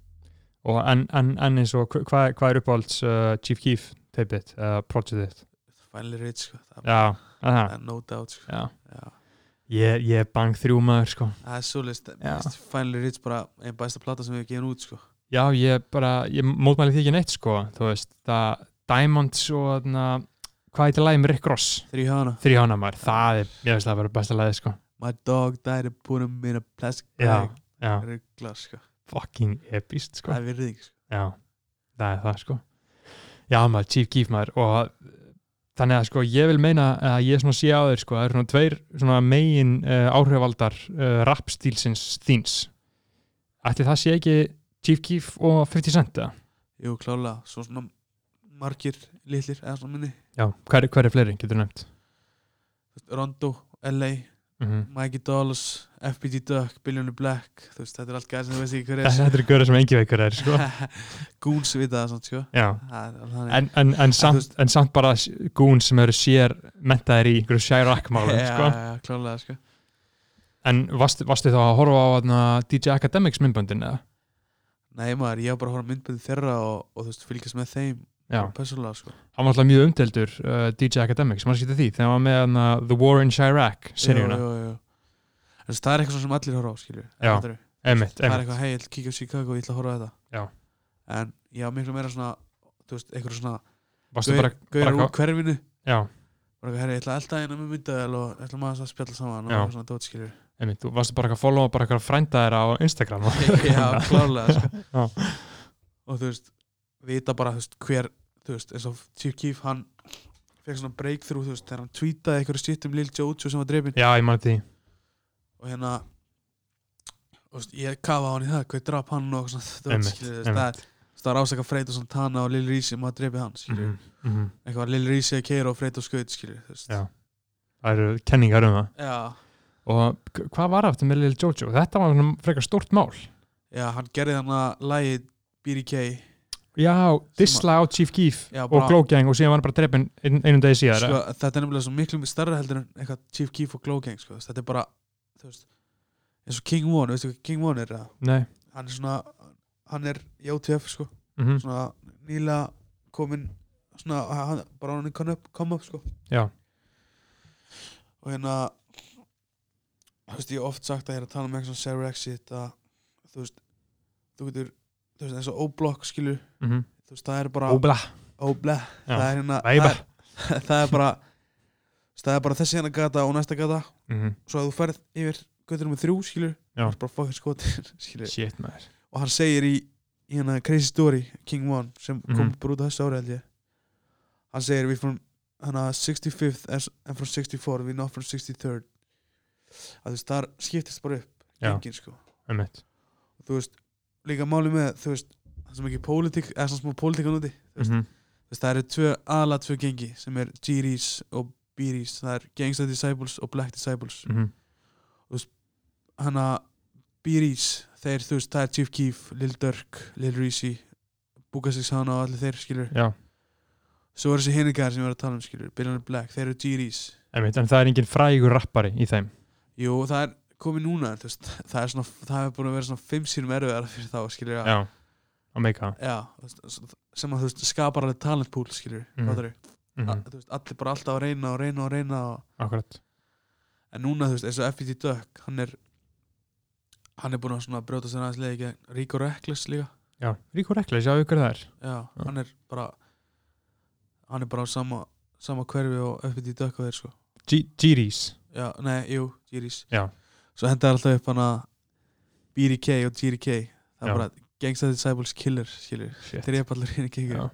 A: og en, en, en eins og hva- hvað hva er uppáhalds uh, Chief Keef teipið, uh, projectið þitt?
H: Finally Rich, sko Það,
A: já,
H: það
A: aha,
H: er no doubt, sko
A: já.
H: Já.
A: Ég, ég er bang þrjú maður sko
H: Það er svo list,
A: Já.
H: Finally Rich bara einn bæsta plata sem við hefum gefin út, sko
A: já, ég bara, ég mótmæli því ekki neitt sko þú veist, það Diamonds og þarna, hvað heitir lagið með Rick Ross
H: Þrjú hana
A: þrjána maður, það er, ég veist það bara besta lagið sko,
H: My dog died and put him in a plastic
A: Já,
H: bag
A: já.
H: Ruggla, sko
A: fucking epist sko,
H: Það er virðing, sko
A: já, það er það sko já maður, Chief Keef maður og þannig að sko ég vil meina að ég svona sé á þeir sko, það eru svona tveir svona megin uh, áhrifaldar uh, rapstílsins þíns ætli það sé ekki Chief Keef og 50 Cent eða?
H: Jú, klálega, svo svona margir litlir, eða svona minni
A: Já, hver, hver er fleiri, getur nefnt
H: Þú veist, Rondo, LA,
A: Mhm.
H: Mikey Dolls FBD Duck, Billionaire Black Þú veist, þetta er allt gæð sem þú veist ekki hver er
A: Þetta þetta eru göra sem engi veikur er sko
H: Goons við það samt, sko
A: Já.
H: Það er alveg þannig.
A: en, en, en,
H: þú
A: samt, en samt bara gún sem eru sér mentaðir í einhverju Shirok-málum
H: Já,
A: sko.
H: já, klálega, sko
A: en varstu, varstu þá að horfa á þarna, DJ Academics myndböndin eða?
H: Nei maður, ég var bara að horfa á myndbæti þeirra og, og þú veist, fylgjast með þeim
A: Já.
H: Persónulega, sko
A: hann var alltaf mjög umdeldur uh, DJ Academics, maður skýtti því þegar hann var með hana, The War in Chirac seríuna,
H: Jú, jú, jú. En þú veist, það er eitthvað svona sem allir horfa á, skilju
A: Já, einmitt,
H: Það er
A: einmitt.
H: eitthvað, hei, ég ætla að kíkja á Chicago, ég ætla að horfa á þetta
A: Já.
H: En ég var miklu meira svona, þú veist, eitthvað svona
A: Varstu
H: gaur-
A: bara-
H: Gaurar
A: bara-
H: úr hverfinu
A: Já.
H: Bara eitthvað, herri, ég ætla að elda hérna með myndaðel og ætla maður að spjalla saman og
A: Já.
H: eitthvað svona dót, skilju
A: einmitt, þú varstu bara eitthvað að followa bara eitthvað frænda þér á Instagram
H: já, klárlega sko.
A: Já.
H: og þú veist vita bara þú veist, hver þú veist, eins og Chief Keef hann fekk svona breakthrough þú veist, þegar hann tweetaði einhverju shit um Lil Jojo sem var drefin
A: Já, ég man því.
H: og hérna og, þú veist, ég kafa á hann í það, hver draf hann og eitthvað svona, þú
A: Einmitt,
H: veist, skilur, þú veist,
A: einmitt.
H: það er þú veist, það var ásaka Freyta og Santana og Lil Reese um að drefi hann, skilju
A: Mhm, mhm.
H: eitthvað var Lil Reese að keira og Freyta og Skaut, skilju þú veist,
A: Já. það eru kenningar um það
H: Já.
A: og k- hvað var aftur með Lil Jojo þetta var svona frekar stórt mál
H: já, hann gerði hann að lægi BDK
A: já, disla á Chief Keef
H: Já,
A: og
H: bara-
A: Glow Gang og síðan var hann bara drefin ein, einum degi síðar
H: sko,
A: eða?
H: þetta er nefnilega svo miklu starra heldur en eitthvað Chief Keef og Glow Gang sko. þú veist, þetta er bara þú veist, eins og King One, veistu hvað King One er eða?
A: Nei.
H: hann er svona hann er í OTF sko.
A: Mhm.
H: svona nýla komin svona, hann, bara hann er come up, come up sko.
A: Já.
H: og hérna þú veist ég hef oft sagt að ég er að tala um eitthvað svona Sarah Exit að þú veist þú getur, þú veist eins og O-Block skilur
A: Mhm.
H: þú veist það er bara
A: Óbla.
H: Óbla,
A: Já.
H: það er hérna
A: Væba.
H: það er, það er bara það er bara þessi hérna gata og næsta gata
A: Mhm.
H: svo að þú ferð yfir göttur með þrjú skilur
A: Já.
H: það er bara fucking skotir skilur
A: Shit, maður.
H: og hann segir í, í hérna Crazy Story King One sem kom
A: Mhm.
H: bara út á þessu ári held ég hann segir við from hana, 65th as- and from 64 we not from 63rd að þú veist þar skiptist bara upp
A: Já.
H: gengin sko
A: Einmitt.
H: og þú veist líka máli með þú veist það sem ekki pólitík eða svona smá pólitíkan úti þú veist,
A: Mhm.
H: þú veist það eru tvö aðla tvö gengi sem er G-Rees og B-Rees það er Gangsta Disciples og Black Disciples
A: Mhm.
H: þú veist hann að B-Rees þeir þú veist það er Chief Keef, Lil Durk Lil Reesey, Booga 6 Hana og allir þeir skilur
A: Já.
H: svo eru þessi hinningar sem ég var að tala um skilur Billionaire Black, þeir eru G-Rees
A: Einmitt, en það er engin frægur rappari í þeim
H: Jú, það er komið núna þú veist, það er svona, það hefur búin að vera svona fimm sínum erfiðara fyrir þá, skilur
A: já, að meika það
H: já, þú veist, s- sem að þú veist skapar alveg talent pool, skilur
A: Mhm.
H: mm.
A: Mhm.
H: að, þú veist, allir bara alltaf að reyna og reyna og reyna og...
A: Akkurat.
H: en núna þú veist, eins og F.E.T. Duck hann er hann er búin að svona brjóta sér aðeins leið í gegn Ríko Reckless líka
A: Já, Ríko Rekles, já, ykkur það er.
H: já, hann er bara hann er bara á sama, sama hverfi og F.E.T. Duck og þeir sko
A: G-Ris.
H: já, nei, jú, Jiris
A: Já.
H: svo hendaði alltaf upp hann að BDK og GDK það
A: Já.
H: er bara Gangsta Disciples Killer skilur,
A: Shit.
H: þeir ég allir hérna kegir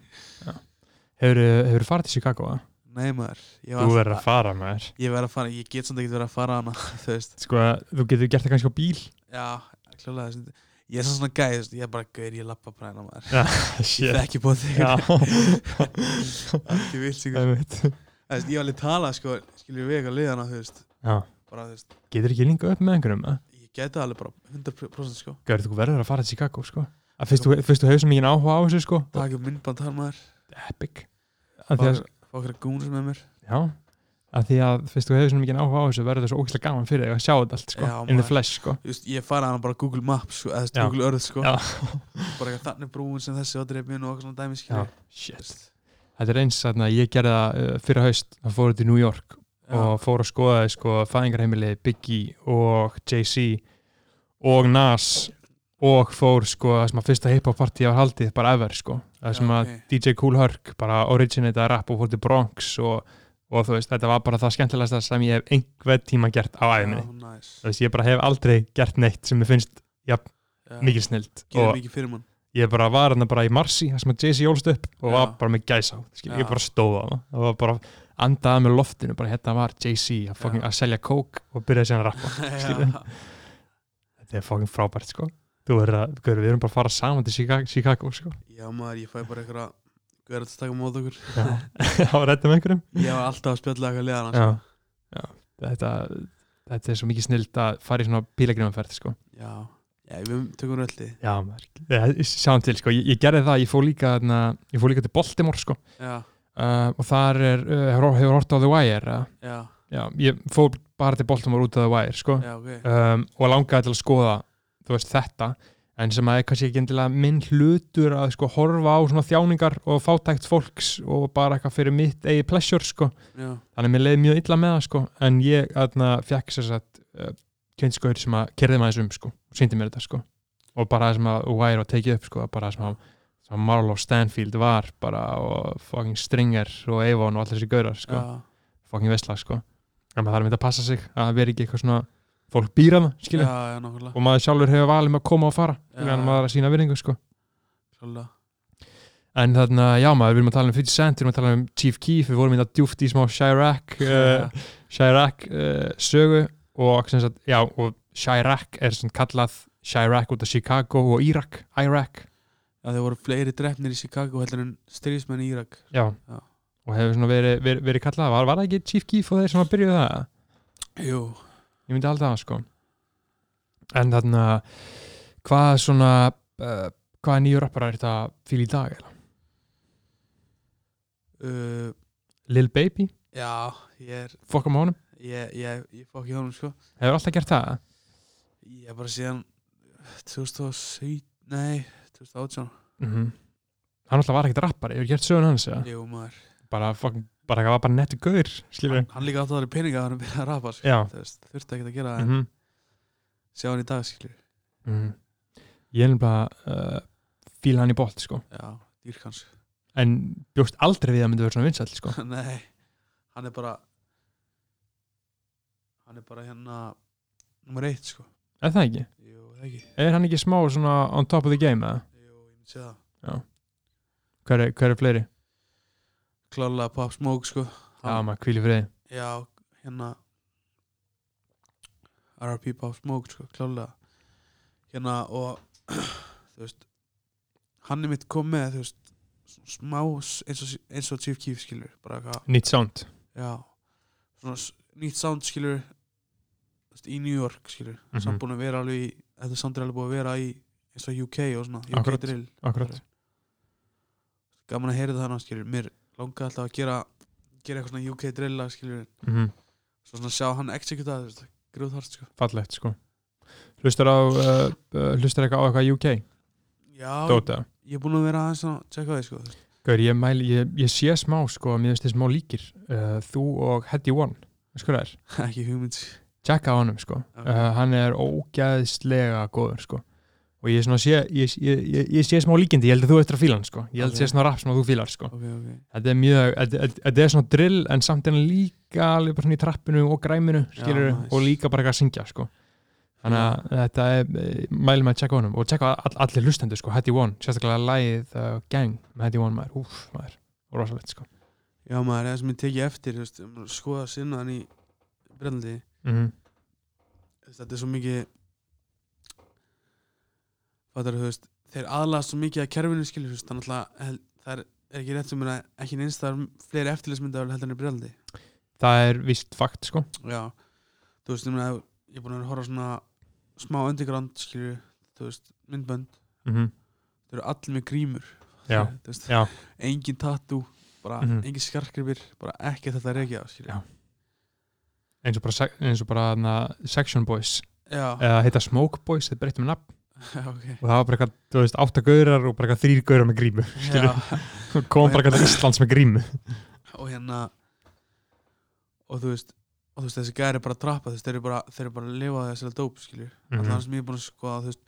A: Hefur, hefur farið til Chicago, það?
H: nei maður, ég
A: Þú verður að fara, maður.
H: ég verður að fara, ég get samt ekki verið að fara hana þú veist,
A: Sko, þú getur gert það kannski á bíl.
H: já, klálega þessi ég er svo svona gæð, þú veist, ég er bara gauð, ég lappa bara hérna maður
A: Já,
H: ég
A: shit.
H: þekki bóð þig
A: Já.
H: ekki vilt sigur
A: Einmitt.
H: veist, ég var alveg tala, sko, skilur við eitthvað liðana þú veist,
A: Já.
H: bara þú veist
A: Getur ekki linga upp með einhverjum, það?
H: ég geti alveg bara 100% sko
A: Gauður, þú verður að fara til Chicago, sko. Að fyrst, þú, fyrst þú hefur svo mikið áhuga á þessu, sko.
H: taka myndband þar maður,
A: Epic.
H: fá
A: Að því að,
H: fá okkar gúnus með mér
A: já, að því að fyrst þú hefur svo mikið áhuga á þessu, verður það svo ógeðslega gaman fyrir þig að sjá þetta allt, sko.
H: Já,
A: In the
H: maður.
A: flesh, sko.
H: Þú veist, ég fara hana bara á Google Maps sko, eða þú veist,
A: Já.
H: Google Earth sko
A: Já.
H: bara eitthvað þannig brúin sem þessi á dreifinu og eitthvað svona dæmi skilur
A: Já. Shit. Þetta er eins að ég gerði það uh, fyrir haust, það fóruð til New York og fór að skoða sko, fæðingarheimili Biggie og Jay-Z og Nas og fór sko það sem að fyrsta hip-hop partí var haldið bara ever sko það
H: Já,
A: sem að
H: ok.
A: DJ Cool Herc bara originated rap og fór til Bronx og, og þú veist þetta var bara það skemmtilegasta sem ég hef einhver tíma gert á æfinni
H: nice.
A: þú veist ég bara hef aldrei gert neitt sem ég finnst
H: Já.
A: mikil snild
H: Gerir
A: og
H: mikið fyrir mann
A: ég bara var hann bara í Marsi það sem að Jay-Z jólst upp og var
H: Já.
A: bara með gæsa skil, ég
H: Já.
A: bara stóða það það var bara andaði með loftinu bara hérna var Jay-Z að, fucking- að selja kók og byrjaði síðan að rappa skilur.
H: Já.
A: þetta er fucking frábært sko þú verður að, gaur, við erum bara að fara saman til Chicago, Chicago sko
H: Já maður, ég fæ bara eitthvað Guður að taka mót okkur
A: Já. á rættum einhverjum
H: Ég var alltaf að spjalla eitthvað sko. liðan
A: já. sko. Já. Þetta, þetta er svo mikið snild að fara í svona pílagrimaferð sko
H: Já, já við tökum röldi
A: já, maður. Eh, sjáum til sko, ég, ég gerði það ég fó líka, þarna, ég fó líka til Baltimore sko
H: Já,
A: uh, og þar er, uh, hefur- hefur hort á The Wire uh,
H: já,
A: já, ég fór bara til Baltimore út af The Wire sko
H: já, ok
A: um, og langaði til að skoða þú veist þetta en sem að er kannski ekki endilega minn hlutur að sko horfa á svona þjáningar og fátækt fólks og bara eitthvað fyrir mitt eigi pleasure sko
H: Já,
A: þannig að mér leiði mjög illa með það sko en ég aðna fekk sér satt uh, kynnskauður sem að kerði maður þessum sko og síndi mér þetta sko og bara það sem að Wire var tekið upp sko bara það sem að sem að Marlowe Stanfield var bara og fucking Stringer og Avon og allir þessi gaurar sko
H: já,
A: fucking vesla sko en maður þarf að mynda að passa sig að það veri ekki eitthvað svona fólk býra það
H: já,
A: skilja
H: já, nákvæmlega
A: og maður sjálfur hefur valið með að koma og fara
H: Já.
A: ja. en maður er að sína virðingu sko
H: Klálega
A: en þarna já maður við erum að tala um 50 Cent við erum að tala um Chief Keef við vorum í þetta djúft í smá Chirac uh, Chirac uh, sögu og sem sagt já og Chirac er svona kallað Chirac út af Chicago og Irak Irak
H: Já, þeir voru fleiri drefnir í Chicago heldur en stríðismenn í Írak
A: já,
H: Já.
A: og hefur svona verið veri, veri kallað var, var það ekki Chief Keef og þeir sem að byrjuðu það
H: Jú,
A: ég myndi halda það sko en þarna hvað svona uh, hvaða nýju rappara er þetta fíl í dag eiginlega?
H: uh,
A: Lil Baby,
H: já, ég er
A: fokka með honum
H: ég, ég, ég fá ekki honum sko
A: hefur alltaf gert það
H: Ég er bara síðan eh, 2007, nei 2018,
A: mm -hmm. hann alltaf var ekkert rappari, hefur gert sögun hans ja.
H: jú maður
A: bara fokkin, bara það var bara nettu gaur skilur
H: hann, hann líka átt að vera peninga að hann byrja að rapa sko.
A: Já.
H: Þú veist, þurfti ekki að gera það
A: mm
H: en
A: -hmm.
H: sjá hann í dag skilur
A: Mhm. ég er bara uh, fíl hann í bótt sko
H: já, dýrkans
A: en bjóst aldrei við að myndi vera svona vinsall sko
H: nei, hann er bara hann er bara hérna nummer eitt sko
A: er það ekki?
H: jú, það ekki,
A: Er hann ekki smá svona on top of the game eða?
H: jú, ég myndi sé það
A: Hver er, hver er fleiri?
H: klálega Pop Smoke sko
A: Já
H: hann,
A: maður, hvíli friði
H: já, hérna R.R.P. Pop Smoke sko, klálega hérna og þú veist hann er mitt kom með þú veist svona smá s- eins og, eins og Chief Keef skilur bara eitthvað
A: Nýtt sound
H: Já, svona s- nýtt sound skilur þú veist, í New York skilur mm
A: Mhm.
H: -hmm. samt búin að vera alveg í þetta sound er alveg búin að vera í eins og UK og svona UK
A: Akkurat,
H: drill
A: akkurat
H: gaman að heyra það hann skilur mér langaði alltaf að gera gera eitthvað svona UK drill lag skilur
A: mm
H: svo svona sjá hann executa það grúðhart sko
A: fallegt sko hlustar á uh, uh, hlustar eitthvað á eitthvað UK
H: já
A: Dota
H: ég er búin að vera aðeins að checka því sko þú veist.
A: Gaur, ég, mæli, ég, ég sé smá sko að mér finnst þið smá líkir uh, þú og Heddy One, sko það er
H: ekki hugmynd
A: tjekka á honum sko uh, hann er ógæðslega góður sko og ég, svona, sé, ég, ég, ég, ég sé smá líkindi, ég held að þú eftir að fíla hann sko ég held að
H: Ok.
A: sé smá rap sem að þú fílar sko
H: Ok, ok.
A: þetta er mjög, þetta- þetta þetta er svona drill en samt er hann líka alveg bara svona í trappinu og græminu skilur
H: nice.
A: og líka bara eitthvað að syngja sko þannig að þetta er mælum að tjekka á honum og tjekka á all, allir lustendur sko, Hattie One sérstaklega lagið uh, Gang með Hattie One maður, úf maður, og rosalegt sko
H: Já maður, það sem ég tekið eftir, þú veist, um að skoða sinnaðan í Brellandi,
A: Mhm.
H: þetta er svo mikið, fattar þú veist, þeir aðlaðast svo mikið að kerfinu skilur, þú veist, þannig að það er er ekki rétt sem er að ekki neins það er fleiri eftirlismyndar heldur en í Brellandi.
A: það er vist fakt sko
H: Já, þú veist, ég meina, ég er búin að vera að horfa á svona smá underground, skilju, þú veist, myndbönd.
A: Mhm.
H: Þau eru allir með grímur.
A: Já,
H: þú veist,
A: já.
H: engin tattoo, bara
A: Mhm.
H: engin skarkrifir, bara ekki þetta að reykja, skilju.
A: Já. eins og bara, sec- eins og bara na, Section Boys
H: Já.
A: eða heita Smoke Boys, þeir breyttum um nafn
H: Já, ok.
A: og það var bara eitthvað, þú veist, átta gaurar og bara eitthvað þrýr gaurar með grímu skilur, kom bara eitthvað til Íslands með grímu
H: og hérna og þú veist og þú veist þessi gæri bara að trappa þú veist þeir eru bara, þeir eru bara að lifa þessari dóp skilju
A: Mhm.
H: mm -hmm. sem ég er búin að skoða þú veist,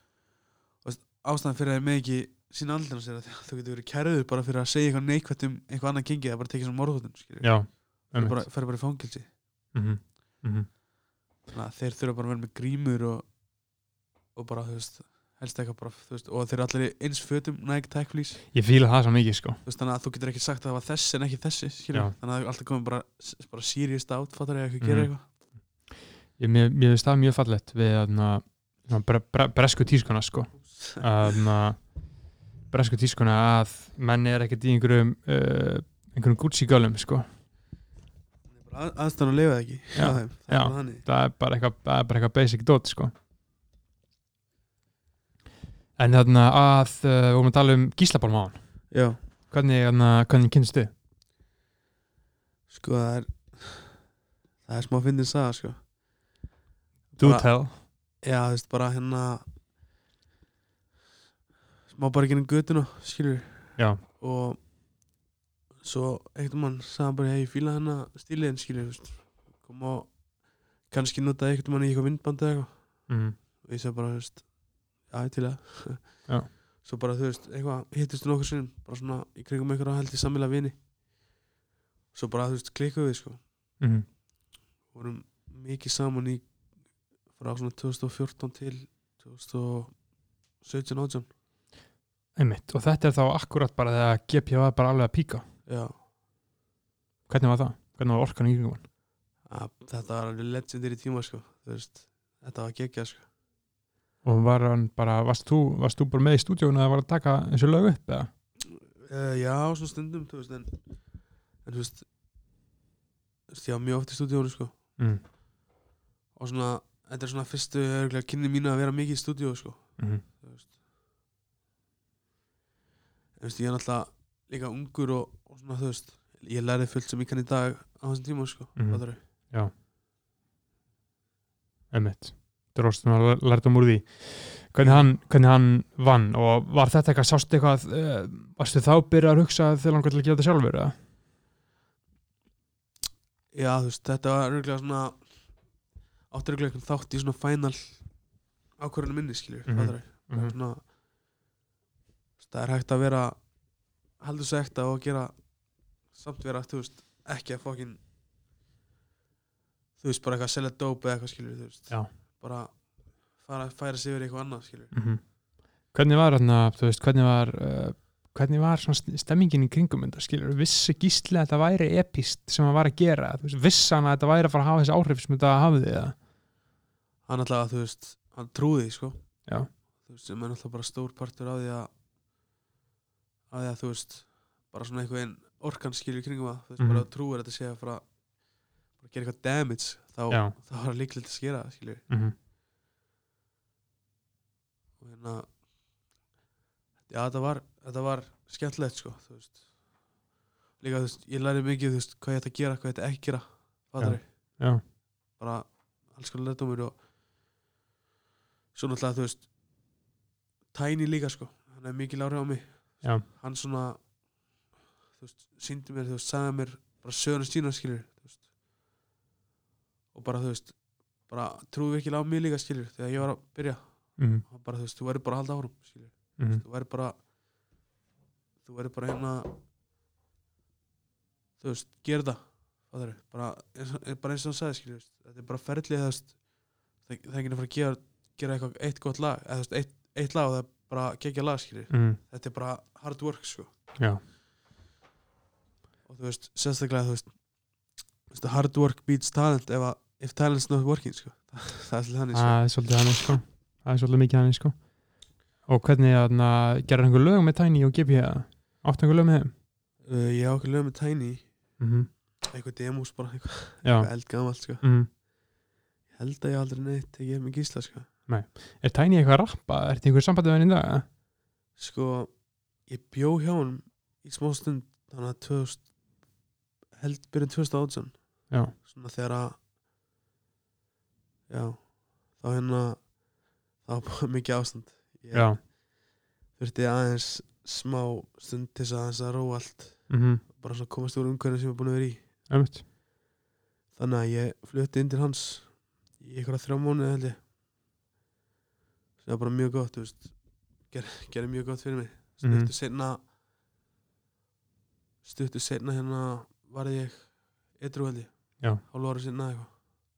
H: þú veist ástæðan fyrir að þeir með ekki sína aldrei sér að þú getur verið kærður bara fyrir að segja eitthvað neikvætt um eitthvað annað gengi eða bara tekið sem morðhóttun skilju
A: Já,
H: fer
A: einmitt.
H: bara, fer bara í fangilsi
A: Mhm, mhm.
H: þannig að þeir þurfa bara að vera með grímur og, og bara þú veist helst eitthvað bara þú veist og þeir eru allir í eins fötum Nike Tech Fleece
A: ég fíla það svo mikið sko
H: þú veist, þannig að þú getur ekki sagt að það var þessi en ekki þessi skilur,
A: Já.
H: þannig að það er alltaf komið bara, bara serious out, fattar ég eitthvað gera
A: Mhm. ég, mér, mér finnst það mjög fallett við aðna, svona, bre, bre, bresku tískuna sko aðna, bresku tískuna að menni er ekkert í einhverjum uh, einhverjum Gucci gölum sko
H: eitthvað að, aðstæðan að lifa það ekki
A: já,
H: hjá þeim. það
A: já,
H: er bara þannig
A: það er bara eitthvað, það er bara eitthvað basic dot sko en þarna að uh, við vorum að tala um gíslabálmáðan
H: já,
A: hvernig, þarna, hvernig kynstu þið?
H: sko það er það er smá fyndin saga sko
A: Do
H: Bara-
A: tell.
H: já, þú veist, bara hérna smá bara genið götuna, skilur
A: Já.
H: og svo eitthvað mann sagði hann bara, hei, ég fíla hennar stíliðin, skilur, þú veist kom á, kannski notaði eitthvað mann í eitthvað myndband eða eitthvað
A: Mhm.
H: og ég sagði bara, þú veist, já, ég til
A: Já.
H: það svo bara, þú veist, eitthvað hittist þú nokkur sinnum, bara svona í kringum einhverja held í samvila vini svo bara, þú veist, klikkuðu við, sko
A: Mhm.
H: vorum mikið saman í frá svona 2014 til 2017-18
A: Einmitt. og þetta er þá akkurat bara þegar GPA var bara alveg að píka
H: já,
A: hvernig var það? hvernig var orkan í kringum hann?
H: að, þetta var alveg legendary tíma sko, þú veist þetta var geggja sko,
A: og var hann bara, varst þú, varst þú bara með í stúdíónu eða var að taka þessu lög upp eða?
H: uh, já, svona stundum þú veist, en, en þú veist þú veist, já, mjög oft í stúdíónu sko
A: Mm.
H: og svona, þetta er svona fyrstu örgulega kynni mín að vera mikið í stúdíó sko
A: Mhm.
H: þú veist en þú veist, ég er náttúrulega líka ungur og, og svona, þú veist ég lærið fullt sem ég kann í dag á þessum tíma sko,
A: Mhm.
H: fattarðu?
A: já emitt dróstum að lærta um úr því hvernig hann, hvernig hann vann og var þetta eitthvað, sástu eitthvað uh, varstu þá byrjað að hugsa þegar hann til að gera þetta sjálfur eða?
H: Já, þú veist, þetta var örgulega svona átti örgulega einhvern þátt í svona final ákvörðinu minni, skiljur
A: Mhm.
H: mm -hmm. mm
A: Mhm.
H: svona þú veist, það er hægt að vera heldur sekta og gera samt vera, þú veist, ekki að fókin þú veist, bara eitthvað að selja dope eða eitthvað, skiljur, þú veist
A: Já.
H: bara fara, færa sig yfir í eitthvað annað, skiljur
A: Mhm. hvernig var hann þú veist, hvernig var uh, hvernig var svona st- stemmingin í kringum þetta skilur, vissi gísli að þetta væri epist sem hann var að gera, þú veist, vissi hann að þetta væri að fara að hafa þessi áhrif sem þetta hafði eða?
H: hann alltaf, þú veist, hann trúði því, sko
A: Já.
H: þú veist, sem er alltaf bara stór partur af því að af því að þú veist bara svona einhvern veginn orkan skilur í kringum að þú veist,
A: Mhm.
H: bara að trúir að þetta sé að fara bara gera eitthvað damage þá,
A: Já.
H: þá var það líklegt að skera, skilur
A: Mhm.
H: og hérna já, þetta var, þetta var skemmtilegt, sko, þú veist líka, þú veist, ég læri mikið, þú veist, hvað ég ætti að gera, hvað ég ætti ekki að gera fattari,
A: Já, já.
H: bara alls konar lærdomur og svo náttúrulega, þú veist Tiny líka, sko, hann er mikið lári á mig
A: Já.
H: hann svona þú veist, síndi mér, þú veist, sagði mér bara söguna sína, skilur, þú veist og bara, þú veist bara trúið virkilega á mig líka, skilur þegar ég var að byrja
A: Mhm.
H: Hann bara, þú veist, þú verður bara að halda árum, skilur
A: Mhm.
H: þú verður bara þú verður bara hérna þú veist, gera það fattarðu? bara, eins og- eh, bara eins og hann sagði, skilur þú veist, þetta er bara ferlið, þú veist það það er ekki að fara að gera, gera eitthvað, eitt gott lag eða þú veist, eitt, eitt lag og það er bara gegja lag, skilur
A: Mhm.
H: þetta er bara hard work, sko
A: Já.
H: og þú veist, sérstaklega þú veist, þú veist, hard work beats talent ef að, if talent's not working sko. það er svolítið þannig sko.
A: Það er svolítið hann sko Það er svolítið mikið hann sko Og hvernig þarna, gerir einhver lög með Tiny og GB eða? Áttu einhver lög með þeim?
H: uh, ég á okkur lög með Tiny
A: Mhm.
H: eitthvað demos bara, eitthvað,
A: Já.
H: eitthvað eldgamalt sko.
A: Mhm.
H: ég held að ég aldrei neitt tekið með gísla sko.
A: Nei Er Tiny eitthvað að rappa? Er þetta einhver sambandið við hann í dag? eða?
H: sko, ég bjó hjá hann í smá stund þannig að 2000, held byrjun 2018
A: Já.
H: svona þegar að já, þá hérna þá var bara mikið ástand ég
A: Já.
H: þurfti aðeins smá stund til þess að aðeins að róa allt
A: Mhm.
H: bara svona komast úr umhverjum sem ég er búin að vera í
A: Einmitt.
H: þannig að ég flutti inn til hans í einhverja þrjá mánuði held ég sem var bara mjög gott þú veist, ger, gerði mjög gott fyrir mig
A: Mhm.
H: stuttu mm setna stuttu setna hérna varði ég eitru held ég
A: Já.
H: hálfu ára setna eitthvað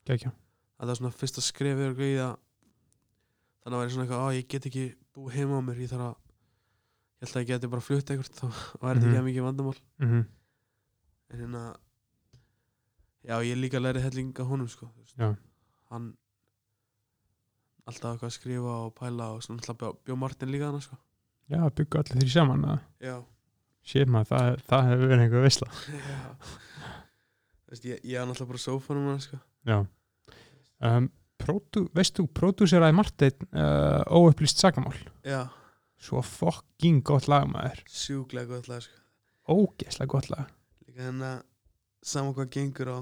A: Gekkja.
H: það var svona fyrsta skref yfir í það þannig að væri svona eitthvað, á ég get ekki búið heima á mér, ég þarf að ég held að ég geti bara flutt eitthvað þá væri þetta
A: Mhm.
H: ekki að mikið vandamál
A: Mhm.
H: en hérna já, ég líka lærið helling af honum sko, þú veist.
A: Já.
H: hann alltaf eitthvað að skrifa og pæla og svona alltaf bjó, bjó Martin líka hann sko.
A: Já, byggja allir þrý saman að
H: já,
A: Sér maður, það, það hefur verið einhver veisla
H: já. Þú veist, ég, ég hann alltaf bara sófanum hann sko.
A: Já um, pródú, Veist þú, pródúseraði Marteinn uh, óupplýst sagamál
H: já,
A: Svo fucking gott lag maður
H: sjúklega gott lag sko.
A: Ógeðslega gott lag
H: líka þannig að saman hvað gengur á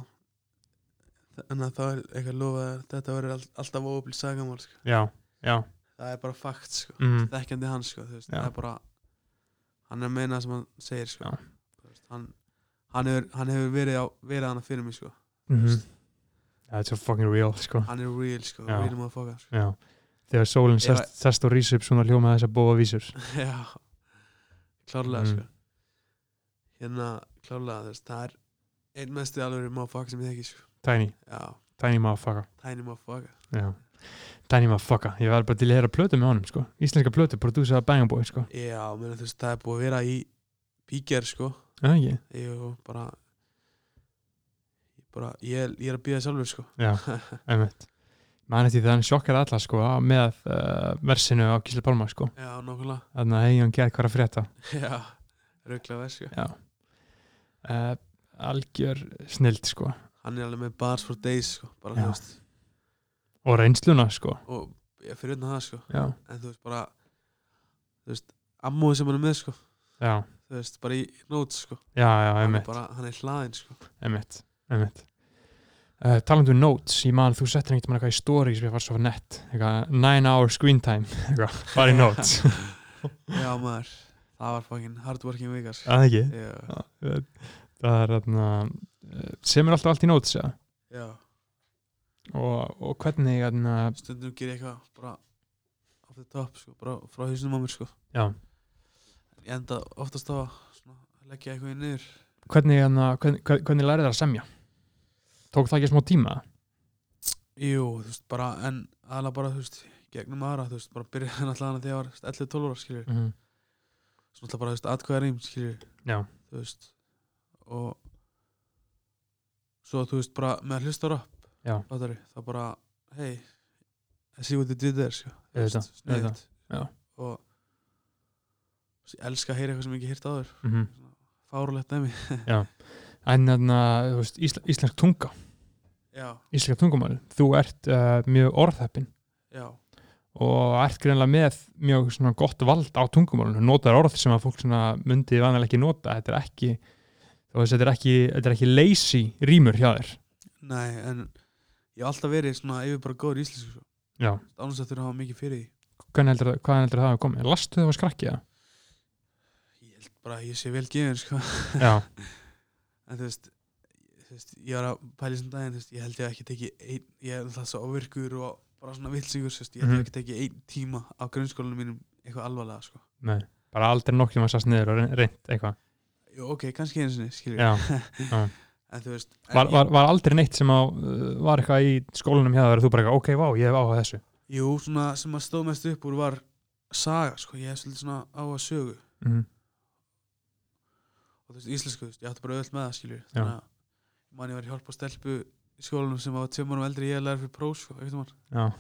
H: þannig að þá er eitthvað lofað að þetta verður all, alltaf óöflið sagamál sko.
A: Já, já,
H: það er bara fakt sko.
A: Mhm.
H: þekkjandi hans sko, þú veist,
A: Já.
H: það er bara hann er að meina það sem hann segir sko.
A: Já.
H: Þú veist, hann, hann, hefur, hann hefur verið á, verið hann fyrir mig sko.
A: Mhm. Það er svo fucking real sko
H: hann er real, sko,
A: Já.
H: real motherfucker sko.
A: Já, þegar sólinn
H: Ef að-
A: sest, sest og rís upp svona hljóma þess að bóa vísur
H: já, klárlega
A: Mm.
H: sko. hérna klárlega, þú veist, það er einn mestu alveg motherfucker sem ég þekki sko.
A: Tiny,
H: já,
A: Tiny motherfucker
H: tiny motherfucker
A: Já, Tiny motherfucker Ég var bara til að hera plötu með honum sko Íslenska plötu, prodúsera Bang Boy sko
H: Já, meni, þú veist, það er búið að vera í píkjar, sko
A: Já, ekki
H: ég bara ég, bara, ég, ég er að býða sjálfur, sko
A: Já, einmitt Man eftir þannig sjokkar alla sko á- með uh, versinu á Gísla Pálma sko
H: Já, nákvæmlega
A: Þannig að hegi hann gæði hvað að frétta
H: Já, rauklega verð, sko
A: Já uh, Algjör snild sko
H: Hann er alveg með bars for days, sko bara,
A: Já.
H: þú veist,
A: Og reynsluna sko
H: og ég fyrir utan það, sko
A: Já,
H: en þú veist, bara þú veist, ammóði sem hann er með, sko
A: já,
H: þú veist, bara í notes, sko
A: já, já,
H: hann
A: einmitt
H: er, bara, hann er hlaðin, sko
A: Emmett, Emmett uh, Talandi um notes, ég man þú settir einhvern veginn eitthvað í story sem ég var svo nett eitthvað, nine hour screen time eitthvað, bara í notes
H: Já, maður, það var fucking hardworking vika, sko
A: að ekki
H: Já,
A: Uh, það er þarna uh, sem er alltaf allt í notes ja.
H: já,
A: og, og hvernig hérna, þarna,
H: stundum ger ég eitthvað bara off the top, sko, bara frá hausnum á mér, sko
A: já,
H: ég enda oftast á að svona, leggja eitthvað í niður
A: hvernig, þarna, hvernig, hvernig, hvernig lærið það að semja tók það ekki smá tíma
H: Jú, þú veist, bara, en aðla bara, þú veist, gegnum aðra, þú veist, bara byrjaði hann alltaf hana þegar ég var þú veist, 11-12 ára, skiljur
A: mm.
H: svona alltaf bara, þú veist, atkvæða rým, skiljur
A: Já.
H: þú veist, og svo, þú veist, bara með að hlusta röpp
A: Já.
H: fattari, þá bara, hei I see what you did there, sko Þú
A: Auðvitað,
H: veist, sniðugt.
A: auðvitað, já.
H: og þú veist, ég elska að heyra eitthvað sem ég ekki heyrt áður
A: mm -hmm.
H: fárulegt dæmi,
A: en þarna, þú veist, ísl, íslensk tunga
H: já,
A: íslenska tungumáli, þú ert uh, mjög orðheppin
H: já
A: og ert greinlega með mjög svona gott vald á tungumálunum notar orð sem að fólk svona myndi vanalega ekki nota þetta er ekki þú veist, þetta er ekki, þetta er ekki lazy rýmur hjá þér
H: Nei, en ég hef alltaf verið svona yfir bara góður í íslensku sko.
A: Já.
H: Ánast að þurfa að hafa mikið fyrir því
A: Hvernig heldur, hvaðan heldur það að koma? Lastu þau að skrakki það?
H: Ég held held bara að ég sé vel gefur sko.
A: Já.
H: en þú veist, þú veist ég var að pæli sem daginn, þú veist, ég held ég hafi ekki tekið ein, ég er alltaf svo ofirkur og bara svona vilsingur, þú veist, ég held
A: Mhm.
H: ég hafi ekki tekið ein tíma á grunnskólanum mínum eitthvað alvarlega sko.
A: Nei, bara aldrei nokkjum að sast niður og reyn- reynt eitthvað.
H: Jú, ok, kannski einu sinni, skiljum
A: Já, já.
H: en þú veist en
A: Var,
H: ég-
A: var, var aldrei neitt sem á, uh, var eitthvað í skólanum hjá þér og þú bara eitthvað, ok, vá, ég hef áhuga á þessu.
H: Jú, svona sem að stóð mest upp úr var saga, sko, ég hef svolítið svona á að sögu
A: Mhm.
H: og þú veist, íslensku, þú veist, ég átti bara öll með það, skiljur
A: Já.
H: þannig að mann ég var að hjálpa stelpu í skólanum sem var tveim árum eldri en ég að læra fyrir próf, sko, eitthvað mann
A: Já,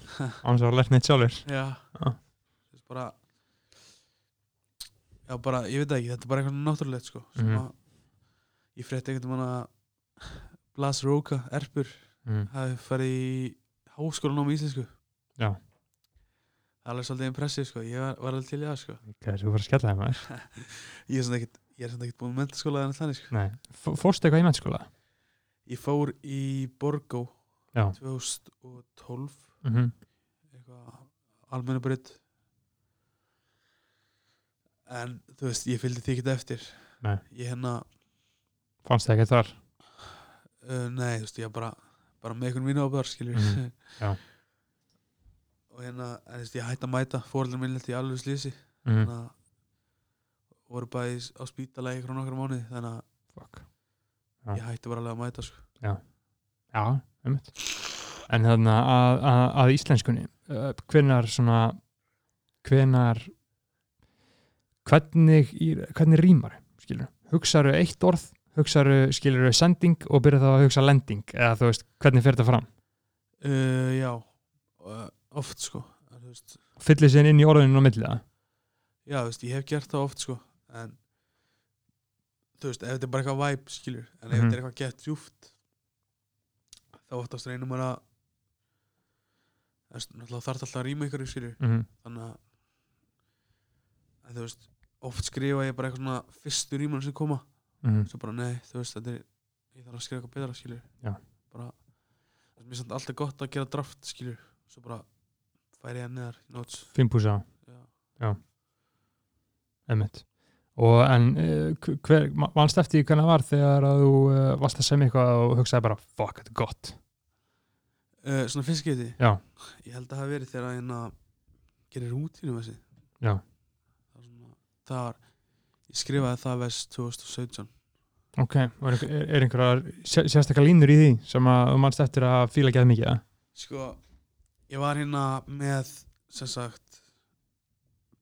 A: annars var lært neitt sjálfur.
H: Já,
A: Já.
H: þú veist, bara Já, bara, ég veit það ekki, þetta er bara eitthvað náttúrulegt, sko sem
A: Mhm.
H: að ég frétti einhvern mann að Blas Róka, Erpur
A: Mhm.
H: hafi farið í háskólanum í íslensku
A: Já.
H: Það er alveg svolítið impressið sko, ég var, var alveg til í það sko
A: Ok, þú fyrir að skella þeim aðeins.
H: Ég er svona ekkit, ég er svona ekkit búin með mentaskóla en þannig sko
A: Nei, Fó- fórstu eitthvað í mennskóla?
H: Ég fór í Borgó
A: Já.
H: 2012
A: Mhm.
H: eitthvað almennabrydd En þú veist, ég fylgdi því ekkit eftir
A: Nei.
H: Ég hérna,
A: Fannst það ekkert þar?
H: uh, nei þú veist, ég var bara bara með einhvern vinnu á bar, skiljur
A: Mhm, já.
H: Og hérna, en þú veist, ég hætti að mæta fóreldur minn lenti í alveg slýsi
A: Mhm.
H: Þannig að voru bæði á spítala í einhvern okkar mánuði Þannig að
A: Fuck. Já.
H: ég hætti bara alveg að mæta sko
A: Já, umhett. En þannig að, að, að íslenskunni, uh, hvenar svona, hvenar, hvernig, í- hvernig rýmar, skilur? Hugsaru eitt orð, hugsaru, skilur sending og byrja þá að hugsa lending, eða þú veist, hvernig fer þetta fram?
H: Uh, já, uh, oft sko en, þú veist,
A: Fyllir sér inn í orðinu á milli það?
H: Já, þú veist, ég hef gert það oft sko En Þú veist, ef þetta er bara eitthvað væp, skilur En ef
A: Mhm.
H: þetta er eitthvað gett djúft Þá oftast reynum maður að þú veist, Náttúrulega þarf alltaf að rýma ykkur, skilur
A: Mhm.
H: Þannig að En þú veist, oft skrifa ég bara eitthvað svona Fyrstu rýman sem koma
A: Mhm.
H: Svo bara, nei, þú veist, þetta er Ég þarf að skrifa eitthvað betra, skilur
A: Já.
H: Bara, þú veist, mér finnst alltaf gott að gera draft, skilur Svo bara færi ég hann neðar í notes
A: Fimm púsa á?
H: Já.
A: Já. Einmitt. Og en eh, hv- hver, ma- manstu eftir því hvernig það var þegar að þú uh, varst að semja eitthvað og hugsaði bara, fuck, þetta er gott.
H: uh, svona fyrst skipti
A: Já.
H: ég held að það hafi verið þegar að hérna gerir rútínu með þessi
A: Já.
H: það, var svona, það var ég skrifaði það vest 2017
A: Ok, og er, einhver- er, er einhverjar sé- sérstakar línur í því sem að þú mannst eftir að fíla geð mikið? eða?
H: sko ég var hérna með sem sagt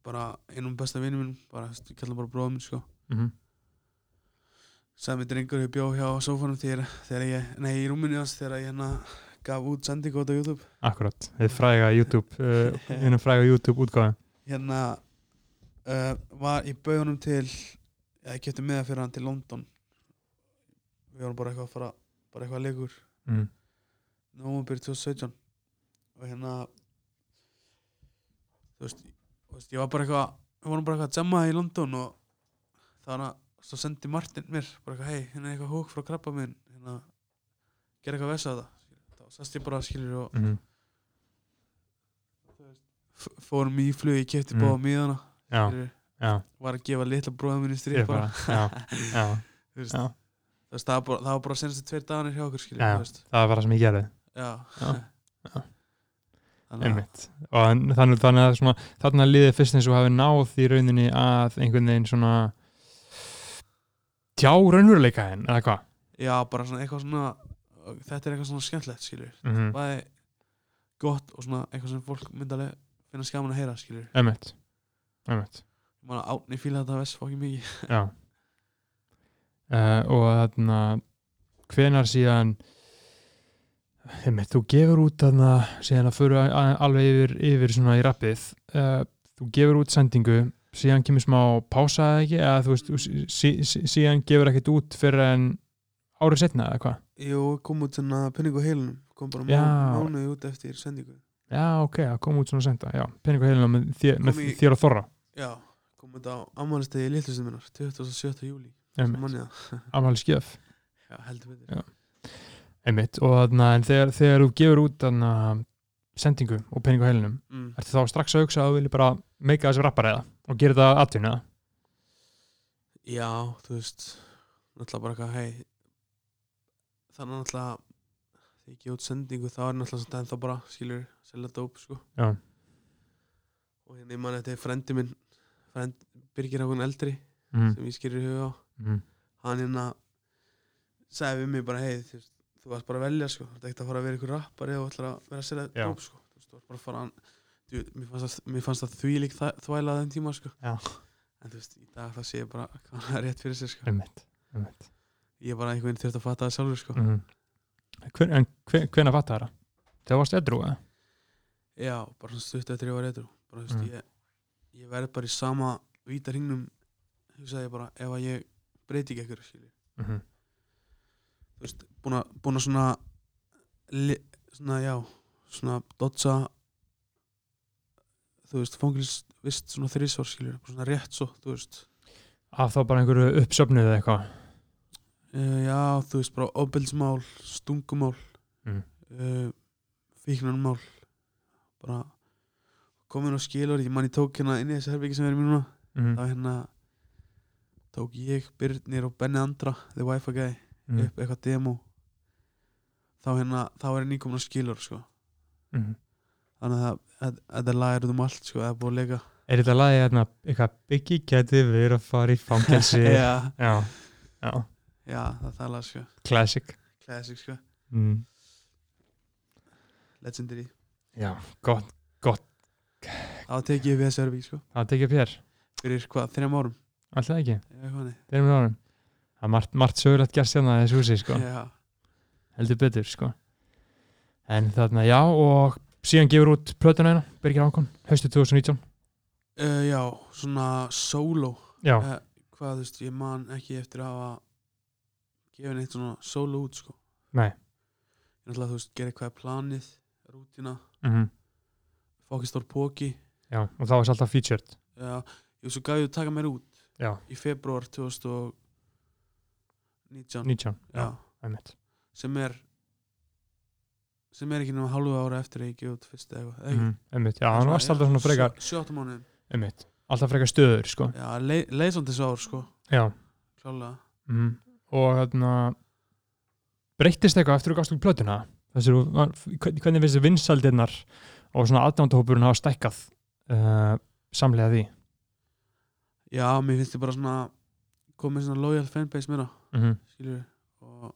H: bara einum besta vinnum minn bara, þú veist, ég kalla hann bara bróðum minn sko
A: Mhm.
H: sami drengur ég bjó hjá á sófanum þegar, þegar ég, nei í rúminu hans þegar ég hérna gaf út sendingót á YouTube
A: Akkurat, þið fræga YouTube, uh, hinnum fræga YouTube útgáðum.
H: hérna uh, var í bauðunum til eða ég getur meða fyrir hann til London við vorum bara eitthvað að fara bara eitthvað að leikur
A: Mm.
H: november 2017 og hérna þú veist, þú veist ég var bara eitthvað við vorum bara eitthvað að jamma í London og þannig að svo sendi Martin mér bara eitthvað hei, hérna er eitthvað húk frá krabba minn hérna, gera eitthvað vesa á það þá sast ég bara skilur og
A: Mhm.
H: f- fórum í flug, ég kefti
A: Mm.
H: mm. báða miðana
A: Já,
H: skilurðu.
A: já.
H: var að gefa litla bróða minni
A: Ég
H: stríð bara
A: bara, já, já.
H: Þú veist,
A: Já.
H: þú veist, það var bara, það var bara senstu tveir dagarnir hjá okkur skilur
A: Já,
H: þú
A: já.
H: veist.
A: Það var bara það sem ég gerði,
H: já.
A: Já, já.
H: Þannig að-
A: einmitt. Og en- þannig, þannig að svona, þarna liðið fyrst eins og hafi náð í rauninni að einhvern veginn svona tjá raunveruleika henn, eða hvað?
H: já, bara svona eitthvað svona þetta er eitthvað svona skemmtlegt skilur
A: Mhm.
H: bæði gott og svona eitthvað sem fólk myndalega finna skaman að heyra skilur
A: Einmitt, einmitt.
H: ég man að átni fíla þetta vest fokkið mikið
A: Já uh, Og þarna hvenar síðan einmitt, þú gefur út þarna síðan að fyrir alveg yfir, yfir svona í rappið uh, þú gefur út sendingu síðan kemur smá pása eða ekki eða þú veist, þú sí, sí- sí, síðan gefur ekkert út fyrir en árið setna eða hvað
H: ég kom út hérna svona penning og heilunum kom bara
A: Já.
H: mánu, mánuði út eftir sendingu
A: Já, ok, það kom út svona senda, já, penningu heilina með, þér, með
H: Kom í-
A: þér og Þorra
H: já, kom út á ammálistegi litlustum minnar 27. júli
A: einmitt,
H: manniða,
A: afhæli skjöf
H: já, heldur betur
A: einmitt, og þarna, en þegar, þegar þú gefur út þarna sendingu og penningu heilinum
H: mm.
A: ertu þá strax að hugsa að þú vilji bara meika þessu rappar eða og gera þetta atvinna
H: Já, þú veist náttúrulega bara eitthvað hei þannig náttúrulega þegar ég gefa út sendingu þá er náttúrulega samt ennþá bara skilur selja dóp sko
A: Já.
H: og hérna ég man þetta er frendi minn frend, Birgir Hákon Eldri
A: Mhm.
H: sem ég skilur í huga á
A: Mhm.
H: hann hérna sagði við mig bara hei þú, veist, þú varst bara að velja sko þetta er ekkert að fara að vera ykkur rappari og ætlar að vera að selja
A: Já.
H: dóp sko þú veist, þú varst bara að fara að Þú, mér, fannst að, mér fannst það þvílík þvæ- þvæla á þeim tíma sko.
A: Já.
H: en þú veist, í dag það sé ég bara hvað hann er rétt fyrir sér sko.
A: Einmitt, einmitt.
H: ég bara einhvern veginn þurft að fatta það sjálfur sko.
A: Mhm. Hver, en hver, hvernig fatt það það? Þegar varst edru eða?
H: já, bara svona stutt eftir ég var réttur bara, þú veist,
A: Mhm.
H: ég, ég verð bara í sama víta hringnum hugsaði ég bara, ef að ég breyti ekki ekkur skilji,
A: Mhm.
H: þú veist, búin að búin að svona li, svona, já, svona dodsa þú veist, fangilist vist svona þrísvar skilji, svona rétt svo, þú veist
A: Af þá bara einhverju uppsöfnuð eða eitthvað?
H: Uh, já, þú veist bara ofbeldsmál, stungumál,
A: Mm.
H: uh, fíknarmál, bara komin á skilur, ég man ég tók hérna inn í þessi herbyggi sem er í mínuna,
A: Mhm.
H: þá hérna tók ég, Byrnir og Benni Andra, The Wi-Fi Guy,
A: Mhm.
H: upp eitthvað demo, þá hérna, þá er ég nýkomin á skilur, sko,
A: Mhm.
H: þannig að það- að- að þetta lag er út um allt, sko, það er búið að leika.
A: Er þetta lagið hérna, eitthvað byggi geti verið að fara í fangelsi?
H: Já.
A: Já, já,
H: Já, það er það lag, sko,
A: classic.
H: classic, sko,
A: Mm.
H: legendary,
A: Já, gott, gott.
H: þá tekið ég við þessi herbyggi, sko,
A: Það tekið upp hér,
H: fyrir hvað, þrejum árum,
A: alltaf ekki.
H: eða hvað niður.
A: Þeir eru með árum. Það er margt, margt sögulegt gerst hérna í þessu húsi, sko.
H: Já.
A: Heldur betur, sko. En þarna, já, og síðan gefur út plötuna hérna, Birgir Ákon, haustu 2019.
H: Uh, já, svona solo
A: Já.
H: Eh, Hvað þú veist, ég man ekki eftir að hafa gefin eitt svona solo út sko
A: Nei.
H: Ég ætla að þú veist, gera hvað er planið, rútina
A: Mhm.
H: Fókist á póki
A: Já, og þá er alltaf featured.
H: Já, ég svo gaf ég að taka mér út
A: Já.
H: Í februar 2019
A: 19, já,
H: Já,
A: einmitt.
H: sem er sem er ekki nema halvu ára eftir að ég gefa út fyrst eða eitthvað eða ekki?
A: Mhm, Einmitt, já, hann varst alltaf svona frekar,
H: sjö- sjö, átta mánuðum.
A: einmitt, alltaf frekar stöður, sko.
H: Já, leið, leið svolítið svo ár sko
A: Já.
H: Klálega
A: Mm. Og þarna, breyttist eitthvað eftir að þú gafst úr plötuna? Þessir, hvernig hvernig finnst þér vinsaldirnar og svona aðdándahópurinn hafa stækkað uh, samlega því?
H: Já, mér finnst ég bara svona komið svona loyal fanbase meira
A: Mhm.
H: skilur og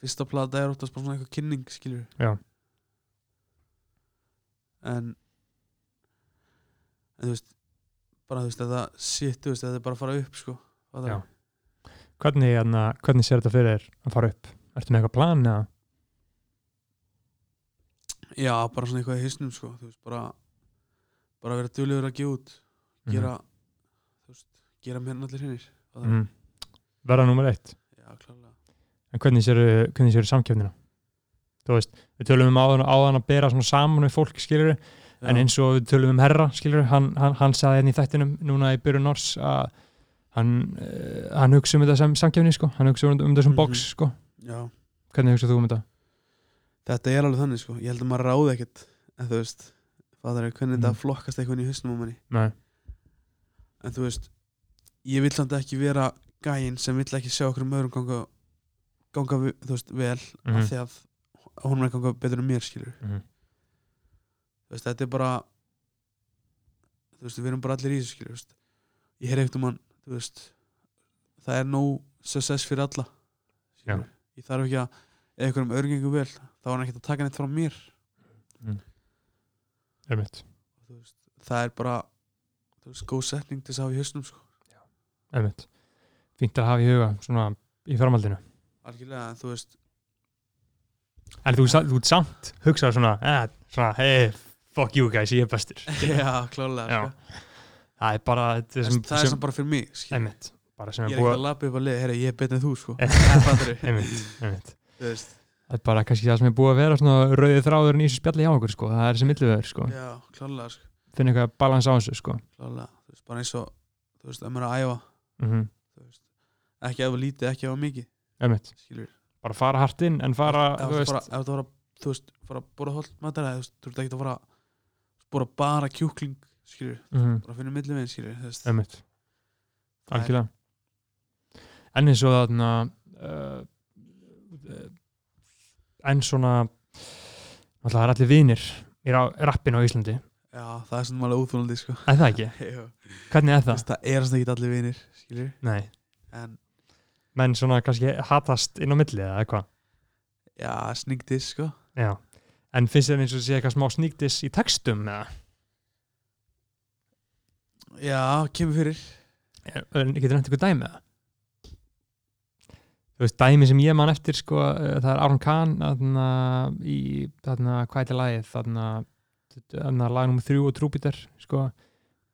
H: fyrsta plata er oftast bara svona eitthvað kynning skilur
A: Já.
H: en en þú veist bara þú veist þetta shit, þú veist þetta er bara að fara upp sko Fattar
A: Já. Hvernig, hérna, hvernig sér þetta fyrir þér að fara upp? Ertu með eitthvað plan eða?
H: Já, bara svona eitthvað í hisnum sko þú veist, bara, bara vera duðlegur að gefa út
A: Mhm.
H: gera þú veist, gera mér en allir hinnir
A: Mm. Verða nummer eitt.
H: Já, klálega
A: En hvernig sér, hvernig sér samkjöfnina? Þú veist, við tölum um áðan, áðan að bera svona saman við fólk, skilur en
H: Já.
A: eins og við tölum um herra, skilur hann, hann, hann sagði henni í þættinum núna í byrjun árs að hann, uh, hann hugsa um þetta sem samkjöfni, sko hann hugsa um, um þessum mm box,
H: Mhm.
A: sko
H: Já.
A: Hvernig hugsa þú um þetta?
H: þetta er alveg þannig sko ég held að maður ráði ekkert en þú veist fattar ég hvernig
A: Mhm.
H: þetta flokkast eitthvað inn í hausnum á manni
A: Nei.
H: en þú veist ég vill samt ekki vera gæinn sem vill ekki sjá okkur um öðrum ganga ganga vi- þú veist vel mm
A: Mhm.
H: af því að honum er að ganga betur en mér skilur
A: Mhm.
H: þú veist þetta er bara þú veist við erum bara allir í þessu skilur þú veist. ég heyr ekkert um hann þú veist það er nóg success fyrir alla skilur. ég þarf ekki að ef eitthvað um örgengu vel þá er hann ekkert að taka neitt frá mér
A: Einmitt,
H: það er bara þú veist, góð setning til þess að hafa í hausnum sko.
A: einmitt Fínt að hafa í huga, svona í framhaldinu
H: algjörlega en þú veist
A: En þú, sa- þú ert samt hugsaði svona, eh, svona hey, fuck you guys, ég er bestur.
H: já klálega
A: Já. Það er bara þetta
H: sko.
A: sem,
H: það er sem bara fyrir mig skilur.
A: Einmitt, bara sem
H: ég
A: er
H: er ekkert
A: búið
H: að lappa upp að liða, herra ég er betur en þú sko.
A: að...
H: Fattarðu?
A: einmitt, einmitt.
H: Þú veist,
A: Það er bara kannski það sem er búið að vera svona rauðið þráðurinn í þessu spjalli hjá okkur, sko. Það er sem milliveður, sko.
H: já klálega sko.
A: Finn eitthvað balans á þessu, sko.
H: klálega þú veist, bara eins og þú veist, ef maður er að æfa
A: Mm
H: þú veist, ekki að lítið, ekki að mikið
A: Einmitt.
H: skilur
A: Bara fara hart inn, en fara,
H: ef
A: þú
H: þú
A: veist...
H: fara- ef þú fara þú veist, fara að bóra holt mataræði þú veist, þú ert ekki að fara bóra bara kjúkling skilur,
A: Mhm.
H: bara að finna millivinn skilur þú veist,
A: Einmitt. algjörlega en eins og þarna uh, uh, en svona alltaf það er allir vinir í ra- rappinu á Íslandi
H: Já, það er svona alveg úþólandi sko
A: Er það ekki?
H: Jú.
A: Hvernig er það?
H: Þú veist, Það er svona ekki allir vinir, skilur
A: Nei.
H: En
A: menn svona kannski hatast inn á milli eða eitthvað
H: já, sningdis sko
A: Já. en finnst þér eins og sé eitthvað smá sníktis í textum eða
H: Já, kemur fyrir
A: En getur nefnt ykkur dæmi eða þú veist dæmi sem ég man eftir sko eh, það er Aron Kahn þarna í þarna hvað heitir lagið þarna þarna lag nr. 3 og Trúbítar sko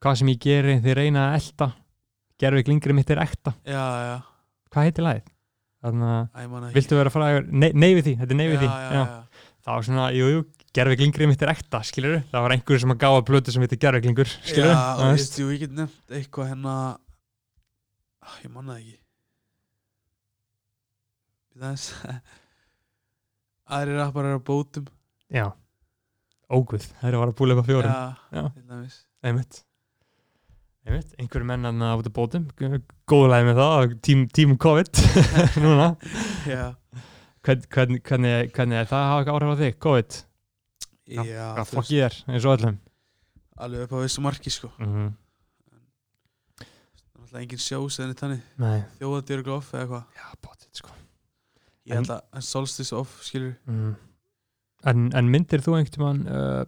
A: hvað sem ég geri þið reyna að elta gerðu ekki lingri mitt er ekta
H: Já, já,
A: hvað heitir lagið þarna
H: Æ, ég man það ekki.
A: viltu vera frægur nei, nei við því þetta er nei við
H: Já,
A: því
H: já,
A: það var svona jú jú gerðu ekki lingri mitt er ekta skilur það var einhverjum sem að gáða plötu sem heitir gerðu ekki lingur skilur
H: Já, og ég veist, jú, ég get nefnt eitthvað hérna Ah, Ég man það ekki Við aðeins Aðrir rappar eru á bótum
A: Já, óguð, það er að vara að búla upp á fjórum
H: Já, til dæmis.
A: einmitt Einmitt, einhverjum menn hann út af bótum góðlega með það, tím, tím COVID núna
H: Já.
A: hvern, hvern, hvernig, hvernig er það að hafa eitthvað áhrif á þig, COVID
H: Já,
A: Hvað
H: þú
A: fokk ég er, eins og öllum
H: Alveg upp á vissu marki, sko
A: Mhm.
H: Það er alltaf engin sjós eða neitt þannig
A: Nei.
H: Þjóðadýr og off eða eitthvað
A: Já, bóttið sko
H: Ég
A: En-
H: held að en solstis off skilur
A: mm. en, en myndir þú einhvern tímann uh,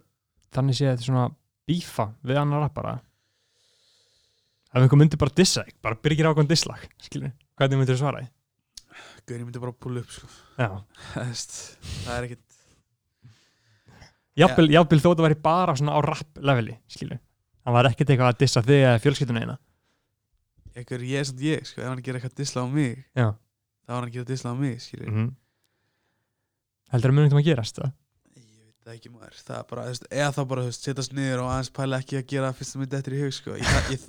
A: þannig séð svona bífa við annar rappara ef einhver myndir bara dissa þig, bara byrgir ákvæm disslag skilur, hvernig myndir þú svara því?
H: Guðin, ég myndi bara púla upp sko
A: Já.
H: Það veist, það er ekkit
A: Jafnvel, jafnvel þó þetta væri bara svona á rap leveli, skilur. Hann var ekkert eitthvað að dissa þig eða fjölskylduna eina.
H: Ekkur ég er samt ég sko Ef hann gerir eitthvað disla á mig
A: Já.
H: Það var hann að gera disla á mig skilur
A: Mhm. Heldur það munum þetta að gerast það?
H: Það er ekki maður Það er bara, þú veist, eða þá bara, þú veist, setjast niður og aðeins pæla ekki að gera fyrst sem myndi eftir í hug sko ég, ég,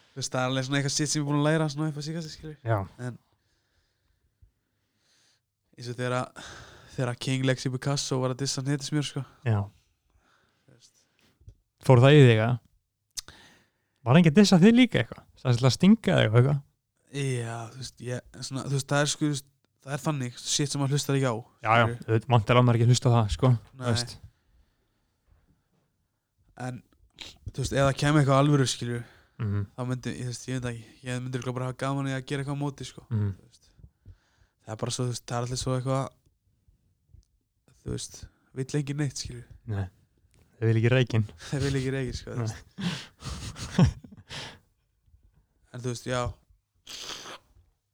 H: Þú veist, það er alveg svona eitthvað sitt sem ég er búin að læra svona eitthvað síkast skilur
A: Já.
H: En eins og þegar að þegar að King Lexi Picasso var að dissa netismjör sko
A: Já. Fór það í þig að? Var enginn að dissa þig líka eitthvað? Það er svolítið að stinga þig og eitthvað?
H: Já, þú veist, ég, svona, þú veist, það er sko, þú veist, það er þannig, shit sem maður hlustar ekki á.
A: Já, já,
H: skilurðu.
A: þetta vantar að maður ekki að hlusta á það, sko.
H: Nei.
A: Þú veist.
H: En, þú veist, eða kemur eitthvað alvöru, skilju,
A: Mhm.
H: þá myndi, ég, þú veist, ég veit það ekki, ég myndi líka bara hafa gaman í að gera eitthvað á móti, sko.
A: Mhm.
H: Þú veist, það er bara svo, þú veist, það er allir svo eitthvað, þú veist, vill engin neitt, skilju.
A: Nei. Þau vil ekki reygin.
H: Það vil ekki reygin, sko, þú veist. En, þú veist, já,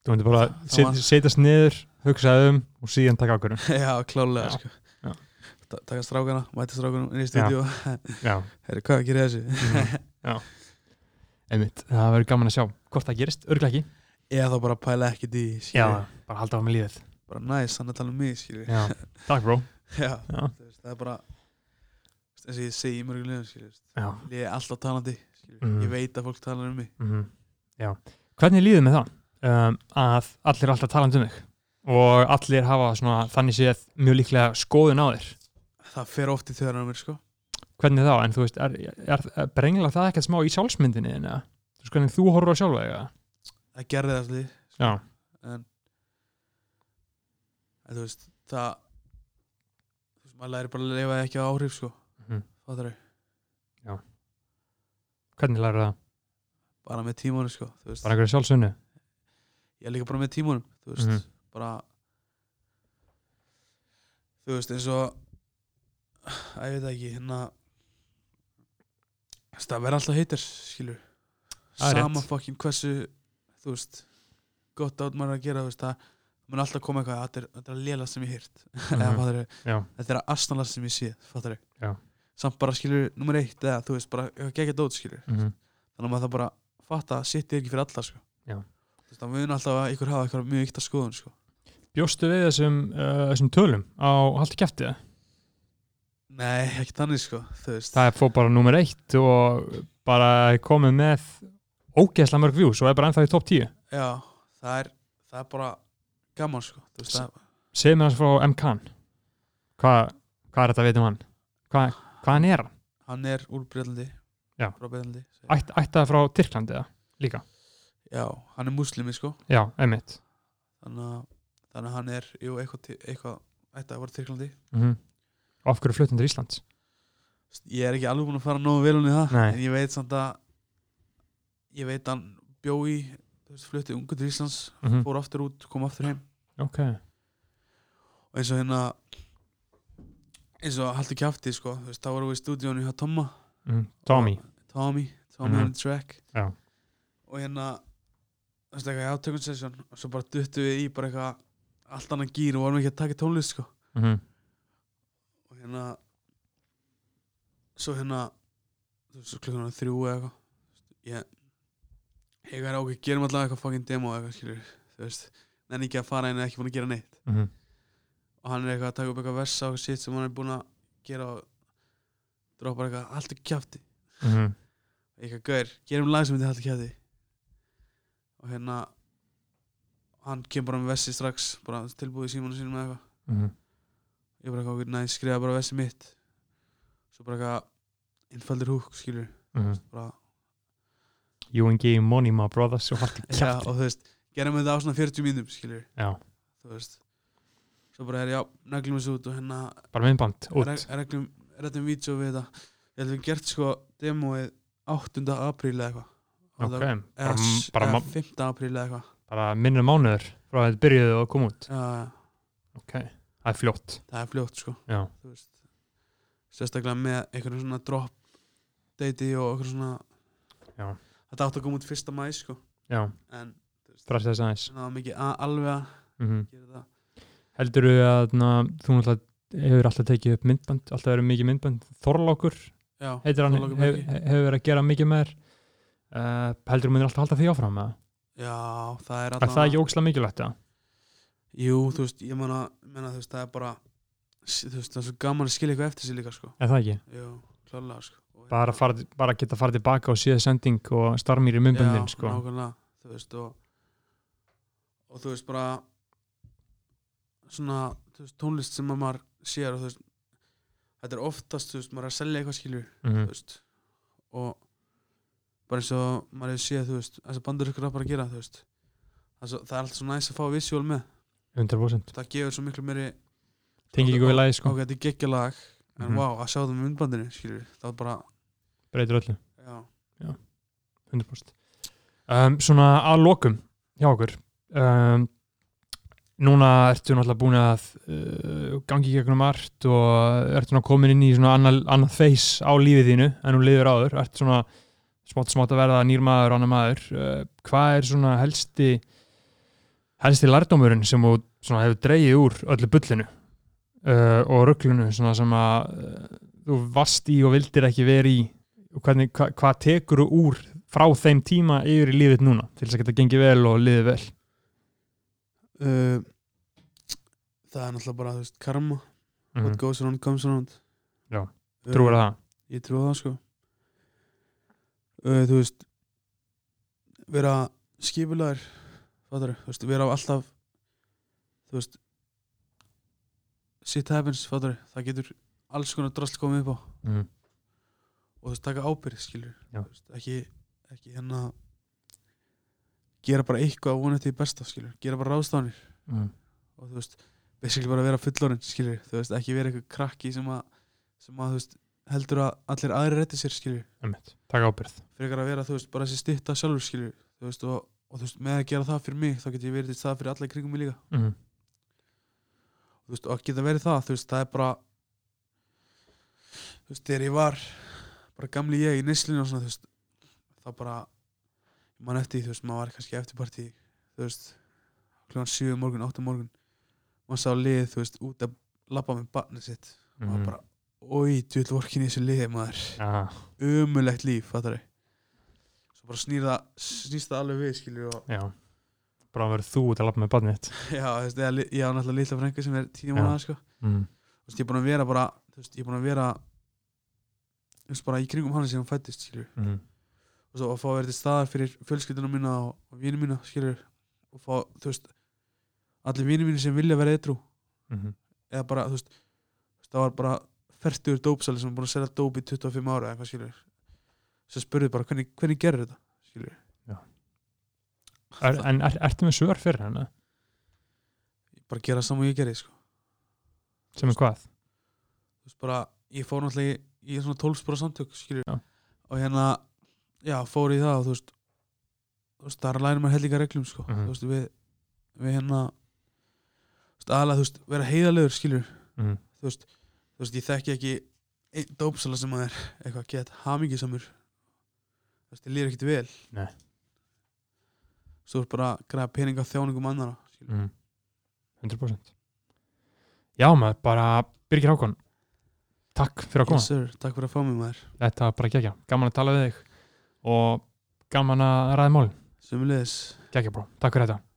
A: Þú myndir bara
H: Það
A: set,
H: var-
A: setjast niður, hugsa um og síðan taka ákvörðun.
H: já, klálega,
A: Já,
H: sko.
A: já.
H: Ta- Taka strákana, mæta strákunum inn í stúdíu.
A: Já.
H: Herru, hvað gerir þessu?
A: Mhm. Já. Einmitt, það verður gaman að sjá hvort það gerist, örglega ekki.
H: Eða þá bara pæla ekkert í, því, skilju.
A: Já, bara halda á með lífið
H: bara næs, hann er að tala um mig, skilju.
A: Já. Takk bró
H: Já,
A: Já.
H: þú veist, það er bara þú veist, eins og ég segi í mörgum liðum skilur, þú veist,
A: Já.
H: ég er alltaf talandi skilur,
A: Mhm.
H: ég veit að fólk talar um mig
A: Mhm. Já. Hvernig líður með það? Um, að allir er alltaf talandi um þig og allir hafa svona þannig séð mjög líklega skoðun á þér
H: það fer oft í þjóðan á mér sko
A: Hvernig þá? En þú veist, er, er, er brengla það ekkert smá í sjálfsmyndinni en að þú veist hvernig þú horfur á sjálfa þig eða?
H: það gerði það allir
A: Já,
H: en, en þú veist það þú veist, maður læri bara að lifa ekki á áhrif sko
A: Mhm.
H: það þarf
A: hvernig lærir það?
H: bara með tímanum sko þú veist,
A: Bara einhverju sjálfsunni?
H: ég er líka bara með tímanum þú veist,
A: Mhm.
H: bara þú veist, eins og að ég veit það ekki, hérna þú veist, það verða alltaf heitir, skilur
A: Það er rétt.
H: sama fokkin hversu þú veist, gott át maður er að gera þú veist, það mun alltaf koma eitthvað þetta er, þetta er að lela sem ég heyrt eða,
A: Mhm.
H: fattarðu,
A: Já.
H: þetta er að astnala sem ég sé fattar
A: Já.
H: samt bara skilur nummer eitt eða þú veist, bara gegja dót skilur
A: Mhm.
H: þannig að maður það bara fatta að sitt er ekki fyrir alla sko.
A: Já.
H: þú veist, það mun alltaf að ykkur hafa eitthvað mjög ykta skoðun sko.
A: Bjóstu við þessum, uh, þessum tölum á haldi kæftið?
H: nei, ekki þannig sko, þú veist
A: Það er fór bara nummer eitt og bara komið með ógeðslega mörg views og er bara ennþá í topp 10
H: já, það er, það er bara gaman sko, þú veist það
A: segð mér hans frá M. Khan hvað hva er þetta að vita um hann Hva, hvað hann er hann?
H: hann er úr Breitlandi
A: Já.
H: frá Breitlandi
A: Ætt, ættaði frá Tyrklandi eða líka
H: Já, hann er muslimi sko
A: Já, einmitt
H: þannig að, þannig að hann er jú, eitthvað, til- eitthvað ætti að vera Tyrklandi
A: mm Og af hverju flutt hann til Íslands?
H: ég er ekki alveg búin að fara nógu vel hún í það
A: Nei.
H: en ég veit samt að ég veit að hann bjó í þú veist, flutti ungu til Íslands
A: Mhm.
H: fór aftur út, kom aftur heim
A: Ok,
H: og eins og hérna eins og haldur kjafti sko þú veist, þá vorum við í stúdíónu hjá Tomma
A: mm, Tommy
H: Tommy, Tommy
A: Mhm.
H: on the track
A: Já.
H: og hérna þú veist eitthvað í átökun session og svo bara duttum við í bara eitthvað allt annan gýr og vorum ekki að taka í tónlist sko
A: Mhm.
H: og hérna svo hérna þú veist, svo klukkan var þrjú eða eitthvað ég ég er ákveð, gerum um allavega eitthvað fucking demo eða eitthvað skilur, þú veist nenni ekki að fara inn eða ekki búin að gera neitt
A: Mhm.
H: og hann er eitthvað að taka upp eitthvað versa og sitt sem hann er búin að gera og droppar eitthvað, allt er kjafti
A: Mhm.
H: eitthvað gaur, gerum lag sem þetta haldi kjæði og hérna hann kemur bara með vessi strax bara tilbúið í símanu sínum eða eitthvað
A: Mhm.
H: ég bara eitthvað, næ, skrifa bara vessi mitt svo bara eitthvað innfaldir húk, skilur
A: Mhm.
H: bara,
A: UNG Money My Brothers og haldi
H: já,
A: kjátt
H: og þú veist, gerum þetta á svona 40 mínum, skilur
A: Já.
H: þú veist svo bara er, já, neglum þessu út og hérna
A: Bara myndband, út.
H: reg- reglum, reddum vídeo við þetta ég held við gert sko demóið 8. apríl eða eitthvað Og
A: Ok,
H: það-
A: bara-
H: eða-
A: bara
H: eða
A: ma-
H: 15. apríl eða eitthvað
A: Bara minnum mánuður frá að þetta byrjuðu að koma út
H: Já, já.
A: Ok, það er fljótt
H: það er fljótt sko
A: Já.
H: Þú veist, sérstaklega með einhverjum svona drop deiti og einhverjum svona
A: Já.
H: þetta átti að koma út fyrsta mæ sko
A: Já.
H: en þú veist,
A: Fresta þess aðeins.
H: það var mikið a- alveg að
A: Mhm.
H: gera það
A: Heldurðu að na, þú náttúrulega hefur alltaf tekið upp myndband, alltaf verið mikið myndband Þorlákur,
H: Já,
A: heitir hann,
H: Þorlákur
A: hefur hef
H: Bjarki.
A: hefur verið að gera mikið með þér uh, Heldurðu munir alltaf halda því áfram eða?
H: Já, það er
A: Er það ekki ókslega mikilvægt eða?
H: Jú, þú veist, ég meina, meina þú veist, það er bara þú veist, það er svo gaman að skilja eitthvað eftir sér líka sko
A: Er það ekki?
H: Jú, klálega sko
A: Bara, fara, bara geta að fara tilbaka og síða sending og starmýri myndbandin
H: Já,
A: sko.
H: nákvæmlega, þú veist og, og þú veist bara svona þú veist, tónlist sem að maður sér og þú veist þetta er oftast, þú veist, maður er að selja eitthvað skilur
A: Mhm.
H: þú veist og bara eins og maður hefur séð, þú veist þess að bandur ykkur að bara gera, þú veist það er, svo, það er alltaf svo næs að fá visual með
A: 100%
H: það gefur svo miklu meiri
A: Tengingu við lagið, sko.
H: ok, þetta er geggjalag en
A: Mhm.
H: wow, að sjá það með myndbandinu, skilur það er bara,
A: breytir öllu
H: já,
A: 100% um, Svona að lokum hjá okkur um, Núna ertu náttúrulega búin að uh, gangi í gegnum margt og ertu náttúrulega komin inn í svona annað, annað feys á lífið þínu en hún liður áður, ertu svona smátt og smátt að verða nýr maður, annar maður uh, hvað er svona helsti helsti lærdómurinn sem þú svona hefur dreigið úr öllu bullinu uh, og rugglunu svona sem að uh, þú vast í og vildir ekki verið í og hvernig, hva, hvað tekur þú úr frá þeim tíma yfir í lífið núna til þess að geta gengið vel og liðið vel
H: uh, það er náttúrulega bara, þú veist, karma
A: Mhm.
H: what goes around comes around
A: Já.
H: Uh,
A: Trúirðu það?
H: ég trúi það sko uh, þú veist vera skipulagur fattar þú veist, vera alltaf þú veist shit happens, fattar það getur alls konar drast komið upp á
A: Mhm.
H: og þú veist, taka ábyrð, skilur
A: Já.
H: Þú veist, ekki, ekki hérna gera bara eitthvað að vona til því besta, skilur, gera bara ráðstafnir
A: Mhm.
H: og þú veist basically bara vera fullorinn, skilur, þú veist ekki vera eitthvað krakki sem að, sem að þú veist, heldur að allir aðri rétti sér, skilur
A: Einmitt. taka ábyrð
H: frekar að vera, þú veist, bara þessi stytta sjálfur, skilur þú veist, og, og þú veist, með að gera það fyrir mig þá get ég verið það fyrir alla í kringum mig líka
A: Mhm.
H: þú veist, og að geta verið það, þú veist, það er bara þú veist, þegar ég var bara gamli ég í neslinu og svona, þú veist þá bara, ég man eftir, því, þú veist, maður var kannski eftirparti, þú veist kljóðan 7 morgun, 8 morgun maður sá lið, þú veist, út að labba með barnið sitt,
A: Mhm.
H: maður bara oi, þú vil vorkin í þessu liði, maður
A: Ah.
H: umulegt líf, fattar þau svo bara snýr það, snýst það alveg við, skilur og
A: já bara að vera þú til að lappa með badnið þitt
H: já, þú veist, eða li- ég á náttúrulega litla frængu sem er tíu
A: Já.
H: mánuða, sko
A: Mm.
H: þú veist, ég er búin að vera bara, þú veist, ég er búin að vera þú veist, bara í kringum hann sem hún fættist, skilur
A: Mhm.
H: og svo að fá að vera til staðar fyrir fjölskylduna mína og, og vini mína, skilur og fá, þú veist, allir vini mínu sem vilja vera eitrú
A: Mhm.
H: eða bara, þú veist, þú veist, það var bara færtur dópsali sem er búin að selja dóp í 25 ára eða eitthvað, skilur sem spurði bara, hvernig, hvernig gerir þetta, skilur
A: Já. er, en er, ertu með svör fyrir hana
H: bara gera saman og ég gerði sko.
A: sem er hvað?
H: Þú veist bara, ég fór náttúrulega í, í svona 12 spora samtök skilur
A: Já.
H: og hérna, já, fór í það og þú veist, þú veist, þar lærum við hellinga reglum sko,
A: Mhm.
H: þú veist, við við hérna þú veist, aðlega, þú veist, vera heiðalegur skilur
A: Mhm.
H: þú veist, þú veist, ég þekki ekki einn dópsala sem að er eitthvað gett hamingisamur þú veist, ég lýr ekkert vel
A: Nei.
H: svo er bara að græða peninga þjáningum annara skilur.
A: Mm. 100% Já maður, bara Birgir Hákon Takk fyrir að koma
H: yes, sir, takk fyrir að fá mig maður
A: Þetta var bara gegja, gaman að tala við þig og gaman að ræða málin
H: sömulegis
A: Gegja bró, takk fyrir þetta